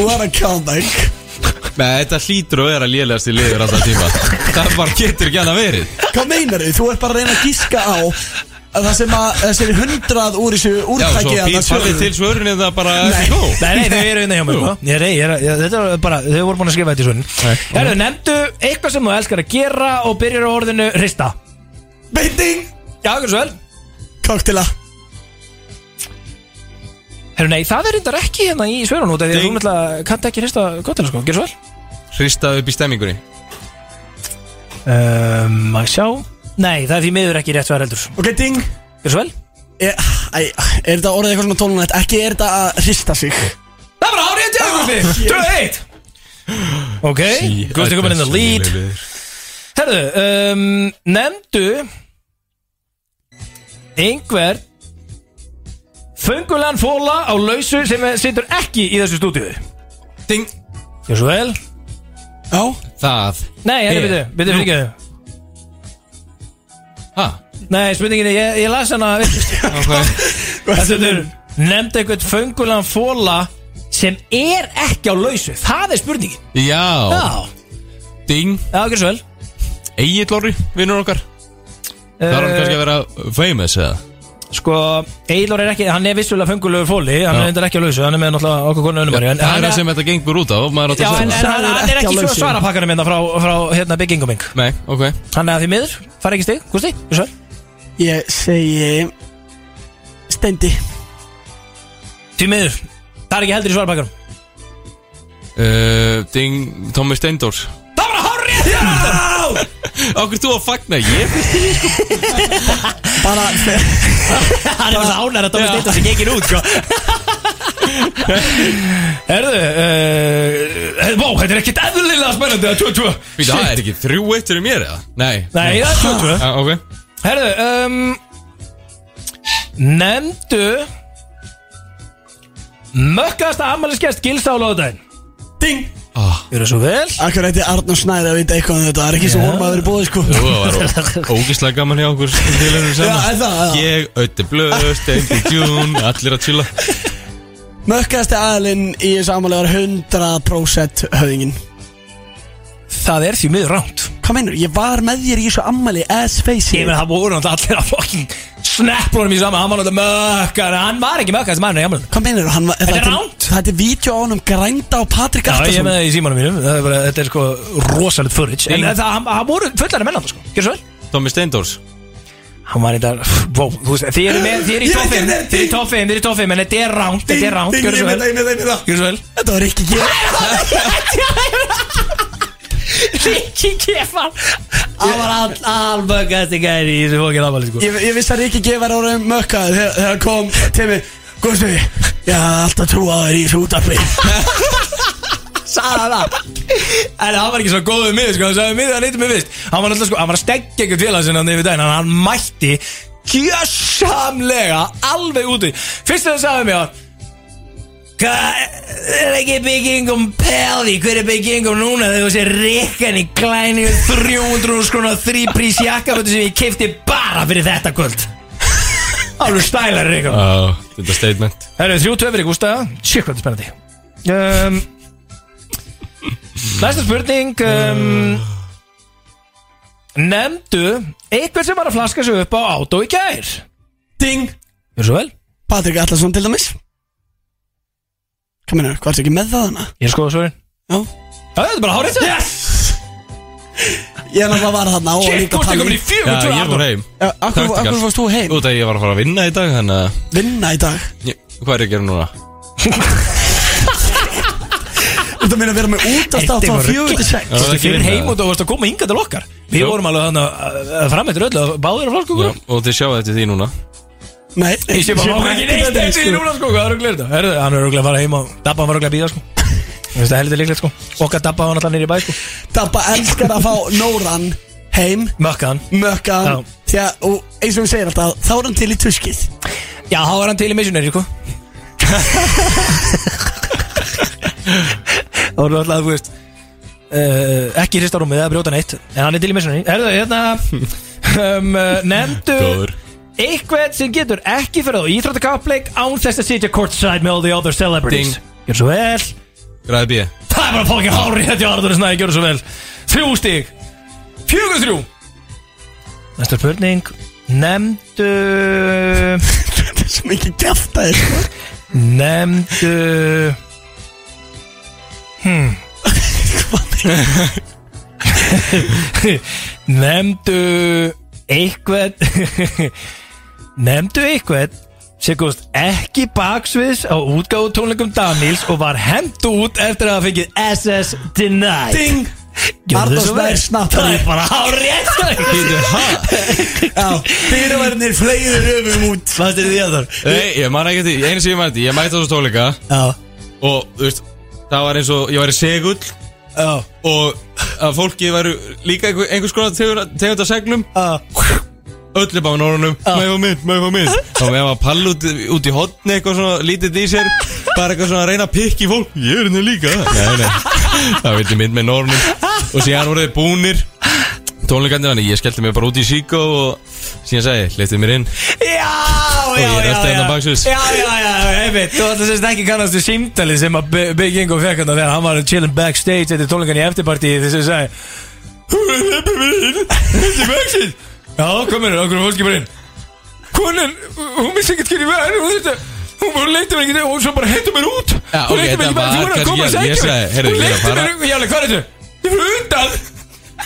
Speaker 4: what a comeback
Speaker 3: Nei, þetta hlýtur að vera lélegast í liður alltaf tíma Það bara getur ekki annað verið
Speaker 4: Hvað meinar þau? Þú ert bara að reyna að gíska á að Það sem að þessi er hundrað úr þessu
Speaker 3: Já, svo
Speaker 4: úrtæki
Speaker 3: fín farið til svörunni það bara ekki góð
Speaker 2: Nei, nei, þau eru hérna hjá mér
Speaker 3: Jú.
Speaker 2: sko. Ég er, ég er, ég, Þetta er bara, þau voru búin að skrifa þetta í svörun Herðu, nefndu eitthvað sem þú elskar að gera og byrjar á orðinu hrista
Speaker 4: Beiting
Speaker 2: Já, gjör svo vel
Speaker 4: Koktila
Speaker 2: Herru, nei, það er reyndar ekki hérna í svörun út af því að þú náttúrulega kannt ekki hrista kottila, sko, gerðu svo vel
Speaker 3: Hrista upp í stemmingunni
Speaker 2: Um, að sjá Nei, það er því miður ekki rétt svar heldur
Speaker 4: Ok, ding
Speaker 2: Gjör svo vel
Speaker 4: Æ, er þetta orðið eitthvað svona tólunætt? Ekki er þetta að hrista sig
Speaker 2: Það er bara árið til Gusti.
Speaker 4: shit.
Speaker 2: 2-1 Ok, Gusti komin in the lead Herru, um, nefndu einhver föngulegan fóla á lausu sem situr ekki í þessu stúdíu
Speaker 3: Ding
Speaker 2: Gjör svo vel
Speaker 4: Já
Speaker 3: Það
Speaker 2: Nei, hérna,
Speaker 3: er-
Speaker 2: byrju, byrju,
Speaker 3: Nú.
Speaker 2: fyrir ekki Nei, spurninginni, ég, ég las hana
Speaker 3: *laughs*
Speaker 2: Þetta er Nefndu einhvern föngulegan fóla sem er ekki á lausu Það er spurningin
Speaker 3: Já,
Speaker 2: Já,
Speaker 3: ding
Speaker 2: já, gjör svo vel
Speaker 3: Egil Lorri, vinnur okkar Það er hann
Speaker 2: Eh.
Speaker 3: kannski að vera famous eða
Speaker 2: Sko, Eilor er ekki, hann er vissulega fengulegur fóli Hann
Speaker 3: Já.
Speaker 2: er reyndar ekki á lausu, hann er með náttúrulega okkur konu unumari en,
Speaker 3: Það er
Speaker 2: hann,
Speaker 3: það sem þetta gengur út á maður átt
Speaker 2: Já,
Speaker 3: að
Speaker 2: en, en
Speaker 3: segja
Speaker 2: hann, hann er ekki svo svarapakkanum hérna frá, frá hérna bygginguming
Speaker 3: það Nei, ok
Speaker 2: Hann er að því miður, fara ekki stig, Gusti, þú svo
Speaker 4: Ég segi Stendi
Speaker 2: Því miður, það er ekki heldur í svarapakkanum
Speaker 3: uh, Ding, Tommy Steindors Það var að hárrið Okkur þú að fagna, ég finnst
Speaker 4: Bara
Speaker 2: Hann er það ánæður að Dómi Steindor sem gengir út, sko Herðu, uh, hey, vá, þetta er ekkert eðlilega spennandi Það er 2-2
Speaker 3: Býta, það er ekki þrjú eitt fyrir mér eða? Nei
Speaker 2: Nei, það er 2-2
Speaker 3: Já, ok
Speaker 2: Herðu, um, nefndu Mökkaðasta ammælisgest gilsála á daginn Ding
Speaker 3: oh.
Speaker 2: Gjör það svo vel
Speaker 4: Akkur ætti Arnar Snæri að vita eitthvað um þetta Það er ekki svo
Speaker 3: Já.
Speaker 4: honum að vera búið sko
Speaker 3: Jú, það var ógislega gaman hjá okkur Stilunum
Speaker 4: Já, er það,
Speaker 3: saman
Speaker 4: já.
Speaker 3: Ég, Ötti Blöð, Steindi Djún Allir að chilla
Speaker 4: Mökkaðasti aðilinn í þessu ámæli var 100% höfðingin
Speaker 2: Það er því miður ránt
Speaker 4: Hvað meinur? Ég var með þér í þessu ammali as face
Speaker 2: Ég meina, það voru náttúrulega allir að fucking snapplunum í saman Hann var náttúrulega mökkar Hann var ekki mökkar sem hann er í ammælinu
Speaker 4: Hvað meinur? Hann, var-
Speaker 2: Þetta er
Speaker 4: þetta-
Speaker 2: rangt.
Speaker 4: Þetta er vídeo á honum grænda á Patrik
Speaker 2: Já, ég er
Speaker 4: Aftarsson
Speaker 2: með það í símanum mínum Það er bara, þetta er sko rosalegt furrage En það, hann, hann voru fullar að menna það sko Gjör svo vel
Speaker 3: Tommy Steindors
Speaker 2: Hann var í dag, wow, þú veist, þið eru með, þið eru í
Speaker 4: Ég veit
Speaker 2: toffum, þið eru í
Speaker 4: ekki, þetta er
Speaker 2: toffum, þið eru í toffum, en þetta er ránt, þetta er ránt, gjör svo vel, gjör svo vel.
Speaker 4: Þetta var ekki ég
Speaker 2: Rikki Kefan Hann var alböggast í gæri í þessu fókin afmæli sko
Speaker 4: Ég, ég vissi að Ríkki G var orðum mökkaður þegar, þegar hann kom til mig Guðstu, ég hafði alltaf trú á þér í þessu útarpi
Speaker 2: Sæða það En hann var ekki svo góð við mig sko Hann sagði mig það nýttum við vist Hann var alltaf sko Hann var að stegja ykkur félag sinna Þannig við daginn Hann, hann mætti Kjössamlega Alveg úti Fyrst þegar hann sagði mér var Hvað er ekki byggingum pelði? Hver er byggingum núna þegar þú sé rikkan í klæni 300 skrona þrýprís jakkafötu sem ég kefti bara fyrir þetta kvöld? *laughs* Alveg stælar rikkan
Speaker 3: Já, Ah, Þetta er statement
Speaker 2: Það eru þrjú töfri, Gústa Sjekk hvað þetta er spennandi um, Næsta spurning um, Nefndu Eitthvað sem var að flaska sig upp á átó í gær
Speaker 4: Ding
Speaker 2: Gjör svo vel
Speaker 4: Patrik Allarsson til dæmis Hvað meinar, hvað ertu ekki með það hana?
Speaker 2: Ég er skoða svörin
Speaker 4: Já
Speaker 2: Já, þetta er bara hárið þetta
Speaker 4: Yes Ég er náttúrulega var þarna og
Speaker 2: Shit,
Speaker 4: líka
Speaker 2: Gústi
Speaker 4: Palli.
Speaker 2: komin í
Speaker 3: Já,
Speaker 2: 4-2
Speaker 3: ég fór heim
Speaker 4: Já, af hverju- af hverju fórst þú heim?
Speaker 3: Út að ég var að fara að vinna í dag Þannig að
Speaker 4: Vinna í dag
Speaker 3: Ég- Hvað er ég að gera núna?
Speaker 4: Þetta meina að vera með útast átt á fjögur til sex
Speaker 3: Já, það
Speaker 2: Þú
Speaker 3: er ekki
Speaker 2: fyrir
Speaker 3: vinna.
Speaker 2: heim og þú varst að koma hingað til okkar Við uh,
Speaker 3: Jú.
Speaker 2: vorum alveg þannig að framættur öllu að Báðir að flaska
Speaker 3: Já,
Speaker 2: okkur
Speaker 3: og þið sjáu eftir því núna
Speaker 4: Nei
Speaker 2: Ég sé bara
Speaker 4: Ég
Speaker 2: okkur ekki neitt
Speaker 4: þetta,
Speaker 2: eftir því
Speaker 4: sko.
Speaker 2: núna sko, hvað er okkur þetta? Herðu, hann er okkur að fara heim og Dabba hann var okkur að býða sko Það er heldur líklegt sko Okkar Dabba hann alltaf nýri bæ sko
Speaker 4: Dabba elskar að fá Nóran heim
Speaker 2: Mökkaðan
Speaker 4: Mökkaðan Því að, og eins og við segir alltaf Þá er hann til í tuskið
Speaker 2: Já, þá er hann til í missionary sko Það voru alltaf, þú veist Uh, ekki hrista rúmið eða brjóta neitt en hann er til í missunni Herðu, hérna um, uh, Nefndu
Speaker 3: Góður.
Speaker 2: eitthvað sem getur ekki fyrir á íþróttakappleik án þess að sitja courtside með all the other celebrities
Speaker 3: Ding.
Speaker 2: Gjör svo vel
Speaker 3: Græði B
Speaker 2: Það er bara fólki hári Þetta er Arður Snæði, gjörðu svo vel Þrjú stík Fjögur þrjú Næsta spurning Nemndu
Speaker 4: *laughs*
Speaker 2: Þetta
Speaker 4: er svo mikið gæft að
Speaker 2: þér Nemndu Hmm Nemndu Eitthvað Nemndu eitthvað sem komst ekki baksviðs á útgáðu tónleikum Daniels og var hend út eftir að hafa fengið SS Denied
Speaker 4: Ding!
Speaker 2: Gjörðu
Speaker 4: Arnór
Speaker 2: svo vel.
Speaker 4: Snær snappar
Speaker 2: Það
Speaker 4: í.
Speaker 2: er bara hárétt
Speaker 4: Bíddu, *laughs* Já, fyrirverðinir fleigður öfum út
Speaker 2: Hvað er því að þar?
Speaker 3: Nei, ég man ekki eftir, einu sem ég man eftir, ég mætti á þessu tóleika
Speaker 4: Já
Speaker 3: Og, þú veist, það var eins og, ég væri segull
Speaker 4: Já
Speaker 3: Og að fólki væru líka einhver- einhvers konar tegund tegund af seglum
Speaker 4: Já
Speaker 3: Öllu bara norunum, maður var mynd, maður var mynd Þá með að pall út, út í hotni eitthvað svona, lítið í sér Bara eitthvað svona að reyna að pikki fólk Ég er henni líka Nei, nei, það vildi mynd með norunum Og síðan voru þeir búnir Tónleikandir þannig, ég skellti mig bara út í síkó Og síðan sagði, leiftið mér inn
Speaker 2: Já, já,
Speaker 3: Og ég
Speaker 2: já,
Speaker 3: rölti
Speaker 2: já.
Speaker 3: hérna baksviðs.
Speaker 2: Já, já, já, einmitt Þú ætla sérst ekki kannast við símtali sem að Bi- Big Ingo fekk hann þegar hann var chillin backstage eftir tónleikan í eftirpartíi þess að sagði Þetta er backstage Já, komin, okkur fólki bara inn Konan, hún vissi ekkert hvernig við erum Hún þetta Hún bara leyti mér ekki og svo bara hendur mér út
Speaker 3: Já,
Speaker 2: Hún
Speaker 3: ok,
Speaker 2: leyti mér ekki
Speaker 3: þetta
Speaker 2: bara,
Speaker 3: var
Speaker 2: þú voru að
Speaker 3: kannski
Speaker 2: koma að
Speaker 3: ekki-
Speaker 2: segja
Speaker 3: ég sagði, heyrðu,
Speaker 2: Hún
Speaker 3: ég er að
Speaker 2: leyti
Speaker 3: fara.
Speaker 2: mér, já, alveg, hvað er þetta? Ég fyrir undan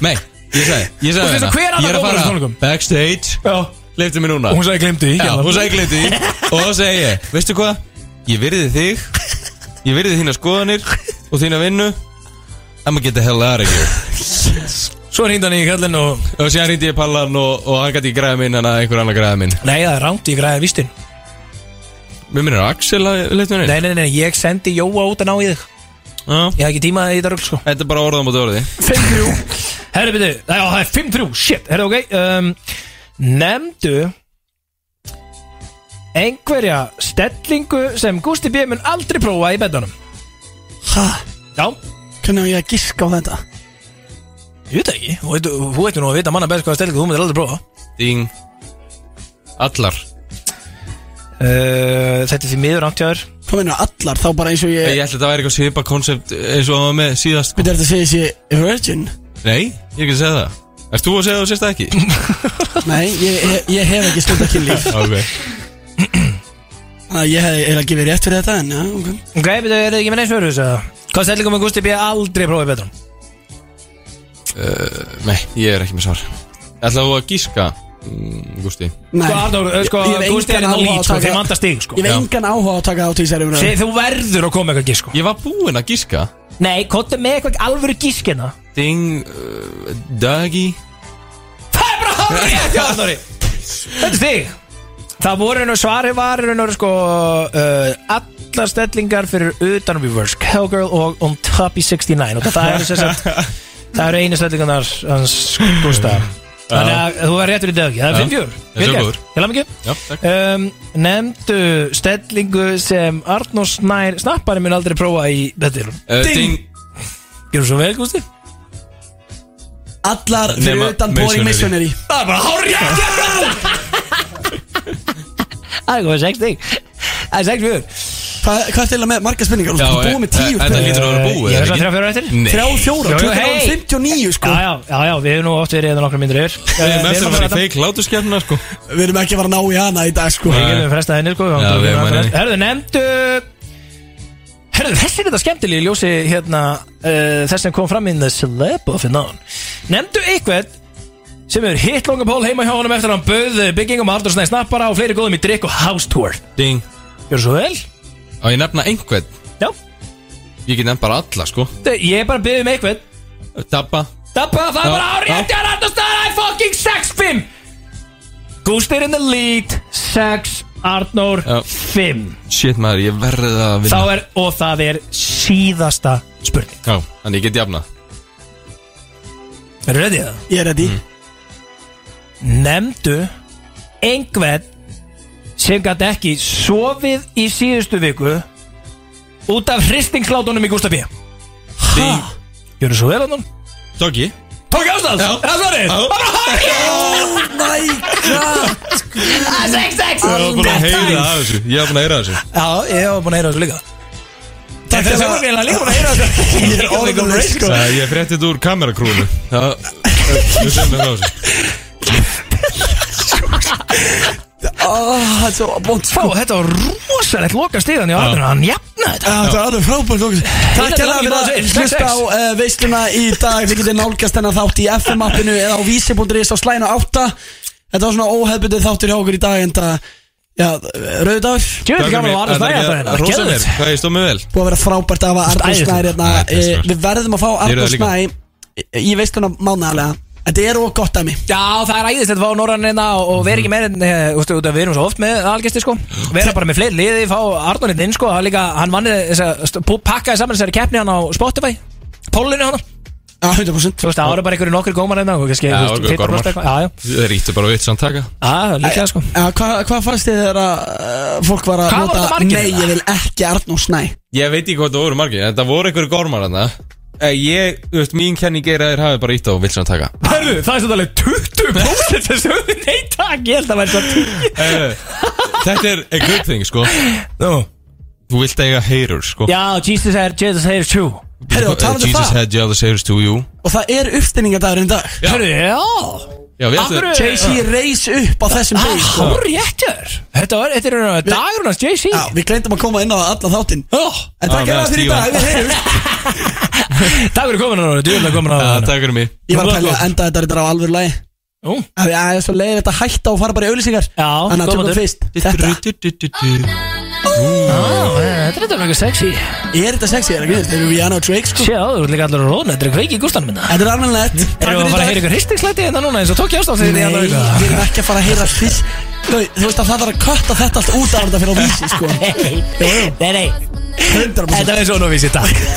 Speaker 3: Nei, ég sagði, ég
Speaker 2: Og
Speaker 3: sagði hérna,
Speaker 2: finnst þú hver annar
Speaker 3: Ég er að
Speaker 2: dómar á þessum
Speaker 3: fara
Speaker 2: tónleikum?
Speaker 3: backstage Leiftu mér núna
Speaker 2: Og hún sagði, hérna. "Gleymdu því,
Speaker 3: Já,
Speaker 2: gerðu það."
Speaker 3: hún sagði
Speaker 2: *laughs*
Speaker 3: glemdi því Og þá segi ég, veistu hvað? Ég virði þig Ég virði þína skoðanir Og þína vinnu I'm gonna get the hell out of here
Speaker 2: Svo hringdi hann í kallinn og
Speaker 3: Og síðan hringdi ég pallan og, og hann gæti ekki græða minn En að einhver annar græða minn
Speaker 2: Nei, það er rámt, ég græði vistinn
Speaker 3: Mér minnir Axel eh, að leiftu mér inn
Speaker 2: Nei, nei, nei, ég sendi Jóa út að ná í þig Ég haf ekki tíma í þetta rögl sko
Speaker 3: Þetta er bara orðan mot orði
Speaker 2: 5-3 Herri, byrju, já, það er 5-3, shit, herri, ok um, Nemndu Einhverja stellingu sem Gusti B. mun aldrei prófa í bedanum
Speaker 4: Hæ?
Speaker 2: Já
Speaker 4: Hvernig á ég að giska á þetta?
Speaker 2: Ég veit það ekki, þú veit- þú veitur nú að vita manna best hvaða stellingu þú myndir aldrei prófa
Speaker 3: Ding Allar
Speaker 2: uh, Þetta er því miður ántjáður
Speaker 4: Hvað meina allar? Þá bara eins og ég
Speaker 3: Ég ætla að þetta væri eitthvað svipa koncept Eins og hann var með síðast
Speaker 4: Byrðu þetta að segja þessi virgin?
Speaker 3: Nei, ég er ekki að segja það Erst þú að segja það og sérst það ekki?
Speaker 2: *laughs*
Speaker 4: Nei, ég, ég, ég hef ekki stundað kynlíf
Speaker 3: Ok
Speaker 4: Þannig að ég hef eiginlega gefið rétt fyrir þetta en já, ok
Speaker 2: Ok, byrju, er þið ekki með neins fyrir þessu? Hvaða stellingu mun Gusti B. aldrei prófa í bedanum?
Speaker 3: Uh, nei, ég er ekki með svar Ætlaðu þú að gíska, mm, Gústi?
Speaker 4: Nei.
Speaker 2: Sko, Arnór, eh, sko,
Speaker 4: Ég- ég hef
Speaker 2: Gústi er
Speaker 4: engan
Speaker 2: inn á
Speaker 4: áhuga á
Speaker 2: lít,
Speaker 4: að
Speaker 2: sko,
Speaker 4: taka-
Speaker 2: þeim vantar stig, sko
Speaker 4: Ég hef
Speaker 2: Já.
Speaker 4: engan áhuga á að taka á til þessari umræðu
Speaker 2: Þið, þú verður að koma með eitthvað gísk sko.
Speaker 3: Ég var búinn að gíska
Speaker 2: Nei, kóttu með eitthvað alvöru hérna. gískina
Speaker 3: Ding, uh, Dagi
Speaker 2: Já, sorry Þetta er þig Það voru nú svari var nú sko uh, Allar stellingar fyrir utan Reverse Cowgirl og On Top í 69 og það eru sem sagt Það eru einu stellingarnar hans sko, Gústa Þannig að þú var réttur í dag Það
Speaker 3: Já.
Speaker 2: er 5-4
Speaker 3: Ég er svo góður.
Speaker 2: Ég laf
Speaker 3: Já,
Speaker 2: mikið um, Nefndu stellingu sem Arnór Snær Snappari mun aldrei prófa í Þetta er
Speaker 3: uh, Ding
Speaker 2: Gjörðu svo vel Gústi
Speaker 4: Allar fyrir
Speaker 3: Nema
Speaker 4: utan boring missionary
Speaker 3: missionary.
Speaker 2: Það er bara hárið Það er komið 6 stík Það er 6 fjögur
Speaker 4: Hvað hvað ertu eiginlega með marga spurningar? Þú
Speaker 3: Já,
Speaker 4: ert
Speaker 3: eh,
Speaker 2: e-
Speaker 4: búið með tíu
Speaker 3: eh, þetta hlýtur að vera búið,
Speaker 2: Ég
Speaker 3: er
Speaker 2: er svo 3
Speaker 3: ekki?
Speaker 2: fjóra eftir
Speaker 3: Nei.
Speaker 4: Þrjá fjóra,
Speaker 2: Jú, jú,
Speaker 4: klukkan
Speaker 2: hey.
Speaker 4: er 59 sko
Speaker 2: Já, já, já, já, við hefum nú oft verið eða nokkra myndir yfir Eh,
Speaker 3: Við erum eftir
Speaker 2: að
Speaker 3: að fara í
Speaker 2: þetta.
Speaker 3: feik látuskjæfna, sko
Speaker 4: Við erum ekki að fara að ná í hana í dag sko
Speaker 2: Við getum frestað henni, sko
Speaker 3: Já, við erum að henni.
Speaker 2: Herðu, nefndu Herðu, þessi er þetta skemmtilega í ljósi hérna uh, Þess sem kom fram í The Celeb of None Nefndu eitthvað sem hefur hitt longa pól heima hjá honum eftir að hann bauð byggingum og Arnur Snæði snappara og fleiri góðum í drikk og house tour
Speaker 3: Ding
Speaker 2: Gjörðu svo vel
Speaker 3: Á ég nefna einhvern?
Speaker 2: Já
Speaker 3: Ég get nefn bara alla, sko
Speaker 2: Ég er bara að byggja um eitthvað
Speaker 3: Dabba
Speaker 2: Dabba, það er
Speaker 3: Já,
Speaker 2: bara árétti að Arnur Snæði fucking 6-5 Gústi er in the lead 6-5 Arnór 5
Speaker 3: Shit maður, ég verði að
Speaker 2: Þá
Speaker 3: vinna
Speaker 2: er, og það er síðasta spurning
Speaker 3: Já, þannig ég get jafna
Speaker 2: Er ready það?
Speaker 4: Ég er ready
Speaker 2: Mm. Nemndu einhvern sem gæti ekki sofið í síðustu viku út af hristingslátunum í Gústafi Hæ? Gjörðu svo vel hann?
Speaker 3: Tóki
Speaker 2: Tóki ástæðs?
Speaker 7: Já.
Speaker 2: Það er svarið?
Speaker 7: Já.
Speaker 2: Bara hæ!
Speaker 7: Oh
Speaker 4: my
Speaker 7: god Sex, sex
Speaker 3: Ég var búin að heyra að þessu Ég var búin að heyra að þessu
Speaker 2: Já, ég var búin að heyra þessu líka Takk fyrir að ég var líka *laughs* búin að heyra þessu Ég er sko. orðinlega
Speaker 3: Það er- Ég frétti þetta úr kamerakrúinu Það *laughs* Við sem við frá þessu
Speaker 4: Það er svo bónt sko
Speaker 2: Þetta var rosalegt loka stíðan í aðrinu Hann jafnaði þetta
Speaker 4: Það er alveg frábært okkur Takk
Speaker 2: Þetta er
Speaker 4: hérna fyrir
Speaker 2: alveg
Speaker 4: að
Speaker 2: bara-
Speaker 4: hlusta á uh, veisluna í dag Þið getið nálgast hennar þátt í FM-appinu eða á vísi.is á slæna 8 Þetta var svona óhefbundið þáttur hjá okkur í dag en það, já, rauðdagur
Speaker 2: Djöfull gaman að Arnar Snær hérna, hérna.
Speaker 3: Rósa mér,
Speaker 2: Geðveikt.
Speaker 3: hvað ég stóð mig vel
Speaker 4: Búið að vera frábært að hafa Arnur
Speaker 3: Æðislegt.
Speaker 4: Snær hérna
Speaker 3: Æ, þetta er
Speaker 4: Eh,
Speaker 3: snæ.
Speaker 4: Við verðum að fá
Speaker 3: Ég er það
Speaker 4: Arnur
Speaker 3: líka.
Speaker 4: Snær í- í veisluna mánagalega Þetta er og gott af mig
Speaker 2: Já, það er æðislegt að fá norrannina og, og vera ekki meira en, eh, ústu, út af við erum svo oft með algjastir sko vera bara með fleiri liði, fá Arnóninn inn sko hann, líka, hann vann þess að pakkaði saman þessari keppni hann á Spotify pólunni hann
Speaker 4: Já, 100%
Speaker 2: Þú veist, það voru bara einhverju nokkur gómar hérna og kannski,
Speaker 3: Já,
Speaker 2: þú veist,
Speaker 3: okkur
Speaker 2: 50%
Speaker 3: gormar
Speaker 2: eitthvað. Já, já,
Speaker 3: Það ríttu bara vitt samtaka
Speaker 2: já, líka sko
Speaker 4: Já, Hvað Eh, hvað fannst þið þegar að eh, fólk var að
Speaker 2: Hvað var þetta
Speaker 4: nota
Speaker 2: margir
Speaker 4: Nei,
Speaker 2: þeirra?"
Speaker 4: ég vil ekki Arnur Snær
Speaker 3: Ég veit ekki hvað það voru margir en það voru einhverju gormar hann Ég, þú veist, mín kenning er að þér hafi bara ítt á vilt samtaka
Speaker 2: Hörðu, það er svolítið 20% sem sögðu nei takk, ég held að vera svo
Speaker 3: *laughs* Eh, Þetta er a good thing, sko
Speaker 2: Nú.
Speaker 3: Þú vilt eiga heyrur, sko
Speaker 2: Já, Jesus er, Jesus er true
Speaker 4: Herru, og talaðu
Speaker 3: Eh, Jesus
Speaker 4: það
Speaker 3: had you other heyrurs to you
Speaker 4: Og það er uppstillingadagurinn í dag
Speaker 2: Hörðu, já
Speaker 3: Já, við ætlum
Speaker 4: JC reis upp á þessum
Speaker 2: Það
Speaker 4: degi
Speaker 2: er
Speaker 4: sko.
Speaker 2: hár réttur Ah, Þetta var, þetta er dagur hans Oh. JC
Speaker 4: Já, við gleymdum að koma inn á alla þáttinn En
Speaker 3: Já,
Speaker 4: takk
Speaker 3: meðan
Speaker 4: hérna fyrir í
Speaker 3: Stívan-
Speaker 4: dag, við heyrum
Speaker 2: Takk fyrir komin hann, þú erum komin
Speaker 3: Já,
Speaker 2: hann
Speaker 3: takk fyrir mig
Speaker 4: Ég var að pæla að enda þetta þetta á alvöru lagi
Speaker 2: Jú.
Speaker 4: Það er svo leiðir þetta hætta og fara bara í auðlýsingar Þannig að
Speaker 2: góð
Speaker 4: tökum
Speaker 2: matur.
Speaker 4: við fyrst Þetta
Speaker 2: Þetta er þetta mjög sexy
Speaker 4: Er þetta sexy, er það ekki? Þetta er Rihanna og Drake sko
Speaker 2: Sjá, þú ert líka allir að róna, þetta er kveiki í gústanum minna
Speaker 4: Þetta er alveg lett
Speaker 2: Erum við að fara að heyra ykkur hristingslæti hérna núna eins og tók ég ástafn
Speaker 4: Nei, við erum ekki að fara að heyra fyrst Þú þú veist að það þarf að kötta þetta
Speaker 2: *laughs*
Speaker 4: allt út af þetta fyrir á vísi sko
Speaker 2: Nei, nei, nei
Speaker 4: 100%
Speaker 2: Þetta er svona vísi, takk